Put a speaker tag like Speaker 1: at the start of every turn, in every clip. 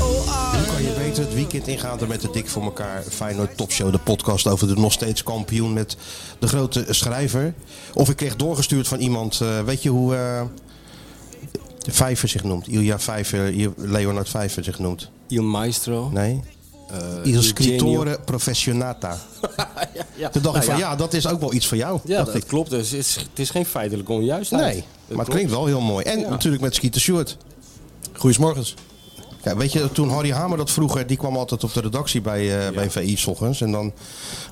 Speaker 1: Oh, Arne.
Speaker 2: Kan je beter het weekend ingaan dan met de dik voor elkaar Feyenoord Topshow, de podcast over de nog steeds kampioen met de grote schrijver. Of ik kreeg doorgestuurd van iemand, eh, weet je hoe eh, Vijver zich noemt? Ilja Vijver, I- Leonard Vijver zich noemt.
Speaker 3: Il Maestro.
Speaker 2: Nee?
Speaker 3: eh,
Speaker 2: Il
Speaker 3: Il
Speaker 2: Scrittore
Speaker 3: Genio.
Speaker 2: Professionata.
Speaker 3: ja, ja.
Speaker 2: Toen dacht ik van
Speaker 3: Nou
Speaker 2: ja. dat is ook wel iets voor jou.
Speaker 3: Ja,
Speaker 2: dacht
Speaker 3: dat,
Speaker 2: ik.
Speaker 3: klopt. Dus het, is, het is geen feitelijk onjuistheid.
Speaker 2: Nee, maar het klinkt wel heel mooi. En
Speaker 3: Ja.
Speaker 2: natuurlijk met Skeeter Stewart. Goedemorgens. Ja, weet je, toen Harry Hamer dat vroeger, die kwam altijd op de redactie bij, eh, bij VI 's ochtends. En dan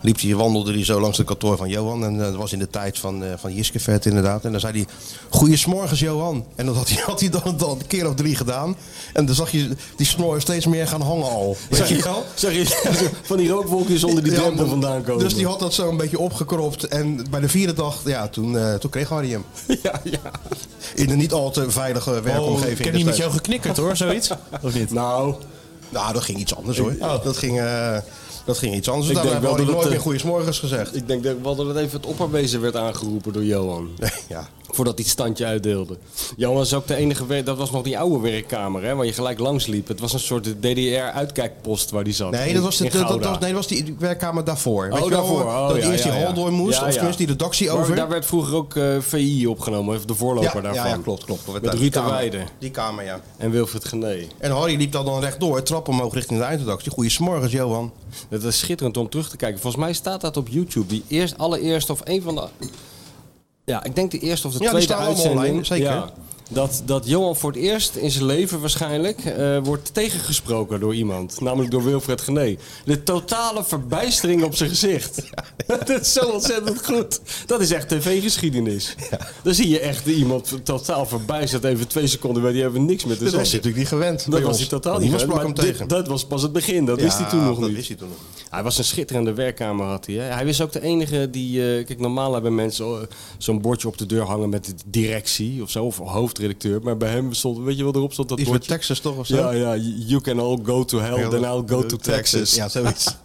Speaker 2: liep hij, wandelde hij zo langs het kantoor van Johan. En eh, dat was in de tijd van, eh van Jiskevert inderdaad. En dan zei hij, goeiemorgens Johan. En dat had hij, had hij dan, dan een keer of drie gedaan. En dan zag je die snor steeds meer gaan hangen al. Weet je wel?
Speaker 3: Zeg je, van die rookwolkjes onder die
Speaker 2: Ja,
Speaker 3: drempel vandaan komen.
Speaker 2: Dus die had dat zo een beetje opgekropt. En bij de vierde dag, ja, toen, eh, toen kreeg Harry hem.
Speaker 3: Ja, ja.
Speaker 2: In een niet al te veilige
Speaker 3: Oh,
Speaker 2: werkomgeving.
Speaker 4: ik heb niet met jou
Speaker 2: destijds.
Speaker 4: geknikkerd hoor, zoiets. Of niet?
Speaker 3: Nou,
Speaker 2: Nou, dat ging iets anders hoor. Dat, ging, eh, dat ging iets anders.
Speaker 3: oh. Ik
Speaker 2: Daarom
Speaker 3: denk
Speaker 2: hebben we
Speaker 3: wel
Speaker 2: nooit
Speaker 3: dat het,
Speaker 2: meer
Speaker 3: eh,
Speaker 2: goeiemorgens gezegd.
Speaker 3: ik denk dat wel dat het even het opperwezen werd aangeroepen door Johan.
Speaker 2: ja.
Speaker 3: Voordat hij het standje uitdeelde. Johan was ook de enige, wer- dat was nog die oude werkkamer hè, waar je gelijk langs liep. Het was een soort DDR-uitkijkpost waar die zat.
Speaker 2: Nee,
Speaker 3: In-
Speaker 2: dat was, de,
Speaker 3: in
Speaker 2: dat, dat
Speaker 3: Gouda.
Speaker 2: was, nee, dat was die werkkamer daarvoor. Weet
Speaker 3: Oh,
Speaker 2: je wel,
Speaker 3: daarvoor.
Speaker 2: eh,
Speaker 3: Oh,
Speaker 2: dat
Speaker 3: ja,
Speaker 2: eerst die
Speaker 3: ja,
Speaker 2: hal
Speaker 3: ja.
Speaker 2: door moest,
Speaker 3: Ja,
Speaker 2: of
Speaker 3: ja.
Speaker 2: tenminste die redactie
Speaker 3: Maar
Speaker 2: over.
Speaker 3: daar werd vroeger ook eh, VI opgenomen, of de voorloper
Speaker 2: ja,
Speaker 3: daarvan.
Speaker 2: ja, ja, klopt, klopt. Dat werd
Speaker 3: Met
Speaker 2: daar die
Speaker 3: Ruud de
Speaker 2: kamer.
Speaker 3: Weijden
Speaker 2: Die kamer, ja.
Speaker 3: en Wilfried Genee.
Speaker 2: En Harry liep dan dan rechtdoor, trap omhoog richting de eindredactie. Goeiemorgens, Johan.
Speaker 3: Dat is schitterend om terug te kijken. Volgens mij staat dat op YouTube. Die eerst, allereerste of een van de... Ja, ik denk de eerste of de
Speaker 2: Ja, die
Speaker 3: tweede
Speaker 2: staan allemaal
Speaker 3: uitzending.
Speaker 2: online, zeker.
Speaker 3: Ja, dat, dat Johan voor het eerst in zijn leven waarschijnlijk eh, wordt tegengesproken door iemand. Namelijk door Wilfred Gené. De totale verbijstering op zijn gezicht. dat is zo ontzettend goed. Dat is echt tv-geschiedenis. Dan zie je echt iemand totaal verbijsterd. Even twee seconden bij die hebben niks meer te
Speaker 2: Dat was hij
Speaker 3: zeggen.
Speaker 2: natuurlijk niet gewend.
Speaker 3: Dat was hij totaal niet.
Speaker 2: Niemand
Speaker 3: gewend,
Speaker 2: sprak
Speaker 3: maar
Speaker 2: hem
Speaker 3: dit-
Speaker 2: tegen.
Speaker 3: Dat was pas het begin. Dat wist hij toen
Speaker 2: Ja,
Speaker 3: nog
Speaker 2: dat
Speaker 3: niet.
Speaker 2: wist hij toen nog niet.
Speaker 3: Hij was een schitterende werkkamer had hij. Hè? Hij was ook de enige die... eh, kijk, normaal hebben mensen eh, zo'n bordje op de deur hangen met de directie of zo. Of hoofdredacteur. Maar bij hem stond... Weet je wat erop stond? Dat
Speaker 2: Iets met
Speaker 3: bordje?
Speaker 2: Texas toch of zo?
Speaker 3: Ja, ja. You can all go to hell, then I'll go to Texas.
Speaker 2: Ja, zoiets.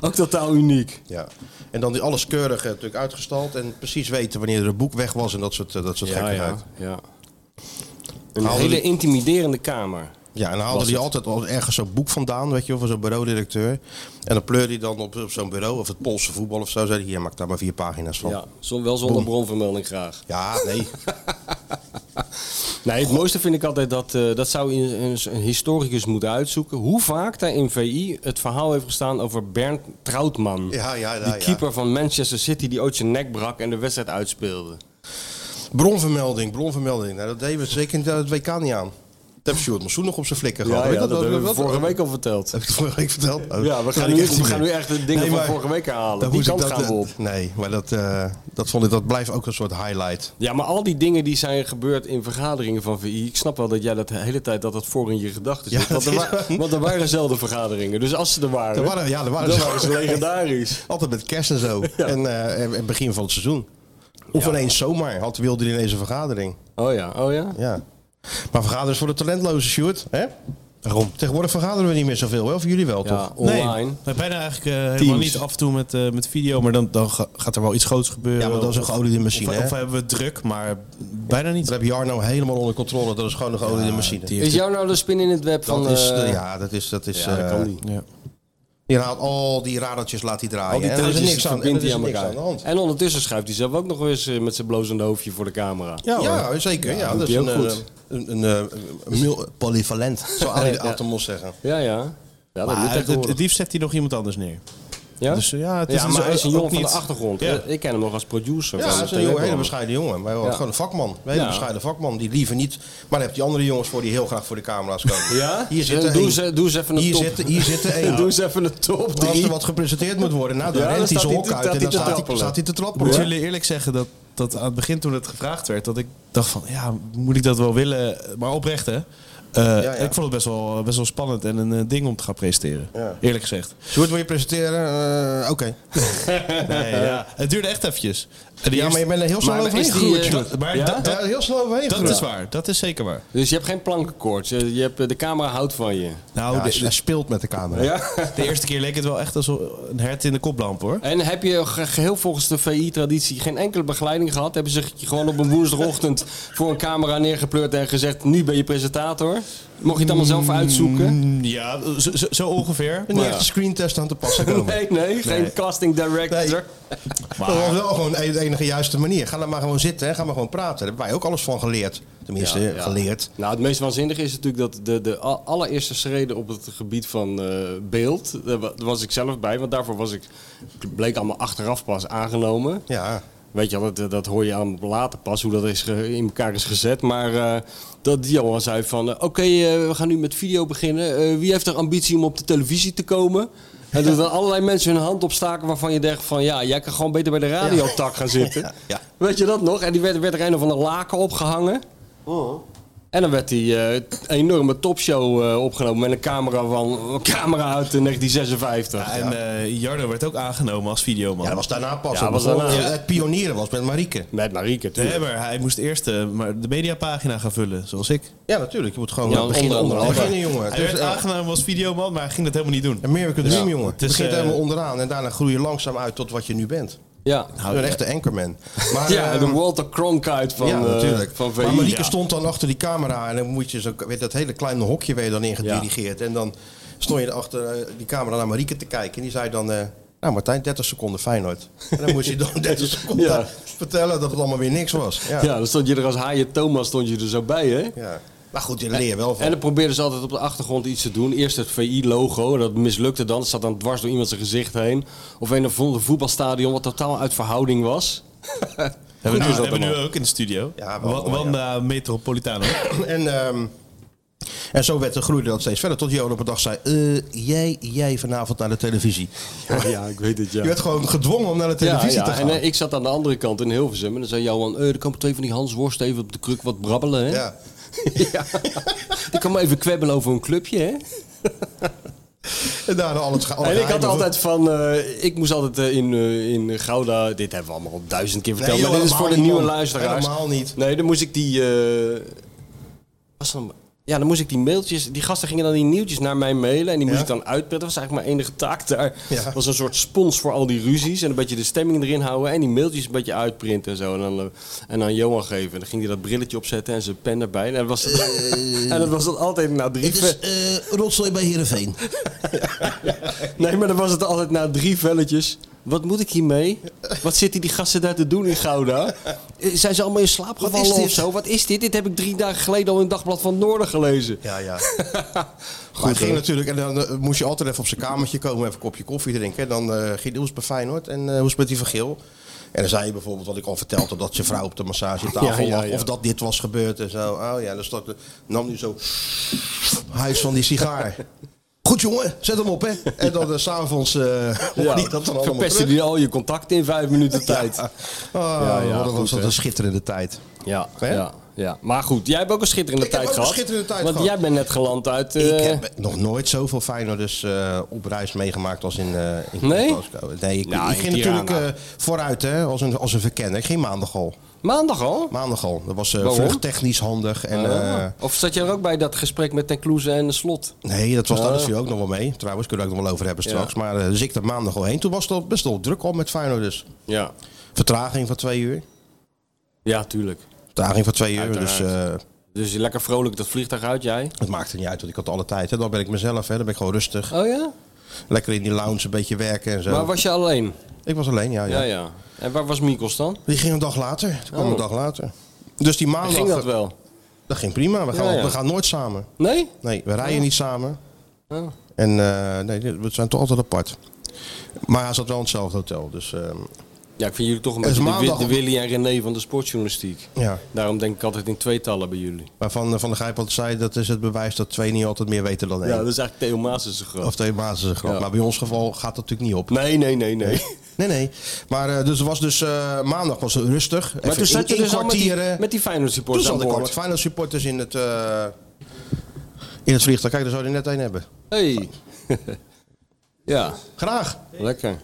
Speaker 3: Ook totaal uniek.
Speaker 2: Ja. En dan die alles keurig eh, natuurlijk uitgestald en precies weten wanneer er een boek weg was en dat soort, eh, dat soort
Speaker 3: Ja,
Speaker 2: gekkigheid.
Speaker 3: ja,
Speaker 2: Ja.
Speaker 3: ja. Een
Speaker 2: Haalde
Speaker 3: hele
Speaker 2: die-
Speaker 3: intimiderende kamer.
Speaker 2: en dan haalde
Speaker 3: Was
Speaker 2: hij
Speaker 3: het.
Speaker 2: altijd al ergens zo'n boek vandaan, weet je wel, van zo'n bureaudirecteur. En dan pleurde hij dan op, op zo'n bureau, of het Poolse voetbal of zo, zei hij, hier, maak daar maar vier pagina's van.
Speaker 3: Ja, zon- wel zonder bronvermelding graag.
Speaker 2: Ja, nee.
Speaker 3: Nee, het mooiste vind ik altijd dat, eh, dat zou een, een, een historicus moeten uitzoeken. Hoe vaak daar in VI het verhaal heeft gestaan over Bernd Trautman.
Speaker 2: Ja, ja, ja,
Speaker 3: die
Speaker 2: ja.
Speaker 3: keeper van Manchester City die ooit zijn nek brak en de wedstrijd uitspeelde.
Speaker 2: Bronvermelding, bronvermelding. Nou, dat deden we zeker in het WK niet aan. Dat heb Sjoerd Massoen nog op zijn flikker gehad. Weet je
Speaker 3: vorige week al verteld.
Speaker 2: Heb ik het vorige week verteld?
Speaker 3: Ja, we gaan, nu, we gaan nu echt de dingen van vorige week
Speaker 2: Dan
Speaker 3: herhalen. Die kant gaan we op.
Speaker 2: Nee, maar dat, eh, dat, vond ik, dat blijft ook een soort highlight.
Speaker 3: Ja, maar al die dingen die zijn gebeurd in vergaderingen van VI. Ik snap wel dat jij dat de hele tijd dat dat voor in je gedachten zit.
Speaker 2: Ja,
Speaker 3: want, er
Speaker 2: dat is
Speaker 3: wa-
Speaker 2: waar.
Speaker 3: want er waren zelden vergaderingen. Dus als ze er waren,
Speaker 2: Er waren- ja, er waren
Speaker 3: dan
Speaker 2: ze.
Speaker 3: waren ze legendarisch.
Speaker 2: Altijd met kerst en zo. En eh, en het begin van het seizoen. Of ineens zomaar. Had wilde hij ineens een vergadering.
Speaker 3: Oh ja, oh ja.
Speaker 2: Ja. Maar vergaderen is voor de talentloze, Sjoerd. Hè? Waarom? Tegenwoordig vergaderen we niet meer zoveel. Wel voor jullie wel,
Speaker 3: Ja,
Speaker 2: toch?
Speaker 3: online.
Speaker 4: Nee, bijna eigenlijk eh, helemaal niet af en toe met, eh, met video, maar dan, dan ga- gaat er wel iets groots gebeuren.
Speaker 2: Ja, maar dat is een
Speaker 4: Of-
Speaker 2: geoliede machine,
Speaker 4: Of,
Speaker 2: hè?
Speaker 4: of hebben we druk, maar bijna niet.
Speaker 2: Dat heb Jarno helemaal onder controle. Dat is gewoon een geoliede machine.
Speaker 4: die-
Speaker 3: Is jou nou de spin in het web van...
Speaker 2: dat is,
Speaker 3: eh,
Speaker 2: eh, ja, dat is... Dat is
Speaker 3: ja, dat
Speaker 2: eh,
Speaker 3: kan niet.
Speaker 4: Ja.
Speaker 2: Die haalt al die radertjes, laat hij draaien.
Speaker 3: Al die
Speaker 2: en er is
Speaker 3: telletjes
Speaker 2: niks aan, en
Speaker 3: verbindt
Speaker 2: er
Speaker 3: hij
Speaker 2: is
Speaker 3: aan
Speaker 2: niks
Speaker 3: elkaar.
Speaker 2: aan de hand.
Speaker 3: En ondertussen schuift hij zelf ook nog eens eh, met zijn blozende hoofdje voor de camera.
Speaker 2: Ja, zeker. Ja, dat is een,
Speaker 3: doet hij ook
Speaker 2: eh,
Speaker 3: goed.
Speaker 2: een, een, eh, een mil- polyvalent, zou Ali
Speaker 3: Ja.
Speaker 2: Atemos zeggen.
Speaker 3: Ja, ja. Ja, dat
Speaker 4: Maar
Speaker 3: moet
Speaker 4: het, het
Speaker 3: tegenwoordig.
Speaker 4: liefst zet hij nog iemand anders neer.
Speaker 3: Ja?
Speaker 4: Dus eh, ja, het is
Speaker 3: ja,
Speaker 4: dus
Speaker 3: maar hij is een
Speaker 4: ook
Speaker 3: jongen van
Speaker 4: niet-
Speaker 3: de achtergrond. Eh,
Speaker 2: Ja.
Speaker 3: Ik ken hem nog als producer.
Speaker 2: Ja,
Speaker 3: van
Speaker 2: hij is
Speaker 3: de
Speaker 2: een jongen,
Speaker 3: TV
Speaker 2: hele
Speaker 3: -programma.
Speaker 2: bescheiden jongen. Maar wel
Speaker 3: Ja.
Speaker 2: gewoon een vakman. Een hele
Speaker 3: Ja.
Speaker 2: bescheiden vakman. Die liever niet. Maar dan heb je andere jongens voor die heel graag voor de camera's komen.
Speaker 3: Ja? Eh,
Speaker 2: Hier zitten
Speaker 3: doe,
Speaker 2: één.
Speaker 3: ze, doe eens even een
Speaker 2: Hier
Speaker 3: top.
Speaker 2: zitten, hier zitten één.
Speaker 3: Doe eens even een top
Speaker 2: Als er
Speaker 3: drie.
Speaker 2: wat gepresenteerd moet worden, nou, dan
Speaker 3: Ja, dan
Speaker 2: rent hij
Speaker 3: staat
Speaker 2: zijn
Speaker 3: hij
Speaker 2: hok
Speaker 3: te-
Speaker 2: uit
Speaker 3: staat
Speaker 2: en dan
Speaker 3: hij te
Speaker 2: staat hij,
Speaker 3: trappelen.
Speaker 2: staat hij te
Speaker 4: Ik moet
Speaker 2: trappelen.
Speaker 4: jullie eerlijk zeggen dat, dat aan het begin toen het gevraagd werd, dat ik dacht van ja, moet ik dat wel willen? Maar oprecht hè. Eh,
Speaker 2: ja.
Speaker 4: Ik vond het best wel, best wel spannend en een eh, ding om te gaan presteren.
Speaker 2: Ja.
Speaker 4: Eerlijk gezegd.
Speaker 2: Sjoerd, wil je presenteren? Eh, Oké.
Speaker 4: Nee, ja. Eh, Het duurde echt eventjes. En de
Speaker 2: Ja, maar
Speaker 4: eerste-
Speaker 2: je bent er heel snel
Speaker 3: Maar- maar
Speaker 2: overheen
Speaker 3: is die,
Speaker 2: gegroeid.
Speaker 3: eh,
Speaker 2: Sjoerd. Maar
Speaker 3: ja?
Speaker 2: dat- dat- ja, heel snel overheen
Speaker 4: Dat
Speaker 2: gegroeid.
Speaker 4: is waar, dat is zeker waar.
Speaker 3: Dus je hebt geen plankenkoorts. Je, je hebt, eh, de camera houdt van je.
Speaker 4: Nou,
Speaker 2: Ja,
Speaker 4: de,
Speaker 2: hij- hij Oh, speelt met de camera.
Speaker 3: Ja.
Speaker 4: de eerste keer leek het wel echt als een hert in de koplamp hoor.
Speaker 3: En heb je ge- geheel volgens de VI-traditie geen enkele begeleiding gehad? Hebben ze je gewoon op een woensdagochtend voor een camera neergepleurd en gezegd: nu ben je presentator? Mocht je het allemaal zelf uitzoeken?
Speaker 4: Mm, Ja, zo, zo- zo ongeveer.
Speaker 2: En niet echt een screentest aan te passen komen.
Speaker 3: Nee, nee, geen casting director.
Speaker 2: Dat was wel gewoon de enige juiste manier. Ga dan maar gewoon zitten en ga maar gewoon praten. Daar hebben wij ook alles van geleerd. Tenminste,
Speaker 3: Ja, ja.
Speaker 2: geleerd.
Speaker 3: Nou, het meest waanzinnige is natuurlijk dat de, de a- allereerste schreden op het gebied van eh, beeld, daar wa- daar was ik zelf bij, want daarvoor was ik, bleek allemaal achteraf pas aangenomen.
Speaker 2: Ja.
Speaker 3: Weet je, wel, dat, dat hoor je aan later pas, hoe dat is ge- in elkaar is gezet. Maar eh, dat die jongen zei van, eh, oké, eh, we gaan nu met video beginnen. Eh, wie heeft er ambitie om op de televisie te komen? En dat er allerlei mensen hun hand opstaken waarvan je dacht van... ja, jij kan gewoon beter bij de radiotak gaan zitten.
Speaker 2: ja.
Speaker 3: Weet je dat nog? En die werd, werd er een of ander laken opgehangen.
Speaker 2: Oh.
Speaker 3: En dan werd die eh, enorme topshow eh, opgenomen met een camera, van, camera uit eh, 1956.
Speaker 4: En eh, Jarno werd ook aangenomen als videoman.
Speaker 2: ja, dat was daarna pas.
Speaker 3: Ja, was daarna.
Speaker 2: Ja, Het pionieren was met Marieke.
Speaker 3: Met Marieke,
Speaker 4: Nee,
Speaker 3: tuurlijk.
Speaker 4: maar hij moest eerst eh, maar de mediapagina gaan vullen, zoals ik.
Speaker 2: Ja, natuurlijk. Je moet gewoon
Speaker 3: Ja,
Speaker 2: eh, beginnen
Speaker 3: onder-
Speaker 2: onderaan.
Speaker 3: onder-
Speaker 2: Beginnen, jongen.
Speaker 4: Hij
Speaker 2: Het is,
Speaker 4: werd
Speaker 2: eh,
Speaker 4: aangenomen als videoman, maar hij ging dat helemaal niet doen.
Speaker 2: American Dream,
Speaker 4: Ja.
Speaker 2: jongen.
Speaker 4: Het
Speaker 2: Het
Speaker 4: is,
Speaker 2: begint
Speaker 4: eh,
Speaker 2: helemaal onderaan en daarna groei je langzaam uit tot wat je nu bent.
Speaker 3: Nou, Ja.
Speaker 2: een echte anchorman. Maar,
Speaker 3: Ja,
Speaker 2: ehm,
Speaker 3: de Walter Cronkite van,
Speaker 2: ja,
Speaker 3: eh,
Speaker 2: natuurlijk.
Speaker 3: van
Speaker 2: maar
Speaker 3: VI.
Speaker 2: Marieke stond dan achter die camera en dan moet je zo, weet, dat hele kleine hokje weer dan ingedirigeerd. En dan stond je achter eh, die camera naar Marieke te kijken. En die zei dan, eh, nou Martijn, 30 seconden Feyenoord. En dan moest je dan 30 seconden
Speaker 3: Ja.
Speaker 2: vertellen dat het allemaal weer niks was. Ja.
Speaker 3: Ja, dan stond je er als haaien Thomas stond je er zo bij, hè?
Speaker 2: Ja. Maar goed, je leer je wel van.
Speaker 3: En dan probeerden ze altijd op de achtergrond iets te doen. Eerst het VI-logo, dat mislukte dan. Dat zat dan dwars door iemand zijn gezicht heen. Of een of ander voetbalstadion wat totaal uit verhouding was.
Speaker 4: hebben we,
Speaker 3: Goed
Speaker 4: nu,
Speaker 3: is dat
Speaker 4: hebben we nu
Speaker 3: allemaal.
Speaker 4: ook in de studio.
Speaker 2: Ja, wel
Speaker 4: Wa-
Speaker 2: mooi,
Speaker 4: Wanda Metropolitano.
Speaker 2: En, ehm, en zo werd, groeide dat steeds verder. Tot Johan op een dag zei, eh, jij, jij vanavond naar de televisie.
Speaker 3: Ja, ik weet het,
Speaker 2: Je werd gewoon gedwongen om naar de
Speaker 3: Ja,
Speaker 2: televisie
Speaker 3: ja,
Speaker 2: te
Speaker 3: en
Speaker 2: gaan.
Speaker 3: eh, ik zat aan de andere kant in Hilversum. En dan zei Johan, eh, er komen twee van die Hans Worst even op de kruk wat brabbelen, hè?
Speaker 2: ja.
Speaker 3: Ja. Die kan maar even kwebbelen over een clubje, hè?
Speaker 2: En daarna al het, ge- alle
Speaker 3: En ik had
Speaker 2: geheimen.
Speaker 3: altijd van, eh, ik moest altijd eh, in, eh, in Gouda, dit hebben we allemaal al duizend keer verteld,
Speaker 2: joh,
Speaker 3: maar dit is voor de
Speaker 2: helemaal
Speaker 3: nieuwe
Speaker 2: niet, man.
Speaker 3: luisteraars.
Speaker 2: Helemaal niet.
Speaker 3: Nee, dan moest ik die, eh, was dan, ja, dan moest ik die mailtjes, die gasten gingen dan die nieuwtjes naar mij mailen en die moest
Speaker 2: Ja.
Speaker 3: ik dan uitpetten. Dat was eigenlijk mijn enige taak daar.
Speaker 2: Ja.
Speaker 3: was een soort spons voor al die ruzies en een beetje de stemming erin houden en die mailtjes een beetje uitprinten en zo. En dan, eh, en dan Johan geven. En dan ging hij dat brilletje opzetten en zijn pen erbij. En dat was, en dat was dan altijd na drie...
Speaker 2: Het is eh, rotzooi bij Heerenveen.
Speaker 3: Nee, maar dan was het altijd na drie velletjes. Wat moet ik hiermee? Wat zitten die gasten daar te doen in Gouda? Eh, Zijn ze allemaal in slaap
Speaker 2: Wat is
Speaker 3: gevallen
Speaker 2: dit?
Speaker 3: of zo? Wat is dit? Dit heb ik drie dagen geleden al in het Dagblad van het Noorden gelezen.
Speaker 2: Ja, ja. Goed, ging natuurlijk. En dan eh, moest je altijd even op zijn kamertje komen, even een kopje koffie drinken. En dan eh ging hoe is het bij Feyenoord en eh, hoe is het met die vergeel? En dan zei je bijvoorbeeld wat ik al vertelde, dat je vrouw op de massagetafel
Speaker 3: Ja, ja,
Speaker 2: lag.
Speaker 3: ja.
Speaker 2: Of dat dit was gebeurd en zo. Oh ja, dan stak, nam hij zo huis van die sigaar. Goed jongen, zet hem op hè. En dan eh, s s'avonds eh hoorde hij dat dan allemaal
Speaker 3: Verpesten
Speaker 2: terug.
Speaker 3: die al je contacten in vijf minuten tijd.
Speaker 2: Ja.
Speaker 3: Ja.
Speaker 2: Oh,
Speaker 3: ja,
Speaker 2: wat
Speaker 3: goed,
Speaker 2: was dat
Speaker 3: hè.
Speaker 2: een schitterende tijd.
Speaker 3: Ja,
Speaker 2: Hè?
Speaker 3: ja, Maar goed, jij hebt ook een schitterende
Speaker 2: Ik heb
Speaker 3: tijd
Speaker 2: ook een
Speaker 3: gehad.
Speaker 2: schitterende tijd
Speaker 3: want
Speaker 2: gehad.
Speaker 3: jij bent net geland uit... eh,
Speaker 2: Ik heb nog nooit zoveel Feyenoorders eh op reis meegemaakt als in, eh, in
Speaker 3: Nee?
Speaker 2: Glasgow. Nee, ik,
Speaker 3: Ja,
Speaker 2: ik
Speaker 3: in
Speaker 2: ging
Speaker 3: Tirana.
Speaker 2: natuurlijk eh, vooruit hè, als, een, als een verkenner. Ik ging maandag al.
Speaker 3: Maandag al?
Speaker 2: Maandag al. Dat was eh,
Speaker 3: Waarom? Ah.
Speaker 2: vluchttechnisch handig. En, eh,
Speaker 3: Of zat je er ook bij dat gesprek met Ten Kloeze en de Slot?
Speaker 2: nee, dat was daar
Speaker 3: Ah.
Speaker 2: natuurlijk ook nog wel mee. Trouwens, kunnen we ook nog wel over hebben straks.
Speaker 3: Ja.
Speaker 2: Maar eh, dus ik daar maandag al heen. Toen was het al best wel druk al met Feyenoorders.
Speaker 3: Ja.
Speaker 2: Vertraging van twee uur.
Speaker 3: Ja, tuurlijk.
Speaker 2: Vertraging van twee uur. Dus
Speaker 3: Uiteraard.
Speaker 2: eh,
Speaker 3: Dus lekker vrolijk dat vliegtuig uit, jij?
Speaker 2: het maakte niet uit, want ik had alle tijd. Hè. Dan ben ik mezelf, hè. dan ben ik gewoon rustig.
Speaker 3: Oh ja?
Speaker 2: Lekker in die lounge een beetje werken en zo.
Speaker 3: Maar was je alleen?
Speaker 2: Ik was alleen, ja. ja.
Speaker 3: Ja, ja. En waar was Mikos dan?
Speaker 2: Die ging een dag later. Toen kwam
Speaker 3: Oh.
Speaker 2: een dag later. Dus die maandag...
Speaker 3: Ging dat wel?
Speaker 2: Dat ging prima. We gaan,
Speaker 3: Ja, ja.
Speaker 2: we gaan nooit samen.
Speaker 3: Nee?
Speaker 2: Nee, we rijden niet samen.
Speaker 3: Oh.
Speaker 2: En eh, nee, we zijn toch altijd apart. Maar hij zat wel in hetzelfde hotel. Dus ehm,
Speaker 3: Ja, ik vind jullie toch een
Speaker 2: Het is
Speaker 3: beetje de, wi-
Speaker 2: maandag.
Speaker 3: de Willy en René van de sportjournalistiek.
Speaker 2: ja.
Speaker 3: Daarom denk ik altijd in tweetallen bij jullie.
Speaker 2: Maar Van, van der Gijp had zei, dat is het bewijs dat twee niet altijd meer weten dan één.
Speaker 3: Ja, dat is eigenlijk Theo Maas is een groot.
Speaker 2: Of twee basis een grap.
Speaker 3: Ja.
Speaker 2: Maar bij ons geval gaat dat natuurlijk niet op.
Speaker 3: Nee, nee, nee, nee.
Speaker 2: Nee, nee. Maar eh, dus het was dus eh, maandag was het rustig.
Speaker 3: Maar toen zat je dus al met die,
Speaker 2: kwartieren.
Speaker 3: met die Feyenoord supporters
Speaker 2: Toen
Speaker 3: aan
Speaker 2: zat ik al met
Speaker 3: boord.
Speaker 2: Feyenoord supporters in het, eh, in het vliegtuig. Kijk, daar zou je net één hebben.
Speaker 3: Hey. ja,
Speaker 2: Graag.
Speaker 3: lekker.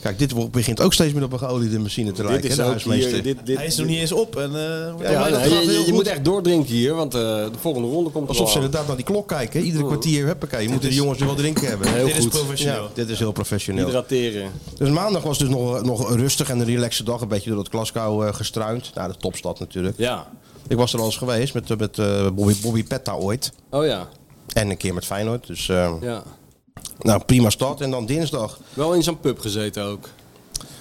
Speaker 2: Kijk, dit wordt- begint ook steeds meer op een geoliede machine te lijken.
Speaker 3: dit is
Speaker 2: hè, de
Speaker 3: ook hier,
Speaker 2: huismeester.
Speaker 3: dit, dit,
Speaker 4: Hij is nog niet eens op. En, eh,
Speaker 3: Ja,
Speaker 4: wordt allemaal-
Speaker 3: nee,
Speaker 4: dat
Speaker 3: je-
Speaker 4: gaat heel
Speaker 3: je, je
Speaker 4: goed.
Speaker 3: moet echt Oh. doordrinken hier, want eh, de volgende ronde komt
Speaker 2: Alsof ze
Speaker 3: al aan.
Speaker 2: inderdaad naar die klok kijken. Iedere
Speaker 3: Oh.
Speaker 2: kwartier, huppakee. Je moet de jongens er wel drinken hebben.
Speaker 3: Heel
Speaker 4: Dit is
Speaker 3: goed.
Speaker 4: professioneel.
Speaker 2: Ja, dit is heel professioneel.
Speaker 3: Hydrateren.
Speaker 2: Dus maandag was dus nog, nog een rustig en een relaxe dag. Een beetje door dat Glasgow eh, gestruind. Nou, de topstad natuurlijk.
Speaker 3: Ja.
Speaker 2: Ik was er al eens geweest met, eh, met eh, Bobby, Bobby Petta ooit.
Speaker 3: Oh ja.
Speaker 2: En een keer met Feyenoord. Dus eh,
Speaker 3: ja.
Speaker 2: nou, prima stad. En dan dinsdag.
Speaker 3: Wel in zo'n pub gezeten ook.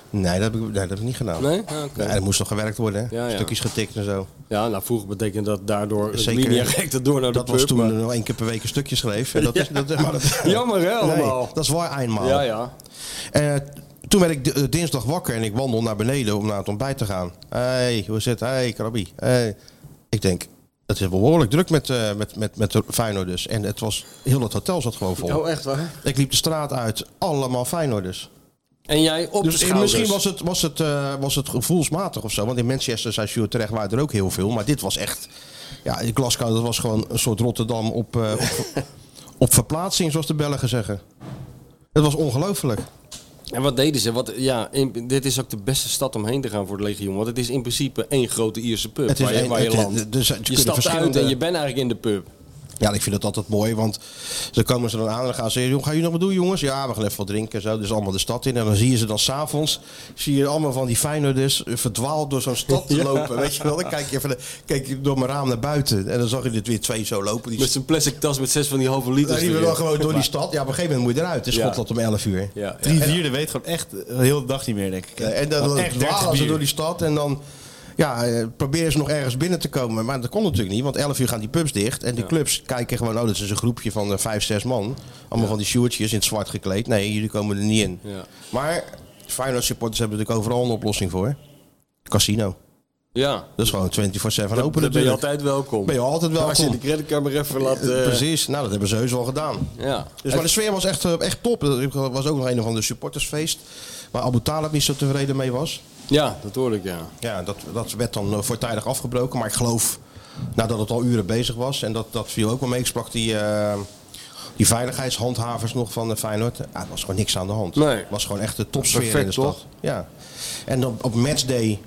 Speaker 2: Nee, dat heb ik, nee, dat heb ik niet gedaan.
Speaker 3: Nee? Ah, oké.
Speaker 2: Nee, dat moest nog gewerkt worden. Hè?
Speaker 3: Ja, ja.
Speaker 2: Stukjes getikt en zo.
Speaker 3: Ja, nou vroeger betekende dat daardoor het
Speaker 2: Zeker.
Speaker 3: linia rekte door naar de
Speaker 2: Dat
Speaker 3: pub.
Speaker 2: was toen
Speaker 3: maar-
Speaker 2: er nog één keer per week een stukje schreef. En dat is, dat, maar dat,
Speaker 3: Jammer hè,
Speaker 2: Nee,
Speaker 3: allemaal.
Speaker 2: dat is waar eenmaal.
Speaker 3: Ja, ja.
Speaker 2: Eh, toen werd ik d- eh, dinsdag wakker en ik wandel naar beneden om naar het ontbijt te gaan. Hé, hey, hoe is het? Hé, hey, Krabi. Hey. Ik denk, het is behoorlijk druk met, eh met, met, met de Feyenoord dus. En het was, heel het hotel zat gewoon vol.
Speaker 3: Oh, echt waar?
Speaker 2: Ik liep de straat uit, allemaal Feyenoorders.
Speaker 3: En jij op de
Speaker 2: Dus
Speaker 3: schouders.
Speaker 2: misschien was het, was, het, eh, was het gevoelsmatig of zo. Want in Manchester, zei Sjoerd terecht, waren er ook heel veel. Maar dit was echt... Ja, in Glasgow, dat was gewoon een soort Rotterdam op, eh, op, op verplaatsing, zoals de Belgen zeggen. Het was ongelooflijk.
Speaker 3: En wat deden ze? Wat, ja, in- dit is ook de beste stad om heen te gaan voor het legioen. Want het is in principe één grote Ierse pub
Speaker 2: Het is
Speaker 3: waar, je,
Speaker 2: één-
Speaker 3: waar je
Speaker 2: het-
Speaker 3: landt.
Speaker 2: het- er zijn-
Speaker 3: je
Speaker 2: kunnen
Speaker 3: stapt
Speaker 2: verschillende-
Speaker 3: uit en je bent eigenlijk in de pub.
Speaker 2: Ja, ik vind dat altijd mooi, want dan komen ze dan aan en dan gaan ze zeggen, "Joh, gaan jullie nog wat doen jongens? Ja, we gaan even wat drinken en zo. Dus allemaal de stad in. En dan zie je ze dan s'avonds, zie je allemaal van die Feyenoorders verdwaald door zo'n stad te lopen. Weet je wel, dan kijk je, even, de- kijk je door mijn raam naar buiten en dan zag je er weer twee zo lopen. Die
Speaker 3: Met zijn plastic tas met zes van die halve liters.
Speaker 2: dan liepen we
Speaker 3: erin.
Speaker 2: dan gewoon door die stad. Ja, op een gegeven moment moet je eruit. Het is
Speaker 3: Ja.
Speaker 2: Schotland om 11 uur.
Speaker 3: Ja, ja.
Speaker 4: Drie vierde weet gewoon echt eh, heel de hele dag niet meer, denk ik.
Speaker 2: Eh, En dan,
Speaker 4: Want
Speaker 2: dan
Speaker 4: echt 30
Speaker 2: dwalen ze
Speaker 4: bier.
Speaker 2: door die stad en dan ja, eh, proberen ze nog ergens binnen te komen. Maar dat kon natuurlijk niet, want 11 uur gaan die pubs dicht. En die clubs kijken gewoon, oh, dat is een groepje van eh, 5, 6 man. Allemaal van die shortjes in het zwart gekleed. Nee, jullie komen er niet in.
Speaker 3: Ja.
Speaker 2: Maar Feyenoord supporters hebben natuurlijk overal een oplossing voor. Casino.
Speaker 3: Ja.
Speaker 2: Dat is gewoon 24-7
Speaker 3: Dan
Speaker 2: open
Speaker 3: ben je
Speaker 2: natuurlijk.
Speaker 3: altijd welkom.
Speaker 2: Ben je altijd
Speaker 3: Als je de
Speaker 2: welkom.
Speaker 3: creditcard even laat...
Speaker 2: Eh,
Speaker 3: eh,
Speaker 2: Precies, nou dat hebben ze heus wel gedaan.
Speaker 3: Ja.
Speaker 2: Dus, maar de sfeer was echt, eh, echt top. Er was ook nog een of ander supportersfeest. Waar Abu Talib niet zo tevreden mee was.
Speaker 3: ja, dat hoor ik, ja.
Speaker 2: Ja, dat, dat werd dan eh, voortijdig afgebroken. Maar ik geloof, nadat het al uren bezig was... en dat, dat viel ook wel mee, ik sprak die, eh, die veiligheidshandhavers nog van eh, Feyenoord. Ja, er was gewoon niks aan de hand.
Speaker 3: Nee.
Speaker 2: Het was gewoon echt de topsfeer
Speaker 3: Perfect,
Speaker 2: in de stad.
Speaker 3: toch?
Speaker 2: Ja. En op, op matchday...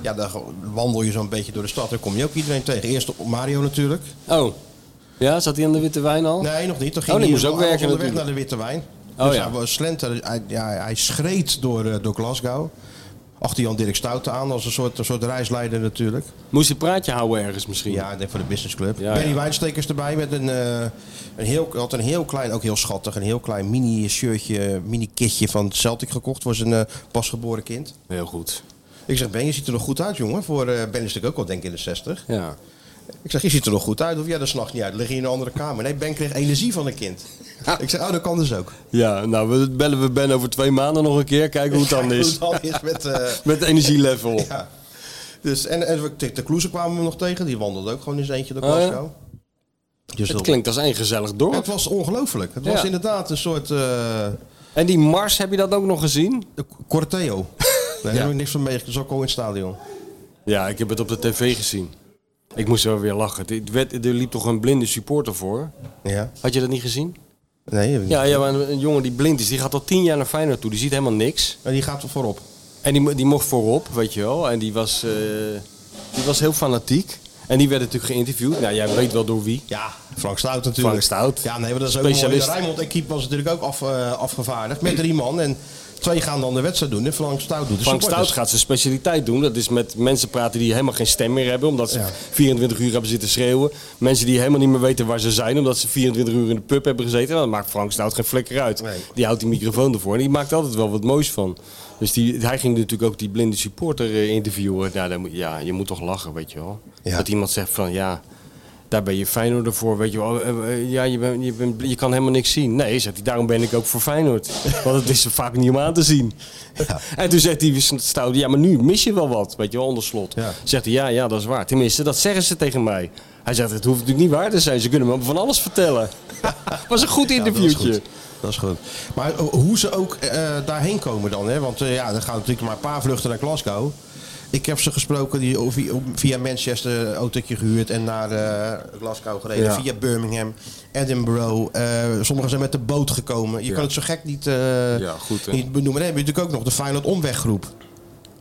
Speaker 2: Ja, dan wandel je zo'n beetje door de stad. Dan kom je ook iedereen tegen. Eerst op Mario natuurlijk.
Speaker 3: Oh. Ja, zat hij aan de witte wijn al?
Speaker 2: Nee, nog niet. Toen
Speaker 3: Oh,
Speaker 2: ging
Speaker 3: die
Speaker 2: hij
Speaker 3: moest
Speaker 2: wel-
Speaker 3: ook
Speaker 2: hij was
Speaker 3: werken
Speaker 2: onderweg naar de
Speaker 3: natuurlijk.
Speaker 2: Witte Wijn.
Speaker 3: Oh,
Speaker 2: dus
Speaker 3: ja.
Speaker 2: hij was slenter. Hij, ja, hij schreed door, eh, door Glasgow. Achter Jan Dirk Stouten aan als een soort, een soort reisleider natuurlijk.
Speaker 3: Moest hij praatje houden ergens misschien?
Speaker 2: Ja, ik denk voor de business club.
Speaker 3: Ja,
Speaker 2: Benny
Speaker 3: ja.
Speaker 2: Wijnstekers erbij met een, eh, een heel, had een heel klein, ook heel schattig, een heel klein mini shirtje, mini kitje van Celtic gekocht voor zijn eh, pasgeboren kind.
Speaker 3: Heel goed.
Speaker 2: Ik zeg, Ben, je ziet er nog goed uit, jongen. Voor eh, Ben is natuurlijk ook al denk ik in de 60.
Speaker 3: Ja.
Speaker 2: Ik zeg, je ziet er nog goed uit. Of jij er s'nachts niet uit. Lig je in een andere kamer. Nee, Ben kreeg energie van een kind. ik zeg, oh, dat kan dus ook.
Speaker 3: Ja, nou, we bellen we Ben over twee maanden nog een keer. Kijken hoe het dan is.
Speaker 2: Hoe het dan is met, eh,
Speaker 3: Met energielevel.
Speaker 2: ja. Dus, en, en we- de Kloeze kwamen we nog tegen. Die wandelde ook gewoon eens eentje door
Speaker 3: Oh, ja?
Speaker 2: Glasgow. Dus
Speaker 3: Het
Speaker 2: dat-
Speaker 3: klinkt als één gezellig
Speaker 2: Het
Speaker 3: dorp.
Speaker 2: was ongelooflijk. Het was
Speaker 3: Ja.
Speaker 2: inderdaad een soort eh
Speaker 3: En die Mars, heb je dat ook nog gezien?
Speaker 2: corteo. Daar heb ik niks van meegekregen. Zo ook al in het stadion.
Speaker 3: Ja, ik heb het op de tv gezien. Ik moest wel weer lachen. Het werd, er liep toch een blinde supporter voor?
Speaker 2: Ja.
Speaker 3: Had je dat niet gezien?
Speaker 2: Nee, heb ik niet.
Speaker 3: Ja, ja maar een, een jongen die blind is, die gaat al tien jaar naar Feyenoord toe. Die ziet helemaal niks.
Speaker 2: Maar die gaat er voorop.
Speaker 3: En die, mo- die mocht voorop, weet je wel. En die was, eh, die was heel fanatiek. En die werd natuurlijk geïnterviewd. Nou, jij weet wel door wie.
Speaker 2: Ja, Frank Stout natuurlijk.
Speaker 3: Frank Stout.
Speaker 2: Ja, nee, maar dat is ook
Speaker 3: Specialist.
Speaker 2: Specialist. De Rijnmond-equipe was natuurlijk ook af, eh, afgevaardigd. Met drie man. En twee gaan dan de wedstrijd doen. En Frank Stout doet de
Speaker 3: Frank
Speaker 2: supporters.
Speaker 3: Stout gaat zijn specialiteit doen. Dat is met mensen praten die helemaal geen stem meer hebben. Omdat ze
Speaker 2: Ja.
Speaker 3: 24 uur hebben zitten schreeuwen. Mensen die helemaal niet meer weten waar ze zijn. Omdat ze 24 uur in de pub hebben gezeten. Nou, dat maakt Frank Stout geen flikker uit.
Speaker 2: Nee.
Speaker 3: Die houdt die microfoon ervoor. En die maakt altijd wel wat moois van. Dus die, hij ging natuurlijk ook die blinde supporter eh, interviewen. Nou, dan moet, ja, je moet toch lachen, weet je wel.
Speaker 2: Ja.
Speaker 3: Dat iemand zegt van ja... Daar ben je Feyenoord voor, weet je wel. Eh, eh, Ja, je, bent- je, bent- je kan helemaal niks zien. Nee, zegt hij, daarom ben ik ook voor Feyenoord. Want het is er vaak niet om aan te zien. En toen zegt hij, Stout, ja, maar nu mis je wel wat, weet je wel, onder slot.
Speaker 2: Ja.
Speaker 3: Zegt hij, ja, ja, dat is waar. Tenminste, dat zeggen ze tegen mij. Hij zegt, het hoeft natuurlijk niet waar te zijn. Ze kunnen me van alles vertellen. was een goed interviewtje.
Speaker 2: Ja, dat is goed. Dat is goed. Maar eh, hoe ze ook eh, daarheen komen dan, hè? Want eh, ja, er gaan natuurlijk maar een paar vluchten naar Glasgow. Ik heb ze gesproken die oh, via, via Manchester een autootje gehuurd en naar eh, Glasgow gereden.
Speaker 3: Ja.
Speaker 2: Via Birmingham, Edinburgh. eh, sommigen zijn met de boot gekomen. Je kan het zo gek niet, eh,
Speaker 3: Ja, goed, hè.
Speaker 2: niet benoemen. Dan heb je natuurlijk ook nog de Feyenoord omweggroep.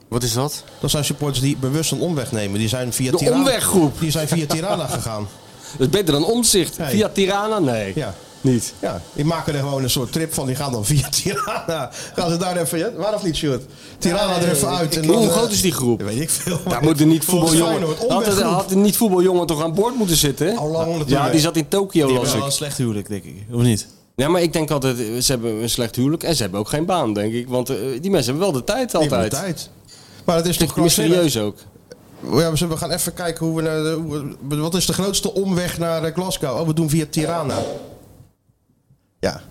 Speaker 3: Wat is dat?
Speaker 2: Dat zijn supporters die bewust een omweg nemen. Die zijn via
Speaker 3: De
Speaker 2: Tirana,
Speaker 3: omweggroep.
Speaker 2: Die zijn via Tirana gegaan.
Speaker 3: Dat is beter dan omzicht.
Speaker 2: Nee.
Speaker 3: Via Tirana? Nee.
Speaker 2: Ja.
Speaker 3: Niet.
Speaker 2: Ja, die maken er gewoon een soort trip van. Die gaan dan via Tirana. Gaan ze daar even... ja, Waarom niet, Sjoerd? Tirana er even uit. En dan,
Speaker 3: Hoe
Speaker 2: eh,
Speaker 3: groot is die groep?
Speaker 2: Dat weet ik veel.
Speaker 3: Daar moet er niet voetbaljongen.
Speaker 2: Volgens
Speaker 3: Had
Speaker 2: Feyenoord,
Speaker 3: er,
Speaker 2: omweggroep.
Speaker 3: had er niet voetbaljongen toch aan boord moeten zitten? hè?
Speaker 2: Al lang
Speaker 3: ja,
Speaker 2: natuurlijk.
Speaker 3: die zat in Tokio,
Speaker 4: Die
Speaker 3: las
Speaker 4: hebben wel een
Speaker 3: ik.
Speaker 4: slecht huwelijk, denk ik. Of niet?
Speaker 3: Ja, maar ik denk altijd, eh, ze hebben een slecht huwelijk en ze hebben ook geen baan, denk ik. Want eh, die mensen hebben wel de tijd
Speaker 2: Die
Speaker 3: altijd.
Speaker 2: hebben tijd. Maar het is toch krankzinnig?
Speaker 3: Mysterieus ook.
Speaker 2: Ja, we zullen- we gaan even kijken hoe we naar de, hoe we- Wat is de grootste omweg naar eh, Glasgow? Oh, we doen via Tirana. Ja.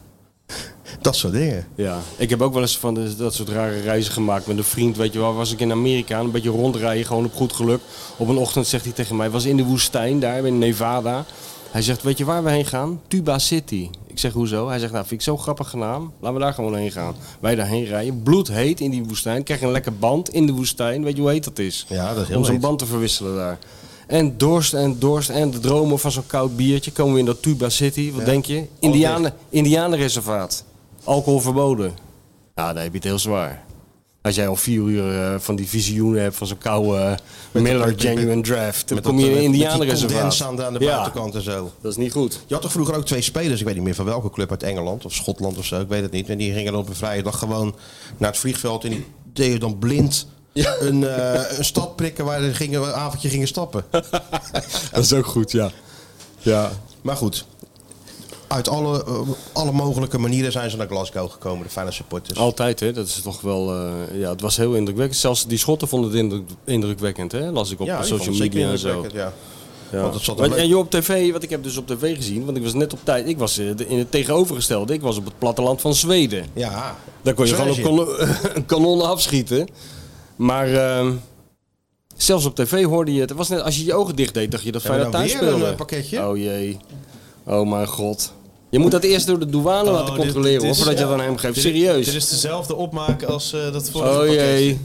Speaker 2: Dat soort dingen.
Speaker 3: Ja, ik heb ook wel eens van de- dat soort rare reizen gemaakt met een vriend. Weet je wel, was ik in Amerika een beetje rondrijden, gewoon op goed geluk. Op een ochtend zegt hij tegen mij, was in de woestijn daar in Nevada. Hij zegt, weet je waar we heen gaan? Tuba City. Ik zeg, hoezo? Hij zegt, nou vind ik zo'n grappige naam. Laten we daar gewoon heen gaan. Wij daarheen rijden, bloedheet in die woestijn. Krijg een lekker band in de woestijn. Weet je hoe heet dat is?
Speaker 2: Ja, dat is heel
Speaker 3: Om zo'n
Speaker 2: heet.
Speaker 3: band te verwisselen daar. En dorst en dorst en de dromen van zo'n koud biertje. Komen we in dat Tuba City, wat denk je? Indianen, Indianenreservaat. Alcohol verboden. Ja, daar heb je het heel zwaar. Als jij al vier uur eh, van die visioenen hebt van zo'n koude eh, Miller
Speaker 2: met- met-
Speaker 3: Genuine Draft, dan
Speaker 2: Met
Speaker 3: kom
Speaker 2: dat,
Speaker 3: je in
Speaker 2: eh,
Speaker 3: een
Speaker 2: met die
Speaker 3: Indianenreservaat.
Speaker 2: condens aan de, aan de
Speaker 3: Ja,
Speaker 2: buitenkant en zo.
Speaker 3: dat is niet goed.
Speaker 2: Je had toch vroeger ook twee spelers, ik weet niet meer van welke club uit Engeland of Schotland of zo, ik weet het niet. En die gingen dan op een vrije dag gewoon naar het vliegveld en die deden dan blind een, eh, een stad prikken waar ze gingen, een avondje gingen stappen.
Speaker 3: Dat is ook goed, ja. Ja,
Speaker 2: Maar goed, uit alle, eh, alle mogelijke manieren zijn ze naar Glasgow gekomen, de Feyenoord supporters.
Speaker 3: altijd hè. Dat is toch wel, eh, ja, het was heel indrukwekkend. Zelfs die Schotten vonden het indruk- indrukwekkend hè, las ik op
Speaker 2: Ja, ik vond
Speaker 3: social
Speaker 2: het zeker
Speaker 3: media en zo.
Speaker 2: indrukwekkend, Ja.
Speaker 3: Ja.
Speaker 2: Want het zat er
Speaker 3: Want-
Speaker 2: leuk.
Speaker 3: en joh, op tv, wat ik heb dus op tv gezien, want ik was net op tijd, ik was eh, de- in het tegenovergestelde, ik was op het platteland van Zweden.
Speaker 2: ja.
Speaker 3: Daar kon je gewoon een,
Speaker 2: Zweden.
Speaker 3: kanon- een kanon afschieten. Maar ehm, zelfs op tv hoorde je het. het was net, als je je ogen dicht deed, dacht je dat
Speaker 2: Hebben
Speaker 3: Feyenoord
Speaker 2: we
Speaker 3: thuis
Speaker 2: nou weer
Speaker 3: speelde.
Speaker 2: een, eh, pakketje?
Speaker 3: Oh jee. Oh mijn god. Je moet dat eerst door de douane
Speaker 2: Oh,
Speaker 3: laten
Speaker 4: dit-
Speaker 3: controleren
Speaker 4: dit
Speaker 3: hoor,
Speaker 4: is-
Speaker 3: voordat je
Speaker 4: ja.
Speaker 3: dat aan hem geeft.
Speaker 4: Dit-
Speaker 3: Serieus.
Speaker 4: Dit is dezelfde opmaak als eh, dat vorige
Speaker 3: oh
Speaker 4: pakket.
Speaker 3: jee.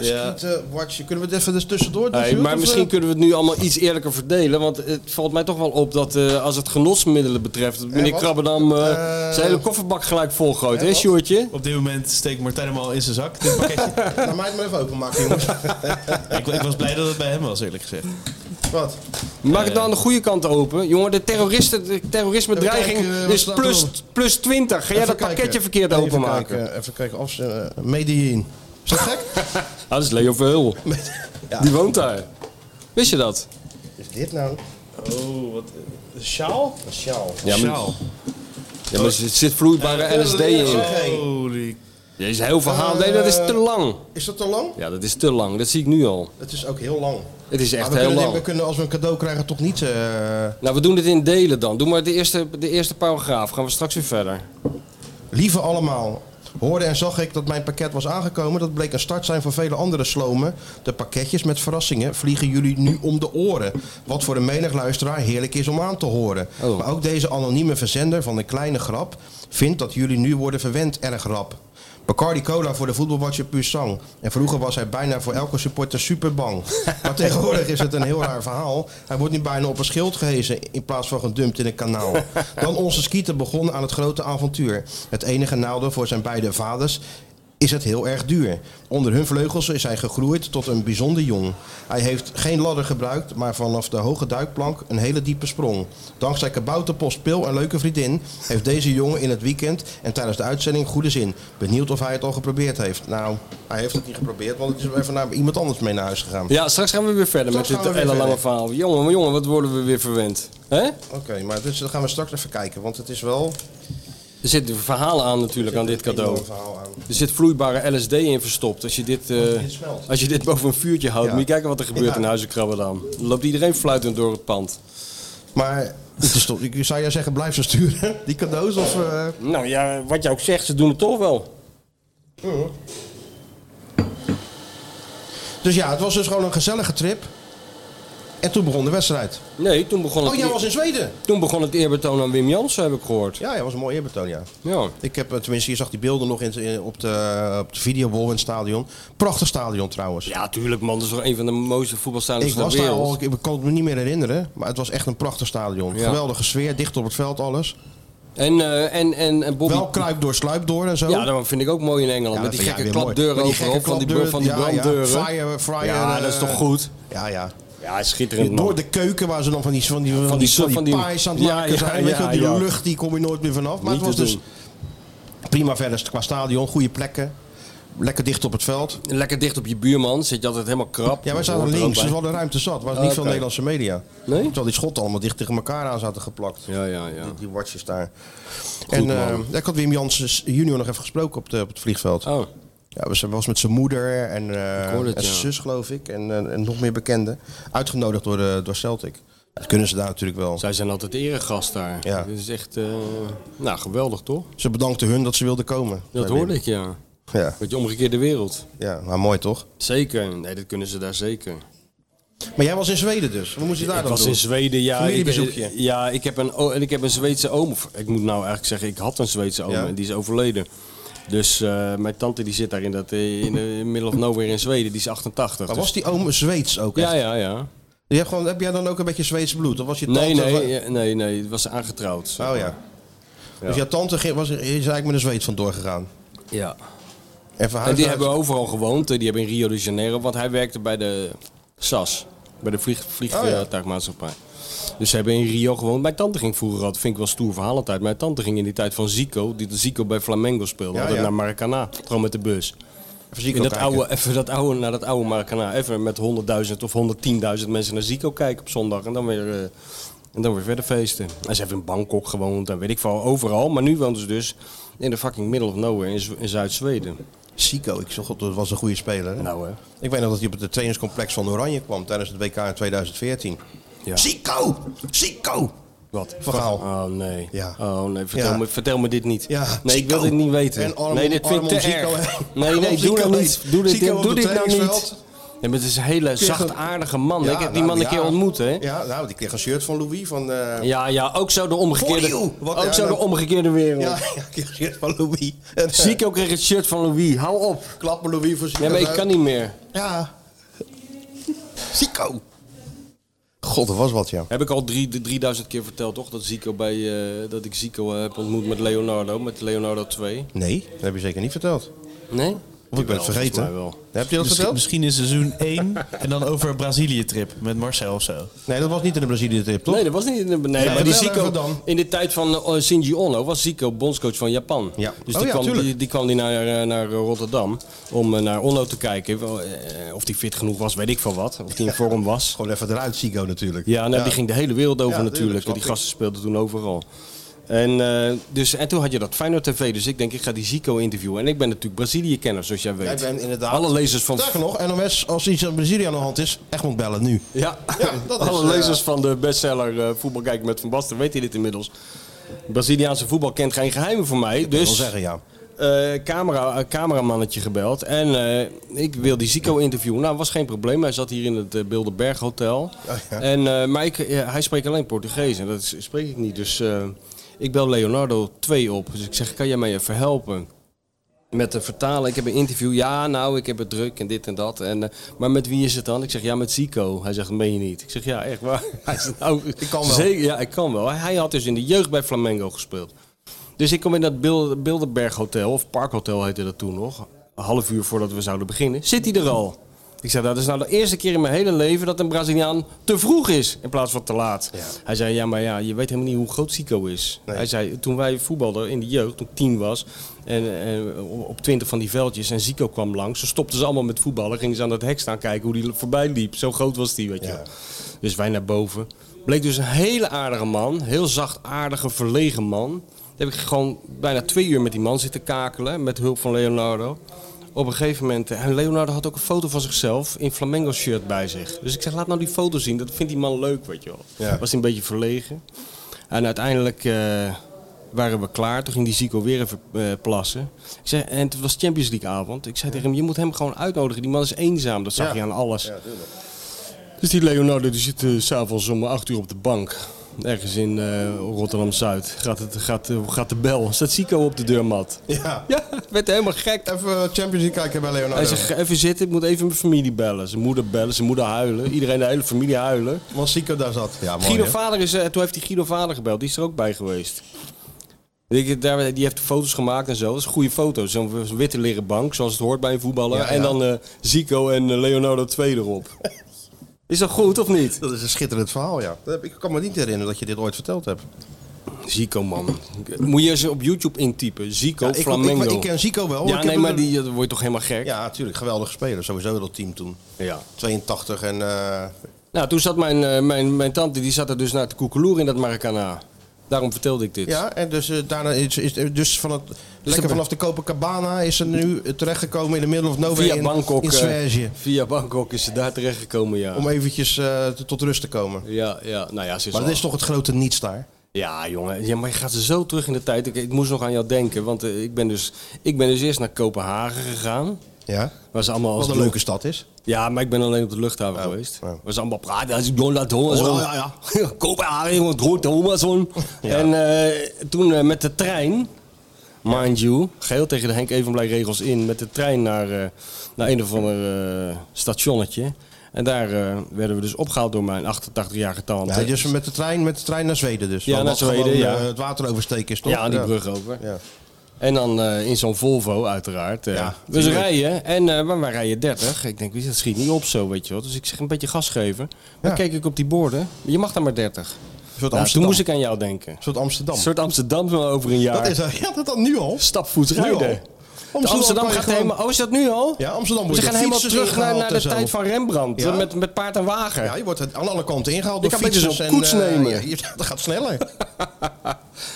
Speaker 4: Ja.
Speaker 2: Schiet, eh, watje. Kunnen we het even dus tussendoor doen?
Speaker 3: Hey,
Speaker 2: Sjoerd,
Speaker 3: maar
Speaker 2: of,
Speaker 3: misschien
Speaker 2: eh?
Speaker 3: kunnen we het nu allemaal iets eerlijker verdelen. Want het valt mij toch wel op dat eh, als het genotsmiddelen betreft... dat meneer
Speaker 2: wat?
Speaker 3: Krabbendam eh,
Speaker 2: Eh,
Speaker 3: zijn hele kofferbak gelijk volgooit. hè,
Speaker 2: wat?
Speaker 3: Sjoertje?
Speaker 4: Op dit moment steekt Martijn hem al in zijn zak, dit pakketje.
Speaker 2: Nou, Laat mij het maar even openmaken, jongens.
Speaker 4: ik, ik was blij dat het bij hem was, eerlijk gezegd.
Speaker 2: Wat?
Speaker 3: Maak het dan aan de goede kant open. Jongen, de, terroristen, de terrorisme-dreiging
Speaker 2: Even kijken, eh,
Speaker 3: is
Speaker 2: wat staat
Speaker 3: plus,
Speaker 2: erop?
Speaker 3: plus 20. Ga jij dat
Speaker 2: Even
Speaker 3: pakketje
Speaker 2: kijken.
Speaker 3: verkeerd
Speaker 2: Even
Speaker 3: openmaken?
Speaker 2: kijken, even kijken of ze... eh, Medellin. Is dat gek?
Speaker 3: Ah, dat is Leo Verhul. Die woont daar. Wist je dat?
Speaker 2: Is dit nou
Speaker 4: Oh, wat... Een sjaal?
Speaker 2: een sjaal?
Speaker 3: Ja, maar,
Speaker 4: Sjaal.
Speaker 3: ja, maar er zit
Speaker 2: Eh,
Speaker 3: vloeibare LSD in.
Speaker 4: Holy...
Speaker 3: Dit is heel verhaal. Nee, dat is te
Speaker 2: eh.
Speaker 3: lang.
Speaker 2: Is dat te lang?
Speaker 3: Ja, dat is te lang. Dat zie ik nu al.
Speaker 2: Het is ook heel lang.
Speaker 3: Het is
Speaker 2: Maar
Speaker 3: echt
Speaker 2: we
Speaker 3: heel
Speaker 2: kunnen,
Speaker 3: lang.
Speaker 2: We kunnen als we een cadeau krijgen toch niet... eh,
Speaker 3: Nou, we doen het in delen dan. Doe maar de eerste, de eerste paragraaf. Gaan we straks weer verder.
Speaker 2: Lieve allemaal, hoorde en zag ik dat mijn pakket was aangekomen. Dat bleek een start zijn van vele andere slomen. De pakketjes met verrassingen vliegen jullie nu om de oren. Wat voor een menig luisteraar heerlijk is om aan te horen.
Speaker 3: Oh.
Speaker 2: Maar ook deze anonieme verzender van een kleine grap vindt dat jullie nu worden verwend erg rap. Bacardi Cola voor de voetbalwatcher Pusang. En vroeger was hij bijna voor elke supporter super bang. Maar tegenwoordig is het een heel raar verhaal. Hij wordt nu bijna op een schild gehezen in plaats van gedumpt in een kanaal. Dan onze skieter begon aan het grote avontuur. Het enige nadeel voor zijn beide vaders is het heel erg duur. Onder hun vleugels is hij gegroeid tot een bijzonder jong. Hij heeft geen ladder gebruikt, maar vanaf de hoge duikplank een hele diepe sprong. Dankzij kabouterpost Pil en leuke vriendin heeft deze jongen in het weekend en tijdens de uitzending goede zin. Benieuwd of hij het al geprobeerd heeft. Nou, hij heeft het niet geprobeerd, want het is even naar iemand anders mee naar huis gegaan.
Speaker 3: Ja, straks gaan we weer verder
Speaker 2: Straks
Speaker 3: met
Speaker 2: gaan
Speaker 3: dit
Speaker 2: we weer
Speaker 3: hele lange
Speaker 2: verder.
Speaker 3: verhaal. Jongen, maar jongen, wat worden we weer verwend. hè?
Speaker 2: Oké, maar dus, dat gaan we straks even kijken, want het is wel...
Speaker 3: Er zitten verhalen aan natuurlijk aan dit
Speaker 2: een
Speaker 3: cadeau.
Speaker 2: enorm verhaal aan.
Speaker 3: Er zit vloeibare LSD in verstopt. Als je dit, eh,
Speaker 2: dit smelt.
Speaker 3: als je dit boven een vuurtje houdt,
Speaker 2: Ja.
Speaker 3: moet je kijken wat er gebeurt
Speaker 2: Ja.
Speaker 3: in Huizen Krabberdam. Dan loopt iedereen fluitend door het pand.
Speaker 2: Maar het is toch, ik zou jij zeggen, blijf zo sturen. Die cadeaus of... eh,
Speaker 3: Nou ja, wat je ook zegt, ze doen het toch wel.
Speaker 2: Dus ja, het was dus gewoon een gezellige trip. En toen begon de wedstrijd.
Speaker 3: Nee, toen begon het,
Speaker 2: Oh, jij was in Zweden?
Speaker 3: toen begon het eerbetoon aan Wim Jansen, heb ik gehoord.
Speaker 2: Ja, jij was een mooi eerbetoon, ja.
Speaker 3: Ja.
Speaker 2: Ik heb, eh, tenminste, je zag die beelden nog in, in- op, de, eh, op de videobol in het stadion. Prachtig stadion trouwens.
Speaker 3: Ja, tuurlijk man. Dat is toch een van de mooiste voetbalstadions
Speaker 2: ik
Speaker 3: ter
Speaker 2: was daar
Speaker 3: wereld.
Speaker 2: al, ik ik kan het me niet meer herinneren. Maar het was echt een prachtig stadion.
Speaker 3: Ja.
Speaker 2: Geweldige sfeer, dicht op het veld alles.
Speaker 3: En, eh, en, en, en Bobby...
Speaker 2: Wel kruip door, sluip door en zo.
Speaker 3: ja, dat vind ik ook mooi in Engeland.
Speaker 2: Ja,
Speaker 3: met
Speaker 2: dat
Speaker 3: die
Speaker 2: vind
Speaker 3: gekke
Speaker 2: jij weer mooi.
Speaker 3: klapdeuren
Speaker 2: Met die
Speaker 3: overal,
Speaker 2: gekke
Speaker 3: van die, br-
Speaker 2: klapdeuren,
Speaker 3: van die branddeuren.
Speaker 2: Ja, ja. Fire, fire,
Speaker 3: Ja, dat is
Speaker 2: eh,
Speaker 3: toch goed?
Speaker 2: Ja, ja.
Speaker 3: Ja, schitterend man.
Speaker 2: Door de keuken waar ze dan van die, van die, van
Speaker 3: die
Speaker 2: die, van die,
Speaker 3: van die-
Speaker 2: pies aan het
Speaker 3: Ja,
Speaker 2: maken
Speaker 3: ja,
Speaker 2: zijn. Weet je wel,
Speaker 3: ja,
Speaker 2: die
Speaker 3: ja.
Speaker 2: lucht die kom je nooit meer vanaf. Maar
Speaker 3: Niet
Speaker 2: het was
Speaker 3: te
Speaker 2: dus
Speaker 3: doen.
Speaker 2: prima verder qua stadion, goede plekken. Lekker dicht op het veld.
Speaker 3: Lekker dicht op je buurman. Zit je altijd helemaal
Speaker 2: Ja,
Speaker 3: krap.
Speaker 2: wij
Speaker 3: Dat
Speaker 2: zaten
Speaker 3: hoort er
Speaker 2: links,
Speaker 3: ook
Speaker 2: dus we
Speaker 3: bij.
Speaker 2: hadden ruimte zat. Er was niet
Speaker 3: Oké.
Speaker 2: veel Nederlandse media.
Speaker 3: Nee?
Speaker 2: Terwijl die schotten allemaal dicht tegen elkaar aan zaten geplakt.
Speaker 3: Ja, ja, ja.
Speaker 2: Die, die watjes daar. en eh, ik had Wim Janssens junior nog even gesproken op, de, op het vliegveld.
Speaker 3: Oh,
Speaker 2: Ja, we- ze was met zijn moeder en, eh,
Speaker 3: hoorde het,
Speaker 2: en zijn
Speaker 3: ja.
Speaker 2: zus, geloof ik. En, eh, en nog meer bekenden. Uitgenodigd door, eh, door Celtic. Dat kunnen ze daar natuurlijk wel.
Speaker 3: zij zijn altijd eregast daar.
Speaker 2: Ja.
Speaker 3: Dat is echt... eh, nou, geweldig toch?
Speaker 2: Ze bedankte hun dat ze wilden komen.
Speaker 3: Dat
Speaker 2: Bij
Speaker 3: hoorde
Speaker 2: Wim.
Speaker 3: ik, ja.
Speaker 2: Ja,
Speaker 3: Met je omgekeerde wereld.
Speaker 2: ja, maar mooi toch?
Speaker 3: Zeker. Nee, dat kunnen ze daar zeker.
Speaker 2: Maar jij was in Zweden dus. Hoe moest je daar
Speaker 3: ik
Speaker 2: dan
Speaker 3: was
Speaker 2: doen?
Speaker 3: in Zweden, ja.
Speaker 2: Familiebezoekje.
Speaker 3: Ik, eh, ja, ik heb, een, o- en ik heb een Zweedse oom. Of, ik moet nou eigenlijk zeggen, ik had een Zweedse oom
Speaker 2: Ja.
Speaker 3: en die is overleden. Dus eh, mijn tante die zit daar in, dat, eh, in de middle of nowhere in Zweden. Die is 88.
Speaker 2: Maar
Speaker 3: dus-
Speaker 2: Ah, was die oom Zweeds ook echt?
Speaker 3: ja, ja, ja.
Speaker 2: Je hebt gewoon, heb jij dan ook een beetje Zweeds bloed? Of was je
Speaker 3: Nee,
Speaker 2: tante-
Speaker 3: nee, ja, nee, nee. Het was aangetrouwd. zeg
Speaker 2: Oh ja.
Speaker 3: maar.
Speaker 2: Dus jouw tante ging- was, is eigenlijk met een zweet vandoor gegaan.
Speaker 3: Ja.
Speaker 2: En,
Speaker 3: En
Speaker 2: verhuisd
Speaker 3: die
Speaker 2: uit-
Speaker 3: hebben overal gewoond. eh, Die hebben in Rio de Janeiro, want hij werkte bij de SAS. Bij de vlieg, vliegtuigmaatschappij.
Speaker 2: Oh,
Speaker 3: Dus ze hebben in Rio gewoond. Mijn tante ging vroeger altijd, vind ik wel stoer verhaal altijd. Mijn tante ging in die tijd van Zico, die de Zico bij Flamengo speelde.
Speaker 2: Ja,
Speaker 3: altijd
Speaker 2: ja.
Speaker 3: naar Maracana, gewoon met de bus.
Speaker 2: Even Zico
Speaker 3: In dat
Speaker 2: kijken.
Speaker 3: oude, even dat oude, naar dat oude Maracana. Even met 100.000 of 110.000 mensen naar Zico kijken op zondag. En dan weer, eh, en dan weer verder feesten. En ze hebben in Bangkok gewoond en weet ik veel, overal. Maar nu woont ze dus in de fucking middle of nowhere in, Zw- in Zuid-Zweden.
Speaker 2: Zico, ik zag dat dat was een goede speler. hè?
Speaker 3: Nou hè.
Speaker 2: Ik weet nog dat hij op het trainingscomplex van Oranje kwam tijdens het WK in 2014.
Speaker 3: Ja.
Speaker 2: Zico! Zico!
Speaker 3: Wat?
Speaker 2: Verhaal.
Speaker 3: Oh nee.
Speaker 2: Ja.
Speaker 3: Oh nee, vertel,
Speaker 2: Ja.
Speaker 3: me, vertel me dit niet.
Speaker 2: Ja,
Speaker 3: Nee, ik wil
Speaker 2: Zico.
Speaker 3: dit niet weten.
Speaker 2: En Armand-
Speaker 3: nee, dit vind ik te
Speaker 2: Armand
Speaker 3: erg.
Speaker 2: Zico, hè?
Speaker 3: Nee, nee,
Speaker 2: Armand
Speaker 3: doe dat
Speaker 2: Zico
Speaker 3: niet.
Speaker 2: deed-
Speaker 3: Doe dit,
Speaker 2: Zico op
Speaker 3: doe
Speaker 2: het
Speaker 3: dit nou niet.
Speaker 2: trainingsveld.
Speaker 3: Nee, maar het is een hele zachtaardige man.
Speaker 2: Ja,
Speaker 3: ik heb die
Speaker 2: nou,
Speaker 3: man een
Speaker 2: ja.
Speaker 3: keer ontmoet, hè.
Speaker 2: Ja, nou, die kreeg een shirt van Louis van... eh,
Speaker 3: Ja, ja, ook zo de omgekeerde,
Speaker 2: For you. Wat-
Speaker 3: ook
Speaker 2: ja,
Speaker 3: zo de
Speaker 2: nou-
Speaker 3: omgekeerde wereld.
Speaker 2: ja, ja, kreeg een shirt van Louis. En, eh,
Speaker 3: Zico kreeg het shirt van Louis. Hou op.
Speaker 2: Klap me Louis voor Zico.
Speaker 3: Nee, maar ik
Speaker 2: uit.
Speaker 3: kan niet meer.
Speaker 2: Ja. Zico! God, dat was wat, ja.
Speaker 3: Heb ik al drie, de 3000 keer verteld, toch? Dat, Zico bij, eh, dat ik Zico heb ontmoet met Leonardo, met Leonardo 2.
Speaker 2: Nee, dat heb je zeker niet verteld.
Speaker 3: Nee?
Speaker 2: Of ik ben het vergeten.
Speaker 3: Mij wel.
Speaker 2: Heb je dat
Speaker 4: Misschien,
Speaker 2: verteld?
Speaker 4: misschien in seizoen 1 en dan over Brazilië-trip met Marcel of zo.
Speaker 2: Nee, dat was niet in de Brazilië-trip, toch?
Speaker 3: Nee, dat was niet. Nee, maar
Speaker 2: vertel
Speaker 3: die
Speaker 2: even
Speaker 3: Zico,
Speaker 2: dan.
Speaker 3: in de tijd van eh, Shinji Ono was Zico bondscoach van Japan.
Speaker 2: Ja.
Speaker 3: Dus
Speaker 2: Oh
Speaker 3: die,
Speaker 2: ja,
Speaker 3: kwam,
Speaker 2: tuurlijk.
Speaker 3: die, die kwam die naar, eh, naar Rotterdam om eh, naar Ono te kijken. Eh, Of die fit genoeg was, weet ik van wat. Of die in vorm was.
Speaker 2: Gewoon even eruit, Zico natuurlijk.
Speaker 3: Ja, nou, die ging de hele wereld over
Speaker 2: Ja,
Speaker 3: natuurlijk.
Speaker 2: tuurlijk,
Speaker 3: want
Speaker 2: snap
Speaker 3: die
Speaker 2: ik.
Speaker 3: gasten speelden toen overal. En, eh, dus, en toen had je dat Feyenoord TV. Dus ik denk, ik ga die Zico interviewen. En ik ben natuurlijk Brazilië-kenner, zoals jij weet.
Speaker 2: Jij bent inderdaad-
Speaker 3: Alle lezers van...
Speaker 2: Sterker nog, NOS, als iets aan Brazilië aan de hand is, Egmond bellen nu.
Speaker 3: Ja,
Speaker 2: Ja, dat is,
Speaker 3: alle
Speaker 2: eh,
Speaker 3: lezers van de bestseller eh Voetbal kijken met Van Basten weten dit inmiddels. Braziliaanse voetbal kent geen geheimen voor mij.
Speaker 2: Ik wil
Speaker 3: Dus
Speaker 2: zeggen, ja.
Speaker 3: eh, camera, eh, cameramannetje gebeld. En eh, ik wil die Zico interviewen. Nou, was geen probleem. Hij zat hier in het eh, Bilderberg Hotel.
Speaker 2: Oh, ja.
Speaker 3: en, eh, maar ik, eh, hij spreekt alleen Portugees. En dat is- spreek ik niet. Dus eh, ik bel Leonardo 2 op. Dus ik zeg, kan jij mij even helpen? Met de vertalen, ik heb een interview. Ja, nou, ik heb het druk en dit en dat. En, eh, maar met wie is het dan? Ik zeg, ja, met Zico. Hij zegt, dat meen je niet. Ik zeg, ja, echt waar. Hij zegt, nou, ik
Speaker 2: kan wel.
Speaker 3: Zeker, ja, ik kan wel. Hij had dus in de jeugd bij Flamengo gespeeld. Dus ik kom in dat Bil- Bilderberg Hotel, of Park Hotel heette dat toen nog. Een half uur voordat we zouden beginnen, zit hij er al. Ik zei, dat is nou de eerste keer in mijn hele leven dat een Braziliaan te vroeg is in plaats van te laat. Hij zei, ja, maar ja, je weet helemaal niet hoe groot Zico is. Hij zei, toen wij voetbalden in de jeugd, toen ik tien was, en, en op twintig van die veldjes, en Zico kwam langs, ze stopten ze allemaal met voetballen, gingen ze aan dat hek staan kijken hoe die voorbij liep. Zo groot was die, weet je. wel. Dus wij naar boven. Bleek dus een hele aardige man, heel zacht aardige, verlegen man. Daar heb ik gewoon bijna twee uur met die man zitten kakelen, met hulp van Leonardo. op een gegeven moment... En Leonardo had ook een foto van zichzelf in Flamengo shirt bij zich. Dus ik zeg, laat nou die foto zien. Dat vindt die man leuk, weet je wel.
Speaker 2: Ja.
Speaker 3: Was hij een beetje verlegen. En uiteindelijk eh, waren we klaar. Toen ging die Zico weer even eh, plassen. Ik zei, en het was Champions League avond. Ik zei tegen hem, je moet hem gewoon uitnodigen. Die man is eenzaam. Dat zag je aan alles. Dus die Leonardo die zit eh, s s'avonds om 8 uur op de bank. Ergens in eh, Rotterdam-Zuid. Gaat, het, gaat, eh, gaat de bel. Staat Zico op de deurmat.
Speaker 2: Ja.
Speaker 3: Ja, ik werd helemaal gek.
Speaker 2: Even eh, Champions League kijken bij
Speaker 3: Hij
Speaker 2: Leonardo.
Speaker 3: zegt, "Ga even zitten, ik moet even mijn familie bellen. Zijn moeder bellen, zijn moeder huilen. Iedereen, de hele familie huilen.
Speaker 2: Want Zico daar zat. Ja, mooi,
Speaker 3: Guido
Speaker 2: hè?
Speaker 3: Vader is, eh, toen heeft hij Guido Vader gebeld, die is er ook bij geweest. Ik, daar, die heeft foto's gemaakt en zo. Dat is goede foto's. Zo'n zo'n witte leren bank, zoals het hoort bij een voetballer.
Speaker 2: Ja, ja.
Speaker 3: En dan eh, Zico en eh, Leonardo II erop. is dat goed of niet?
Speaker 2: Dat is een schitterend verhaal, ja. Dat heb- Ik kan me niet herinneren dat je dit ooit verteld hebt.
Speaker 3: Zico, man. Moet je ze op YouTube intypen. Zico,
Speaker 2: Ja, ik,
Speaker 3: Flamengo.
Speaker 2: Ik, ik ken Zico wel.
Speaker 3: ja,
Speaker 2: ik heb
Speaker 3: nee, maar
Speaker 2: er-
Speaker 3: die, dat word je toch helemaal gek?
Speaker 2: Ja, natuurlijk. Geweldige speler. Sowieso dat team toen.
Speaker 3: Ja.
Speaker 2: 82 en... eh,
Speaker 3: Nou, toen zat mijn, eh, mijn, mijn tante, die zat er dus naar te koekeloeren in dat Maracana. Daarom vertelde ik dit.
Speaker 2: ja, en dus, eh, daarna is, is dus van het... lekker
Speaker 3: dat-
Speaker 2: vanaf de Copacabana is ze nu eh, terechtgekomen in de middle of nowhere
Speaker 3: Via
Speaker 2: in,
Speaker 3: Bangkok.
Speaker 2: in
Speaker 3: eh,
Speaker 2: Zwerge.
Speaker 3: via Bangkok is ze daar terechtgekomen, ja.
Speaker 2: Om eventjes eh, t- tot rust te komen.
Speaker 3: Ja, ja, nou ja, ze is
Speaker 2: Maar
Speaker 3: al-
Speaker 2: dat is toch het grote niets daar?
Speaker 3: Ja, jongen. Ja, maar je gaat ze zo terug in de tijd. Ik, ik moest nog aan jou denken, want eh, ik, ben dus, ik ben dus eerst naar Kopenhagen gegaan.
Speaker 2: Ja.
Speaker 3: Waar ze allemaal als
Speaker 2: Wat een
Speaker 3: blok-
Speaker 2: leuke stad is.
Speaker 3: Ja, maar ik ben alleen op de luchthaven geweest.
Speaker 2: ja.
Speaker 3: Was allemaal praten. Als ik Don Laton. zo. ja, ja. Kopenhagen, want grote Amazon. En eh, toen eh, met de trein, mind you, geheel tegen de Henk Evenblij regels in, met de trein naar, eh, naar een of ander eh, stationnetje. En daar eh, werden we dus opgehaald door mijn 88-jarige tante.
Speaker 2: Ja, dus met de trein, met de trein naar Zweden dus.
Speaker 3: Ja,
Speaker 2: Want
Speaker 3: naar
Speaker 2: dat
Speaker 3: Zweden,
Speaker 2: gewoon,
Speaker 3: ja.
Speaker 2: eh, het water oversteken is toch?
Speaker 3: Ja, die brug over.
Speaker 2: Ja.
Speaker 3: En dan eh, in zo'n Volvo, uiteraard. eh.
Speaker 2: Ja,
Speaker 3: dus
Speaker 2: tuurlijk.
Speaker 3: rijden. En eh, maar wij rijden 30. Ik denk, wie is dat schiet niet op zo, weet je wel. Dus ik zeg een beetje gas geven. Dan
Speaker 2: Ja.
Speaker 3: keek ik op die borden. Je mag dan maar
Speaker 2: Een
Speaker 3: 30.
Speaker 2: soort
Speaker 3: Nou, toen
Speaker 2: Amsterdam.
Speaker 3: moest ik aan jou denken.
Speaker 2: Een soort Amsterdam.
Speaker 3: Een soort Amsterdam van over een jaar.
Speaker 2: Dat is ja, dat dan nu al.
Speaker 3: Stapvoets
Speaker 2: Nu al.
Speaker 3: rijden. De Amsterdam,
Speaker 2: kan je
Speaker 3: gaat
Speaker 2: gewoon-
Speaker 3: helemaal... Oh, is dat nu al?
Speaker 2: Ja, Amsterdam wordt
Speaker 3: Ze gaan helemaal terug naar, naar de tijd
Speaker 2: van.
Speaker 3: van Rembrandt.
Speaker 2: Ja.
Speaker 3: Met, met paard en wagen.
Speaker 2: Ja, je wordt het aan alle kanten ingehaald
Speaker 3: Je
Speaker 2: door
Speaker 3: kan een beetje
Speaker 2: fietsers.
Speaker 3: zo'n koets
Speaker 2: en, eh,
Speaker 3: nemen.
Speaker 2: ja, dat gaat sneller.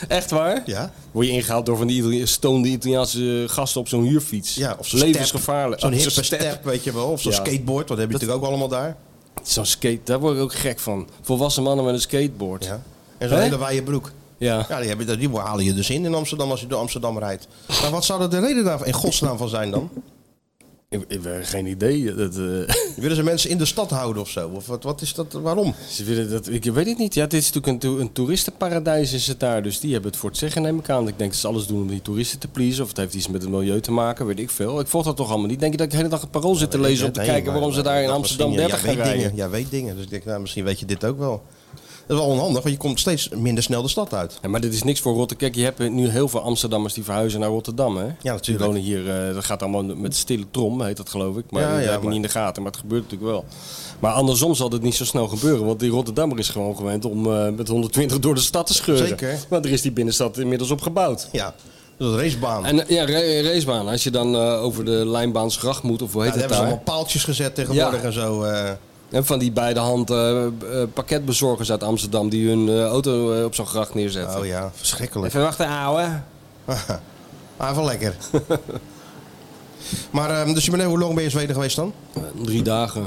Speaker 3: Echt waar?
Speaker 2: Ja.
Speaker 3: Word je ingehaald door van die Itali- stoonde Italiaanse gasten op zo'n huurfiets.
Speaker 2: ja of zo'n
Speaker 3: Levensgevaarlijk.
Speaker 2: step.
Speaker 3: Oh,
Speaker 2: Zo'n hippe step. weet je wel. Of zo'n
Speaker 3: Ja.
Speaker 2: skateboard, wat heb je natuurlijk ook allemaal daar.
Speaker 3: Zo'n skate, daar word ik ook gek van. Volwassen mannen met een skateboard.
Speaker 2: Ja. En zo'n
Speaker 3: Hè?
Speaker 2: hele wijde broek.
Speaker 3: Ja.
Speaker 2: Ja, die, heb je, die halen je dus in in Amsterdam als je door Amsterdam rijdt. Maar wat zou er de reden daarvan in godsnaam van zijn dan?
Speaker 3: Ik, ik heb geen idee. Dat, eh,
Speaker 2: Willen ze mensen in de stad houden of zo? Of wat, wat is dat? Waarom?
Speaker 3: ze willen dat, ik weet het niet. Ja, dit is natuurlijk een, to- een toeristenparadijs is het daar. Dus die hebben het voor het zeggen neem ik aan. Ik denk dat ze alles doen om die toeristen te pleasen. Of het heeft iets met het milieu te maken, weet ik veel. Ik volg dat toch allemaal niet. Denk je dat ik de hele dag het parool zit te
Speaker 2: Weet
Speaker 3: lezen
Speaker 2: je
Speaker 3: om te
Speaker 2: het, hè?
Speaker 3: kijken
Speaker 2: Maar-
Speaker 3: waarom ze
Speaker 2: maar
Speaker 3: daar in
Speaker 2: dat
Speaker 3: Amsterdam
Speaker 2: misschien-
Speaker 3: 30
Speaker 2: jij
Speaker 3: gaan
Speaker 2: weet
Speaker 3: rijden?
Speaker 2: Dingen, jij weet dingen. Dus ik denk, nou, misschien weet je dit ook wel. Dat is wel onhandig, want je komt steeds minder snel de stad uit.
Speaker 3: Ja, maar dit is niks voor Rotterdam. Kijk, je hebt nu heel veel Amsterdammers die verhuizen naar Rotterdam, hè?
Speaker 2: natuurlijk.
Speaker 3: Die wonen hier, eh, dat gaat allemaal met stille trom, heet dat geloof ik. Maar
Speaker 2: Ja,
Speaker 3: dat
Speaker 2: ja,
Speaker 3: heb je
Speaker 2: maar-
Speaker 3: niet in de gaten, maar het gebeurt natuurlijk wel. Maar andersom zal dit niet zo snel gebeuren, want die Rotterdammer is gewoon gewend om eh, met 120 door de stad te scheuren.
Speaker 2: Zeker.
Speaker 3: Want er is die binnenstad inmiddels op gebouwd.
Speaker 2: Ja, dus dat is een racebaan.
Speaker 3: En eh, ja, ra- racebaan, als je dan eh, over de lijnbaansgracht moet, of hoe
Speaker 2: Ja,
Speaker 3: heet
Speaker 2: daar hebben
Speaker 3: het
Speaker 2: ze
Speaker 3: daar?
Speaker 2: allemaal paaltjes gezet tegenwoordig
Speaker 3: Ja.
Speaker 2: en zo. eh.
Speaker 3: En van die beide hand eh, eh, pakketbezorgers uit Amsterdam die hun eh, auto eh, op zo'n gracht neerzetten.
Speaker 2: oh ja, verschrikkelijk.
Speaker 3: Even wachten, ouwe.
Speaker 2: Maar wel lekker. maar ehm, dus je bent, hoe lang ben je in Zweden geweest dan?
Speaker 3: Eh, Drie dagen.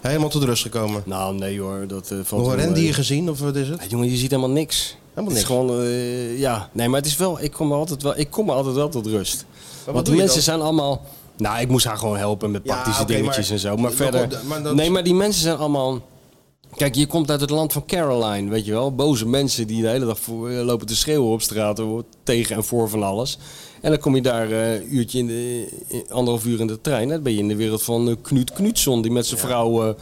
Speaker 2: Helemaal tot rust gekomen.
Speaker 3: Nou, nee hoor, dat eh, valt
Speaker 2: Nog een
Speaker 3: wel mee.
Speaker 2: rendier gezien of wat is het?
Speaker 3: Ja, jongen, je ziet helemaal niks.
Speaker 2: Helemaal
Speaker 3: Het is
Speaker 2: niks.
Speaker 3: gewoon, eh, ja. Nee, maar het is wel, ik kom er altijd wel, ik kom er altijd wel tot rust. Want
Speaker 2: doe
Speaker 3: die
Speaker 2: je
Speaker 3: mensen
Speaker 2: dan?
Speaker 3: zijn allemaal, nou, ik moest haar gewoon helpen met
Speaker 2: Ja,
Speaker 3: praktische
Speaker 2: oké,
Speaker 3: dingetjes
Speaker 2: maar-
Speaker 3: en zo. Maar
Speaker 2: Ja,
Speaker 3: verder,
Speaker 2: maar- maar dat-
Speaker 3: nee, maar die mensen zijn allemaal, kijk, je komt uit het land van Caroline, weet je wel. Boze mensen die de hele dag voor, eh, lopen te schreeuwen op straat hoor, tegen en voor van alles. En dan kom je daar eh, een uurtje in de, in- anderhalf uur in de trein. Dan ben je in de wereld van eh, Knut Knutson, die met zijn vrouw eh,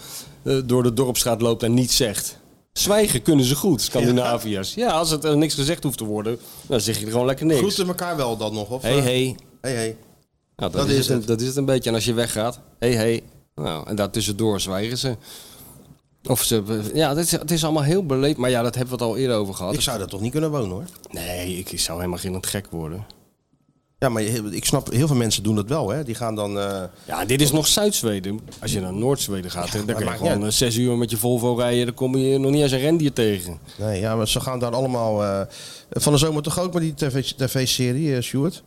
Speaker 3: eh, door de dorpstraat loopt en niets zegt. Zwijgen kunnen ze goed, Scandinaviërs. Ja, als het eh, niks gezegd hoeft te worden, dan zeg je er gewoon lekker niks.
Speaker 2: Groeten elkaar wel dan nog? Of,
Speaker 3: hey,
Speaker 2: eh,
Speaker 3: hey.
Speaker 2: hey, hey.
Speaker 3: Nou, dat, is het, een- dat is het een beetje. En als je weggaat, hey, hey. Nou, en daartussendoor zwijgen ze. Of ze, eh, ja, het is, het is allemaal heel beleefd. Maar ja, dat hebben we het al eerder over gehad.
Speaker 2: Ik zou daar toch niet kunnen wonen hoor.
Speaker 3: Nee, ik, ik zou helemaal geen gek worden.
Speaker 2: Ja, maar je- ik snap, heel veel mensen doen dat wel hè. Die gaan dan... eh,
Speaker 3: Ja, dit is nog Zuid-Zweden. Als je naar Noord-Zweden gaat, dan kan je
Speaker 2: maakt
Speaker 3: gewoon
Speaker 2: niet
Speaker 3: eh, zes uur met je Volvo rijden. Dan kom je nog niet eens een rendier tegen.
Speaker 2: nee, ja, maar ze gaan daar allemaal... eh, van de zomer toch ook met die tv-serie, TV tv-serie, eh, Stuart?